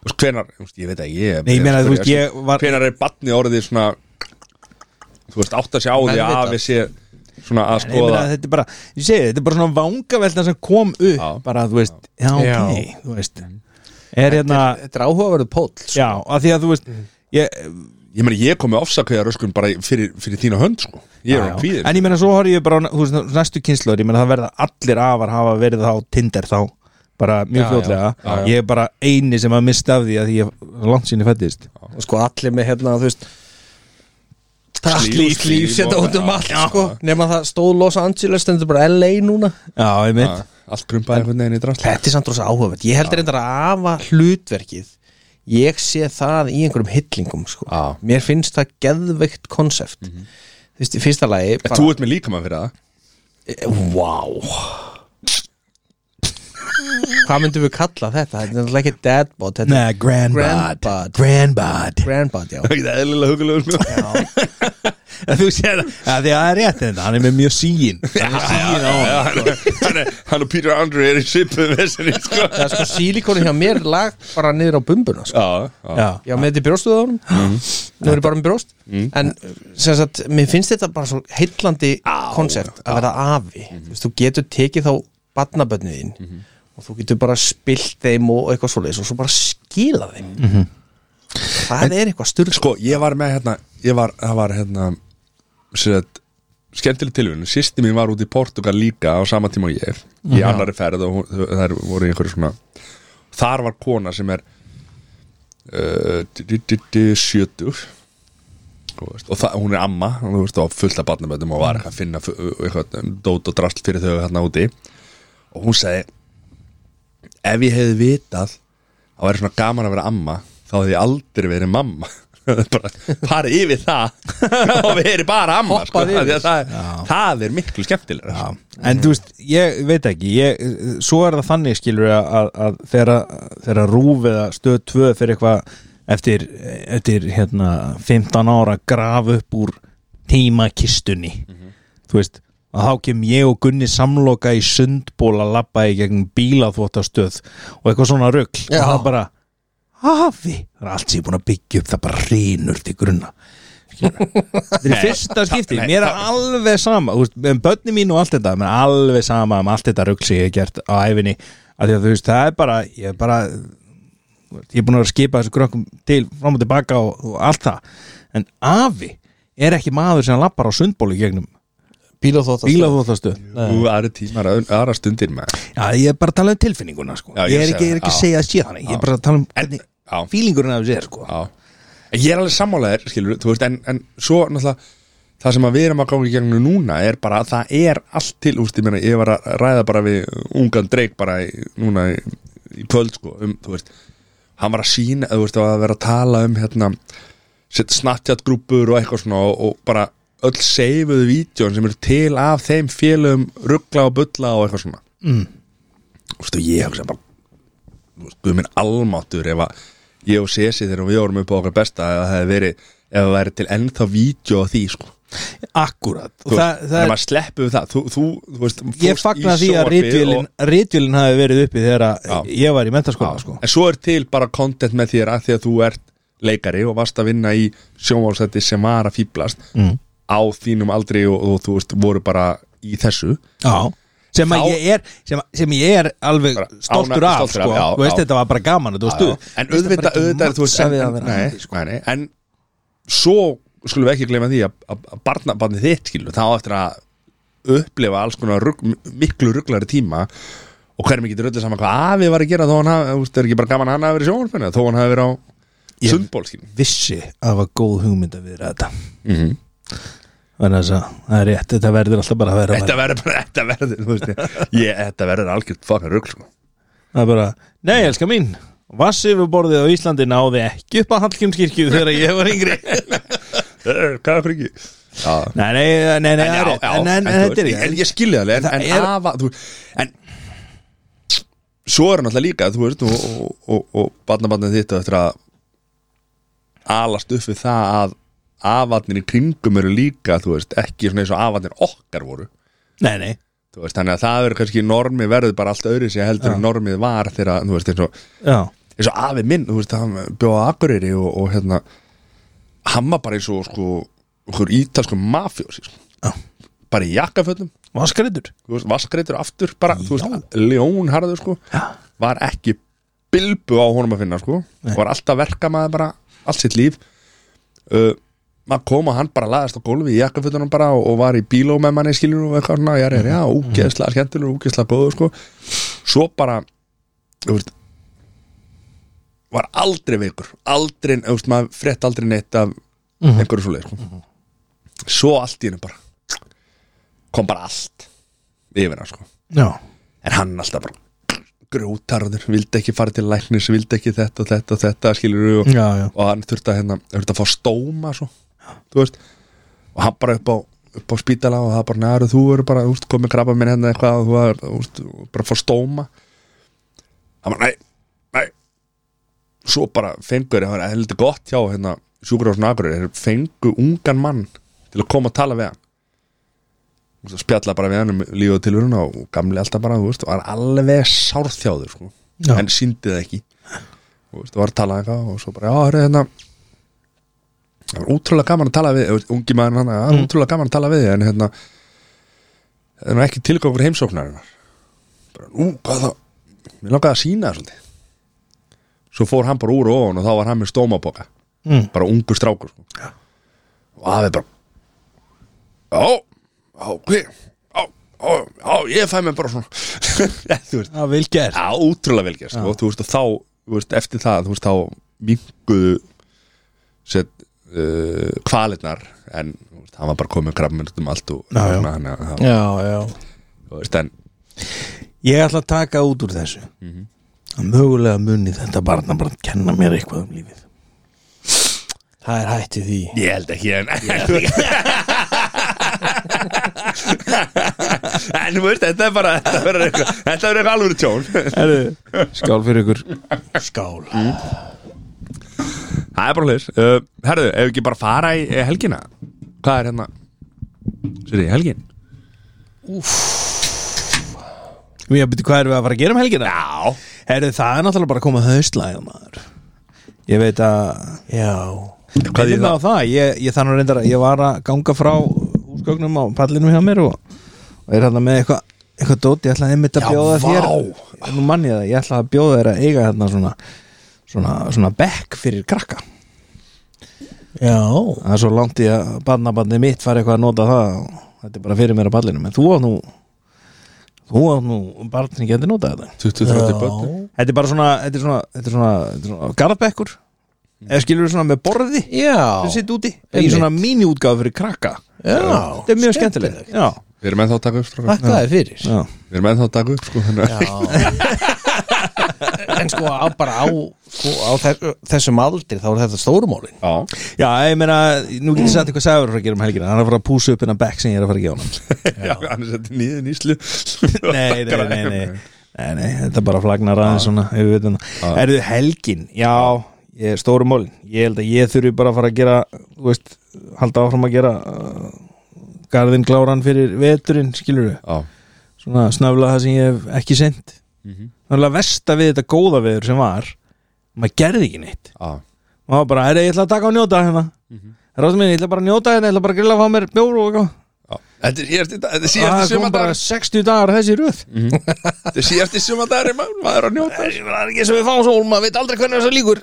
S2: Þú veist, hvenar, þú veist, ég veit ekki, ég...
S3: Nei, ég meina, þú veist, ég var-
S2: Hvenar er barnið orðið svona, þú veist, átt að sé á því að
S1: Meðvitað.
S2: afi sé svona að
S3: Nei, ég meina,
S2: skoða...
S3: þetta er bara, ég segi, þetta er bara svona vangavelta sem kom upp,
S2: Já.
S3: bara þú veist já,
S1: Já.
S3: ok, þú veist er hérna,
S1: þetta er áhugaverðu póll sko.
S3: já, að því að þú veist ég,
S2: Ég meni, ég kom með ofsakauða röskun bara fyrir, fyrir þína hönd, sko. Ég er
S3: Já,
S2: á kvíðin.
S3: En ég meina svo horf ég bara á þú veist, næstu kynnslóður, ég meina það verða allir afar hafa verið þá Tinder þá bara mjög
S1: Já,
S3: fljótlega,
S1: já, já, já.
S3: ég er bara eini sem að mista af því að því ég langt sinni fættist
S1: og sko allir með hérna þú veist takk
S2: Slíf,
S1: líf, líf,
S2: slíf
S1: setja
S2: og-
S1: út um allt
S2: Já.
S1: sko, nema það stóð Los Angeles stendur bara LA núna
S3: Já, ég mitt,
S2: Allt krumpaði einhvern veginn í drasla
S1: þetta er samt rosa áhugavert, ég heldur reyndar að afa hlutverkið ég sé það í einhverjum hillingum sko,
S2: Já.
S1: mér finnst það geðveikt konsept þú veist, í fyrsta lagi bara,
S2: Þú ert með líkamann fyrir það
S1: wow hvað myndum við kalla þetta þetta er náttúrulega ekki dadbot þetta
S3: neða, grandbad
S1: Grandbod.
S3: Grandbad
S1: er grandbot, já
S2: Það er ekki það eðlilega hugulegur sko.
S3: Þú séð það, að því að það er rétt þetta, hann er með mjög síin Hann er síin á
S2: Já, hann er- hann er- Hann og Peter Andre er í svipuð veseni sko.
S1: það er sko sílíkonið hjá mér lag bara niður á bumbuna sko.
S2: Já,
S3: Já,
S1: Já, með þetta í brjóstuð á honum
S3: Mm.
S1: Nú er ég bara með brjóst En sem sagt, mér finnst þetta bara svo heillandi konsept að vera afi
S3: Mhm.
S1: Þú veist, Þú getur tekið þá batnabönnið þín og þú getur bara spilt þeim og eitthvað svoleiðis og svo bara skila þeim
S3: Mhm.
S1: Það er eitthvað styrk
S2: Sko, ég var með hérna Ég var, það var hérna Sett skemmtileg tilvíðun, sýsti mín var út í Portugal líka á sama tíma og ég í annari ferð og hún- það er- voru í einhverju svona þar var kona sem er uh, d- d- d- d- sjötug Þú veist, og það, hún er amma og þú veist, og fullt af barnaböndum og
S1: Mm.
S2: var eitthvað að finna fu- eitthvað, um, dót og drast fyrir þau hérna úti og hún segi ef ég hefði vitað að væri svona gaman að vera amma þá hefði ég aldrei verið mamma bara farið yfir það og verið bara amma sko,
S1: Hoppað yfir.
S2: af því að það, það er miklu skemmtilega
S3: Já,
S2: sko.
S3: en þú veist, ég veit ekki ég, svo er það þannig skilur að, að, að þegar þegar að rúf eða stöð 2 fyrir eitthvað eftir, eftir hérna, 15 ára graf upp úr tímakistunni þú veist, að þá kem ég og Gunni samloka í sundból að labba í gegn bílaþvóttastöð og eitthvað svona rugl
S1: Já.
S3: og það bara, hafi það er allt sem ég er búin að byggja upp, það bara hrýnur til grunna Þetta er í fyrsta skipti,
S2: nei,
S3: mér er
S2: það-
S3: alveg sama þú veist, með börni mín og allt þetta mér er alveg sama um allt þetta rugl sem ég hef gert á æfinni, af því að þú veist, það er bara ég er bara ég er búin að vera að skipa þessu krökkum til fram og tilbaka og, og allt það en afi er ekki maður sem lappar á sundbólu gegnum sko.
S1: Bílaþóttastöð
S3: bílaþóttastöð
S2: Ú, aðra tímar, aðra- aðra stundir með
S3: Já, ég er bara að tala um tilfinninguna sko.
S2: Já,
S3: ég,
S2: ég
S3: er
S2: sé
S3: ekki, ég
S2: það,
S3: er ekki að
S2: já.
S3: segja að sé þannig ég er bara að tala um hvernig
S2: já.
S3: fílingurinn af sér sko.
S2: Já. En Ég er alveg sammálaðir, skilur, þú veist, en, en svo náttúrulega það sem að við erum að ganga í gegnum núna er bara að það er allt til, þú veist, ég meina, ég var að ræða bara við ungan dreik bara í, núna í, í kvöld, sko, um, þú veist, hann var að sína, þú veist, að vera að tala um, hérna, sitt snattjátt grúpur og eitthvað svona og, og bara öll seifuðu vídjón sem eru til af þeim félum ruggla og bulla og eitthvað svona þú veist, og ég hugsa bara þú veist, guð minn almáttur ef að ég og Sesi þegar við vorum upp á okkar besta ef það hefði verið, ef það væri til ennþá vídeo á því, sko
S3: akkurat og
S2: Þú veist,
S3: það, það
S2: en
S3: er
S2: maður sleppu við það, þú, þú, þú veist
S3: ég
S2: fórst
S3: fagna
S2: í
S3: því að
S2: sjónvarpið
S3: ritvélin, ritvélin hafi verið uppi þegar
S2: Já.
S3: að ég var í mentaskóla sko.
S2: en svo er til bara content með þér að því að þú ert leikari og varst að vinna í sjónválsætti sem var að fýblast mm. á þínum aldri og, og þú veist voru bara í þessu
S3: Já. sem að
S2: Þá-
S3: ég er sem, að- sem ég er alveg
S2: Bara
S3: stoltur
S2: ána-
S3: af,
S2: stoltur
S3: sko.
S2: af, já,
S3: þú veist
S2: já.
S3: þetta var bara gaman og
S2: Já,
S3: þú
S2: já.
S3: veist
S2: en auðvitað, auðvitað þú veist,
S3: en,
S2: en, en, nei, nei, nei, en svo skulum við ekki gleyma því að, að að barna, barnið þitt skilur þá á eftir að upplifa alls konar rugg, miklu rugglari tíma og hverjum ekki röllu saman hvað afi var að gera þó hann hafi, þú veist, það er ekki bara gaman að hann hafi verið sjónfennu þó hann hafi verið á
S3: Ég-
S2: sundból skilur
S3: vissi að það var góð hugmynd að viðra þetta Mhm. þannig að það- það er rétt þetta verður alltaf bara að vera
S2: þetta verður bara, þetta verður þú veist, ég, þetta verður algjört fokkar rugg sko.
S3: það er bara, nei, elska mín Vassifurborðið á Íslandi náði ekki upp að Hallgrímskirkju þegar ég var yngri
S2: Eh, Hvað er fyrir ekki?
S1: já.
S3: Nei, nei, nei, nei,
S2: En, já,
S3: nei,
S2: já,
S3: en- en- en
S2: þú
S3: þetta er
S2: veist,
S3: ekki
S2: En ég skilja það En,
S1: Það
S2: en,
S1: er-
S2: afa, þú, en Svo er hann alltaf líka Þú veist, og, og, og, og barnabarnið þitt og eftir að alast upp við það að afarnir í kringum eru líka þú veist, ekki svona eins og afarnir okkar voru
S3: Nei, nei,
S2: þú veist, þannig að það verður kannski normið verður bara allt öðru sér heldur en normið var þegar, þú veist, eins og
S3: já,
S2: eins og afi minn, þú veist, hann bjóða Akureyri og, og hérna hann var bara eins og sko okkur ítalsku mafjósi sko.
S3: Já.
S2: bara í jakkaföllum,
S3: vaskaritur
S2: þú veist, vaskreitur aftur bara, þú
S3: Já.
S2: veist, ljónharður sko
S3: Já.
S2: var ekki bilbu á honum að finna sko, var alltaf verka maður bara, allt sitt líf uh, maður kom og hann bara laðast á gólfi í jakkaföllunum bara og, og var í bíló með manni skilur og eitthvað svona, já, já, já,
S3: Mm-hmm.
S2: úgeðslega skemmtilegur, úgeðslega góður sko svo bara, þú veist var aldrei veikur aldrei, þú veist, maður frétt aldrei neitt af
S3: Mm-hmm.
S2: einhverju svoleið sko. svo allt í hennu bara kom bara allt yfir hann sko
S3: Já,
S2: en hann alltaf bara grjótarður, vildi ekki fara til læknis vildi ekki þetta og þetta og þetta skilur og,
S3: já, já
S2: og hann þurfti að, hérna, þurfti að fá stóma svo, þú veist og hann bara upp á, upp á spítala og það bara næru þú eru bara, þú veist, komið krabba minn hérna eitthvað og þú er, þú veist, bara fá stóma hann bara, nei, nei svo bara fengur, það var heldur gott hjá hérna, sjúkurásn agurir, þeir fengu ungan mann til að koma að tala við hann Þú veist, og spjalla bara við hann um líf og tiluruna og gamli alltaf bara, þú veist, og hann alveg sárþjáður, sko,
S3: Já.
S2: en síndi það ekki þú veist, og var að tala eitthvað og svo bara, já, hörðu, hérna það var útrúlega gaman að tala við þú veist, ungi maður hann, það var útrúlega gaman að tala við þig, en hérna það er nú ekki tilgangur heimsóknarinnar bara, nú, hvað þá mér langaði að sína það svolítið svo fór hann bara úr og ofan og þá var hann með stómaboka
S3: Mm.
S2: bara ungur strákur sko. og afi bara já, já, ok já, já, já, ég fæ mér bara svona þú veist
S3: Já, vel gert
S2: Já, ótrúlega vel gert sko. Þú veist, og þá, þú veist, eftir það þú veist, þá minguðu set, uh, kvalirnar en þú veist, hann var bara komið krafminn út um allt og
S3: Já, já.
S2: Hann, hann, hann,
S3: Já, já
S2: þú veist, en
S3: Ég ætla að taka út úr þessu
S2: Mhm.
S3: að mögulega muni þetta barna bara kenna mér eitthvað um lífið Það er hætti því
S2: ég held ekki en, en, en þú veist, þetta er bara þetta verður eitthvað, þetta verður eitthvað alvöru tjón
S3: Skál fyrir ykkur Skál
S2: það er bara hlis uh, Herðu, ef við ekki bara fara í eh, helgina hvað er hérna sér ég, helgin?
S3: Mér byrju hvað erum við að fara að gera um helgina?
S2: Já,
S3: Herðu það er náttúrulega bara að koma haustlæð maður Ég veit að Já
S2: Hvað
S3: Hvað
S2: þýðir
S3: er það? það? Ég, ég þannig reyndar að ég var að ganga frá húsgögnum á pallinum hjá mér og, og er hann með eitthvað eitthvað dót, ég ætla einmitt að
S2: Já,
S3: bjóða þér
S2: vá.
S3: Nú mann ég það, ég ætla að bjóða þér að eiga þarna svona svona, svona bekk fyrir krakka
S1: já
S3: það er svo langt í að barnabandi mitt fari eitthvað að nota það og þetta er bara fyrir mér á pallinum en þú átt nú þú átt nú barn sem getur notað þetta
S1: Já.
S2: 20-30 börn
S3: þetta er bara svona þetta er svona, þetta er svona, þetta er svona garðbekkur eða skilur svona með borði sem
S1: Mm. Já,
S3: sitt úti í
S1: Einmitt.
S3: svona míniútgáð fyrir krakka
S1: já
S3: þetta er mjög skemmtilegt já,
S2: Við erum ennþá að taka upp strákar.
S1: Þakka þér fyrir
S3: já.
S2: Við erum ennþá að taka upp sko þannig að-
S1: En sko á, bara á, sko, á þess, þessum aldri þá er þetta stórumálin
S2: Já
S3: já, ég meina, nú getur sagt eitthvað sæður að gera um helgina, hann er að fara að púsa upp innan bekk sem ég er að fara að gefa hann
S2: Já, annars þetta er nýðin íslu
S3: nei, nei, nei, nei, nei, nei þetta bara flagnar aðeins svona ef við vitum það. Erðu helgin, já ég er stóru mólin, ég held að ég þurfi bara að fara að gera, þú veist halda áfram að gera uh, garðin gláran fyrir veturinn, skilur við
S2: Já,
S3: svona snöfla það sem ég hef ekki sent þannig að versta við þetta góða veður sem var maður gerði ekki neitt
S2: já,
S3: maður var bara, herri, ég ætla að taka og njóta hérna ráðum minn, ég ætla bara að njóta hérna, ég ætla bara að grilla að fá mér bjór og eitthvað
S2: já Þetta er- ég er- þetta er
S3: Ah,
S2: síðasti
S3: það kom bara
S2: sumandagur
S3: 60 dagar þessi röð
S2: Þetta er síðasti sumandagur maður maður er að njóta
S1: Það er ekki sem við fáum svo maður veit aldrei hvernig þess að líkur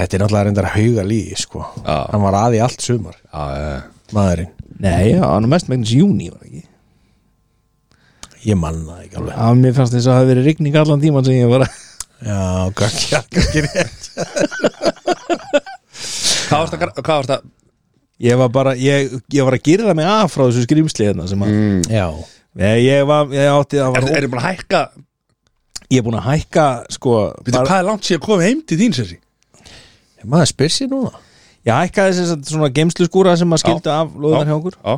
S1: Þetta er náttúrulega reyndar að hauga lígi sko
S2: Já.
S1: Hann var aði allt sumar
S2: Já, já, já.
S1: Maðurinn,
S3: nei, já, hann er mest megnis júni var ekki
S1: ég mann það ekki alveg
S3: að mér fannst þess að það hafi verið rigning allan tíman sem ég var að
S1: Já, kannski, kannski rétt
S2: Hvað varst að, hvað varst að
S3: ég var bara, ég, ég var að gera það mig af frá þessu
S2: Mm.
S3: skrimsli hérna sem að
S1: Já,
S3: ég, ég var, ég átti að
S2: Er
S3: var
S2: þetta búin að hækka
S3: Ég er búin að hækka sko
S2: Býtu, hvað er langt sér að koma heim til þín, Sessi?
S1: maður spyr sér núna
S3: Ég hækkaði þess að svona geimslu skúra sem að skildi af lóðunar hjá okkur
S2: Já,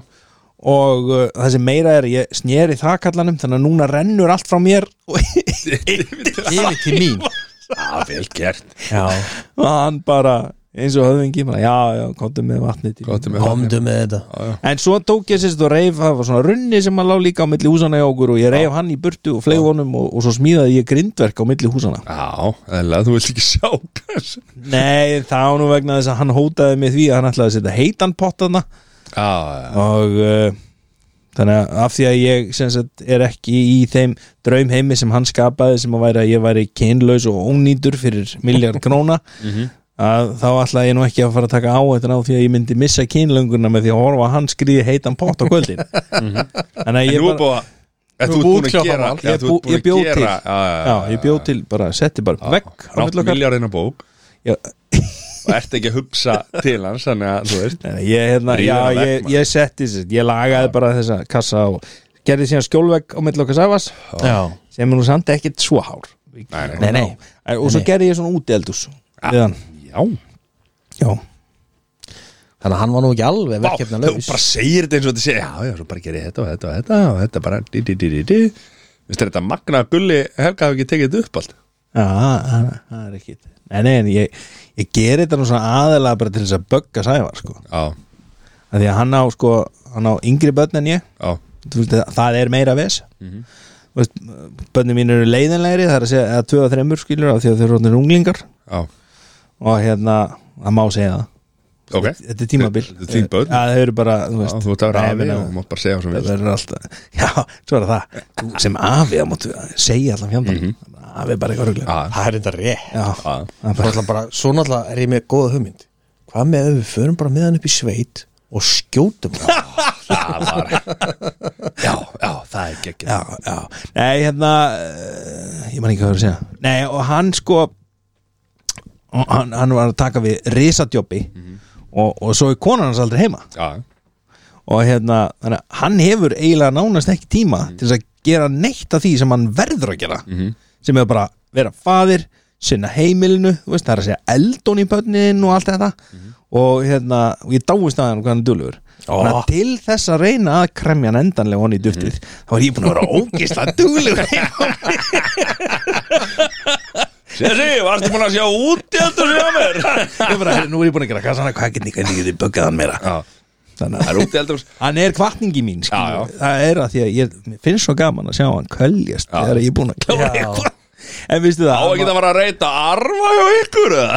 S3: og uh, það sem meira er ég sneri þakallanum þannig að núna rennur allt frá mér og
S1: yfir til mín
S2: Já, vel gert
S1: já,
S3: hann bara eins og höfðingi bara, já, já, komdu með vatnið til
S2: Komdu með
S1: komdu með þetta
S3: en svo tók ég sérst og reif það var svona runni sem maður lá líka á milli húsana hjá okkur og ég reif hann í burtu og fleif honum og, og svo smíðaði ég grindverk á milli húsana
S2: Já, eða, þú vilt ekki sjá þess.
S3: nei, það var nú vegna þess að hann hótaði mig því að hann ætlaði að setja heitan pott þarna
S2: Já, já
S3: og uh, þannig að af því að ég sem sagt, er ekki í þeim draumheimi sem hann skapaði sem að væri að ég væri kynlaus og ónýtur fyrir miljard króna Mhm. að þá ætla ég nú ekki að fara að taka á þetta á því að ég myndi missa kynlönguna með því að horfa að hann skrýði heitan pott á kvöldin Mhm. þannig að
S2: En
S3: ég
S2: nú er
S3: bara
S2: búið að Þú
S3: Nú er
S2: ert
S3: búið
S2: búin að
S3: kljáð
S2: gera
S3: hann.
S2: já,
S3: Ég
S2: þú ert
S3: bú-
S2: búin
S3: ég
S2: að
S3: bjó
S2: gera-
S3: til.
S2: Já,
S3: já, ég bjóð til, bara setti bara vekk á
S2: Rátt
S3: milli okkar
S2: miljarina bók
S3: Já.
S2: Og ert ekki að hugsa til hans Þannig að, þú veist
S3: Nei, nei, ég, hérna,
S2: Ríður
S3: já,
S2: hann vekk,
S3: ég,
S2: maður.
S3: ég setti sér, ég lagaði bara þessa kassa og gerði síðan skjólvegg á milli okkar sæfas
S1: já,
S3: sem er nú samt ekkert svo hár
S2: Nei,
S1: nei, nei
S3: Æ, og svo gerði ég svona úteldus við hann
S2: Já, Vá,
S3: já.
S1: þannig að hann var nú ekki alveg verkefna
S2: þú bara segir þetta eins og þetta segir Já, já, svo bara gerir þetta og þetta og þetta Og þetta bara di, di, di, di, di. Vist þetta magna að gulli Helga hafi ekki tekið þetta upp allt
S3: Já, það það er ekki nei, nei, en ég, ég gerði þetta nú svona aðalega bara til þess að bögga sævar sko.
S2: Já,
S3: Af því að hann á, sko, hann á yngri börn en ég
S2: já,
S3: Þú veist, það- það er meira ves mm -hmm. börnin mín eru leiðinlegri það er að segja að tvö og þreymur skilur af því að þau eru orðnir unglingar
S2: já
S3: og hérna, það má segja það
S2: Ok,
S3: þetta er tímabil
S2: Þetta er þín börn.
S3: Já, þau eru bara, þú
S2: Já,
S3: veist
S2: þú ert að vera
S3: Nei,
S2: afi
S3: meina-
S2: og þú mátt bara segja um sem við
S3: það verður alltaf já, svo er það, Þú sem afi það máttu segja allan fjandan
S2: Mhm.
S3: afi er bara eitthvað ruglega
S2: Já,
S1: það er þetta rétt
S3: já,
S2: já,
S3: það er
S1: Svo
S3: bara,
S1: náttúrulega bara, svo náttúrulega er ég með góða hugmynd Hvað með ef við förum bara með hann upp í sveit og skjótum hann
S2: það var Já, já, það er geggjum
S3: já, já, nei, hérna eh, ég man ekki hvað það er að segja nei, og hann sko og hann, hann var að taka við risadjópi og, og svo er konan hans aldrei heima
S2: já,
S3: og hérna, þannig að hann hefur eiginlega nánast ekki tíma til þess að gera neitt af því sem hann verður að gera sem er bara að vera faðir sinna heimilinu, þú veist, það er að segja eldón í bönnin og allt þetta og hérna, og ég dáist að hann hvað hann er duglegur
S1: Ó.
S3: Þannig að til þess að reyna að kremja hann endanlega honni í duftið þá er ég búin að vera ógislega duglegur
S2: Sessi, varstu búin að sjá út í þetta sem ég mér?
S3: ég bara, "Heyrðu, nú er ég búin að gera kassana hvað getni, hvernig getið böggað hann meira
S2: Já,
S3: þannig
S2: það
S3: að
S2: er út í eldur
S3: hann er kvartningi mín skilur.
S2: Já, já.
S3: það er að því að ég mér finnst svo gaman að sjá hann köljast
S2: Já.
S3: þegar ég er búin að klára
S1: Já.
S3: eitthvað en vistu
S2: Á
S3: það,
S2: ekki
S3: hann,
S2: að vera að reyta arfa hjá ykkur eða?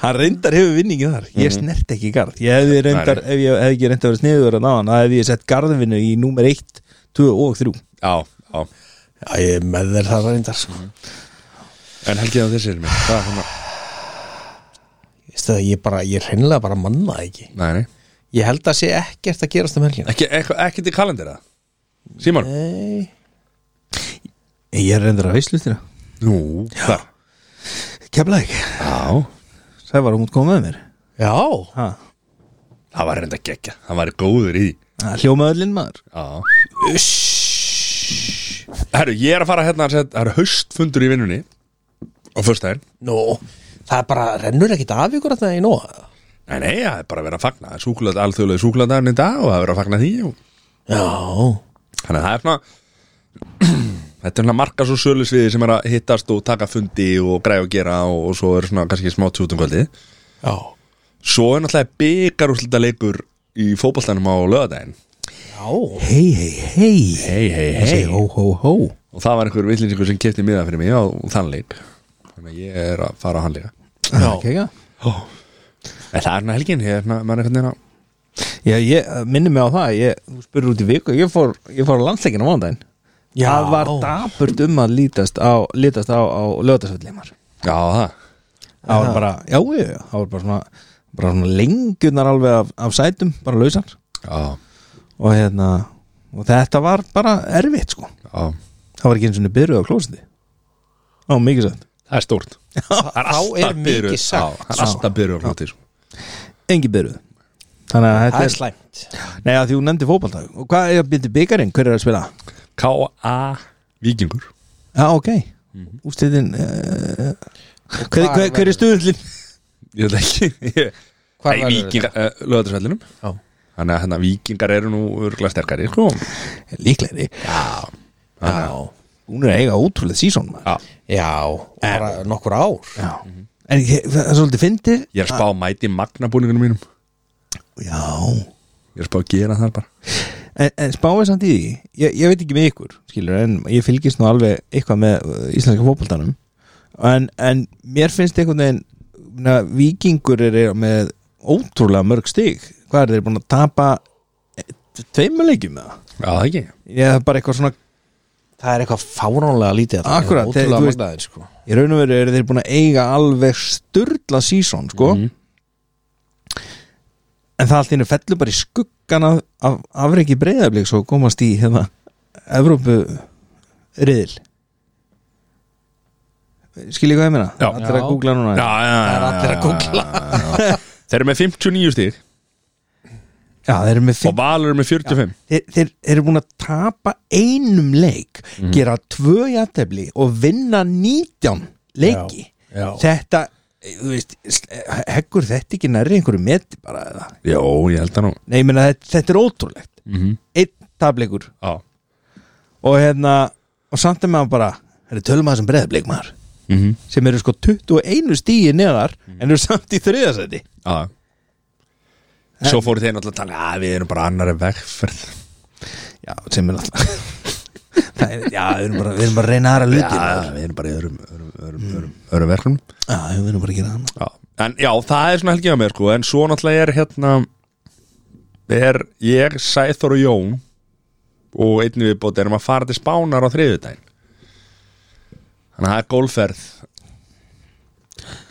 S3: hann reyndar hefur vinningi þar
S2: Mhm.
S3: ég snert ekki garð, ég hefði reyndar ef ég hefði ekki reyndar að vera sniður að náðan það hefði ég sett garðvinnu í númer 1, 2 og 3
S2: Já, já
S1: Já, ég er með þér það reyndar sko.
S2: En helgið á þessi er mér Það er svona
S1: Veistu það, ég bara, ég hreinlega bara manna það ekki
S2: Nei, nei
S1: Ég held að sé ekkert að gerast um helgina
S2: Ekki, ekki, ekki til kalendera Símon
S1: Nei
S3: ég er reyndar að veislutina
S2: Nú Já
S3: kemla ekki,
S2: Já
S3: það var hún út komað með mér
S1: Já,
S3: ha.
S2: Það var reynda geggja Það var góður í því
S3: hljómaðurlinn maður
S2: Já Herru, ég er að fara hérna að setja Það eru haustfundur í vinnunni Á föstudaginn
S1: nú Það er bara, rennur ekkert af ykkur að það í nóa
S2: Nei, nei, það er bara að vera að fagna Súkulat, alþjóðlega súkulatdaginn í dag Og það er að vera að fagna því og
S1: Já,
S2: Þannig að það er svona Þetta er svona markas og sölusviði sem er að hittast og taka fundi og græja og gera og, og svo er svona kannski smá tjútum kvöldi
S1: já,
S2: Svo er náttúrulega byggarúslita leikur í fótballtanum á lögadaginn
S1: já.
S3: hei, hei, hei,
S2: Hei, hei,
S3: Segi, hó, hó, hó
S2: Og það var einhver villinsingur sem kefti miða fyrir mig á þann leik Þannig að ég er að fara á hann leika
S1: Já.
S3: Ekki ekki?
S2: En það er svona helgin, ég er svona, maður er einhvern veginn að
S3: Já, ég minni mig á það ég, Þú spurður út í viku, ég fór, ég fór á landsleikinu á mándaginn
S1: Já.
S3: Það var dapurt um að lítast á, lítast á, á lögðasöldleimar
S2: Já, það
S3: Það var bara, já, já, já, það var bara svona bara svona lengjunar alveg af, af sætum bara lausar
S2: Já,
S3: og hérna, og þetta var bara erfitt sko,
S2: já
S3: það var ekki eins og niður byrjuð á klósiti Á, mikið sætt
S2: Það er stórt Það er
S1: Þá er
S2: alltaf
S1: mikið
S2: byrjuð Já,
S1: sagt,
S2: það er alltaf byrjuð á hluti sko.
S3: Engi byrjuð Þannig að þetta
S1: það er
S3: er,
S1: slæmt
S3: nei að því hún nefndi fótballtag og hvað er að byrja byggarinn, hver er að spila?
S2: K.A. Víkingur
S3: Já, ok Úsliðin uh, hver, hver, hver er stuðullin?
S2: Ég veit ekki Ég-
S1: Hvar
S2: Nei,
S1: verður
S2: Víkingar, uh, lögðarsvellinum
S1: Já.
S2: Þannig að hérna, víkingar eru nú örgulega sterkari sko.
S3: Líklegri
S1: Já,
S3: Hún er að eiga ótrúlega sísón maður.
S2: Já.
S1: já, bara nokkur ár
S3: Já En ég- það er svolítið fyndið
S2: Ég er að spá að mæti magnabúningunum mínum
S3: Já
S2: Ég er að spá að gera það bara
S3: En, en spáið samt í því, ég, ég veit ekki með ykkur skilur, en ég fylgist nú alveg eitthvað með uh, íslenska fótboltanum en, en mér finnst einhvern veginn na, vikingur er, er með ótrúlega mörg stig hvað er þeir búin að tapa eh, tveimuleikjum með það?
S2: Já, það ekki
S3: Ég það er bara eitthvað svona
S1: Það er eitthvað fáránlega lítið þarna.
S3: Akkurat,
S1: ótrúlega
S3: þú veist-
S1: magnaðir sko
S3: í raun og veru eru þeir búin að eiga alveg sturla sísón sko
S2: Mhm.
S3: en það allt í einu fellur bara í skuggan af, af afreiki breyðablíks og komast í hérna Evrópu riðil skil ég hvað ég meina?
S2: Já.
S3: allir
S1: Já.
S3: að googla núna
S2: Já, já, já,
S1: Það er allir að
S2: já,
S1: googla.
S2: já, já. Þeir eru með 59 stíð
S3: Já, þeir eru með
S2: og
S3: fimm,
S2: Valur er með 45
S3: þeir, þeir eru búin að tapa einum leik gera tvö jættefli og vinna nítján leiki
S1: Já, já.
S3: þetta þú veist, heggur þetta ekki nærri einhverju meti bara eða
S2: Jó, ég held það nú
S3: Nei, ég meina þetta, þetta er ótrúlegt
S2: mm -hmm.
S3: Einn tableikur
S2: Já,
S3: Og hérna, og samt er maður bara Það er tölum að þessum breyðableik maður
S2: mm
S3: Sem eru sko 21 stíi neðar En eru samt í þriðasæti
S2: já Svo fóru þeir náttúrulega að tala að við erum bara annari vegferð
S3: Já, sem er alltaf Það er, já, við erum bara, við erum bara að reyna aðra
S2: Já,
S3: luti Já,
S2: við erum bara í öðrum, öðrum, öðrum, öðrum, öðrum verkefnum
S3: við erum bara að gera hana
S2: Já, en já, það er svona helgið á mér sko En svo náttúrulega er hérna er, Ég er Sæþór og Jón Og einnig viðbót erum að fara til Spánar á þriðudaginn Þannig að það er gólferð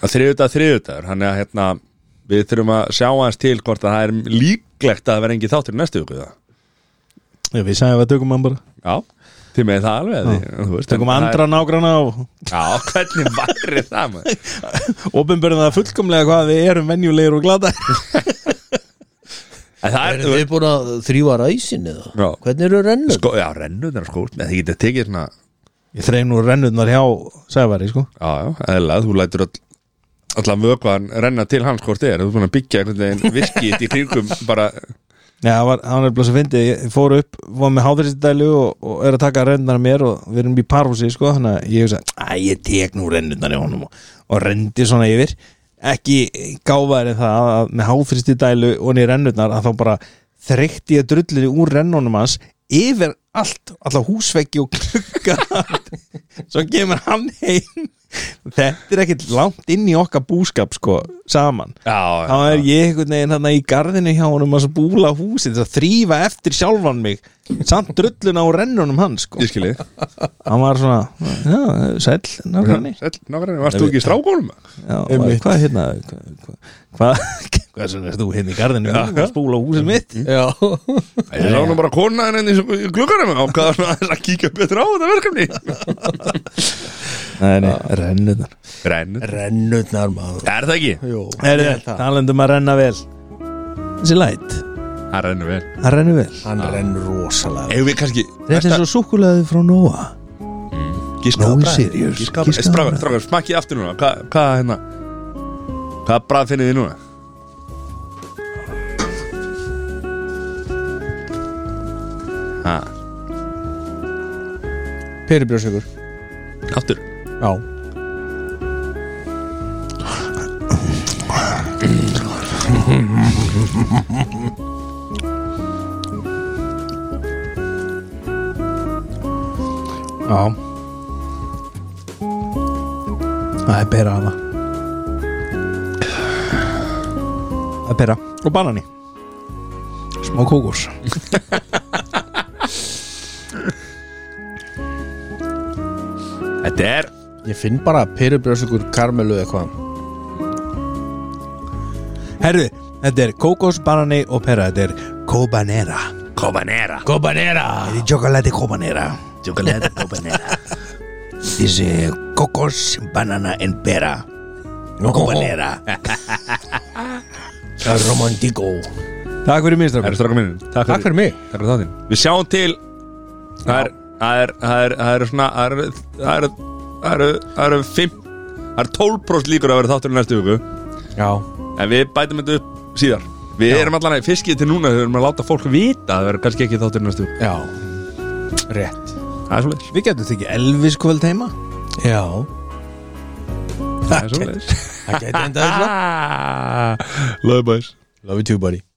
S2: Á þriðudag þriðudagur Þannig að hérna Við þurfum að sjá aðeins til hvort að það er líklegt að það vera engi þáttur í næstu viku það
S3: Já, við sagðum að tökum hann bara
S2: Já, þið með það alveg því, þú veist, en
S3: Tökum
S2: það er-
S3: andra nágrana og
S2: Já, hvernig væri það maður?
S3: Opinberðum það fullkomlega hvað við erum venjulegir og glada
S2: En það er,
S1: Erum við búin að þrýfa ræsin eða?
S2: Já.
S1: Hvernig eru rennur?
S2: sko, já, rennunar sko Það getið tekið svona
S3: Ég þreif nú rennurnar hjá Sævari, sko
S2: Já, já, eðlilega, þú lætur all, allan vökvan renna til hans hvort þið er Þú er búin að byggja einhvern veginn virkið í kringum bara
S3: Já, það var, hann er bara svo fyndið, ég fór upp var með háðrýstdælu og, og er að taka rennar mér og við erum í parhúsi, sko þannig að ég hugsa, að ég tek nú rennurnar í honum og, og rendi svona yfir ekki gáfaðir en það að með háðrýstdælu og niður rennurnar að þá bara þreykti ég drullinni úr rennunum hans yfir allt, alltaf húsveggi og klukka svo kemur hann heim þetta er ekkit langt inn í okkar búskap, sko, saman
S2: Já,
S3: þá er ég einhvern veginn hann í garðinu hjá honum að svo búla húsin að þrýfa eftir sjálfan mig samt drulluna og rennunum hans sko.
S2: ég skilji
S3: hann var svona, já, sæll nákvæmni,
S2: Sæll, nákvæmlega, varst þú ekki í strákónum?
S3: já, hvað hvað er hérna hvað, hvað, hvað, hvað sem er þú hérna í garðinu já, að spúla húsin mitt
S1: Já,
S2: Ég sá nú bara konaðin enn í glugganum og hvað var það að kíkja betur á þetta verkefni
S3: nei, nei, rennunar
S2: Rennu
S1: rennurnar maður
S2: Er það ekki?
S1: Jó,
S3: er
S1: ég held
S3: þetta, talendum að renna vel þessi læt,
S2: Það rennur vel
S3: hann rennur vel
S1: Hann rennur rosalega
S2: Ef við kannski
S3: þetta er svo súkulaði frá Nóa
S2: Gíska
S3: Nói Sirius, giskaðu á bragð.
S2: Eh, Strákar, smakkið aftur núna Hvað, hvað hérna Hvað brað finnið þið núna? Ha,
S1: Peribrjósökur
S2: aftur
S1: Já
S3: já það er pera hana það er pera og banani smá kókurs
S2: Þetta er
S1: Ég finn bara peribrjósökur karmelu eitthvað
S3: herðu, þetta er kókos, banani og pera þetta er kobanera
S2: Cobanera
S1: Gobanera
S3: þetta er chocolate kobanera
S2: Chocolate Cobanera
S3: this is kókos, banana and pera kobanera
S1: Romantico
S3: takk fyrir minnstrakar
S2: Erðu strákar minn
S1: Takk fyrir mig
S2: Takk fyrir þáttinn Við sjáum til Það er það er, það er, það er svona það eru- það eru það eru- það eru fimm- það eru 12% líkur að vera þáttur í næstu viku
S1: Já,
S2: en við bætum þetta upp síðar við erum allan að fiskið til núna við erum að láta fólk vita að það verður kannski ekki þáttur í næstu viku
S1: já Rétt
S2: það er svolítið
S3: Við getum tekið Elvis kvöld heima
S1: Já,
S2: það er svolítið
S1: það geti enda þessu
S2: Love boys
S1: Love you too buddy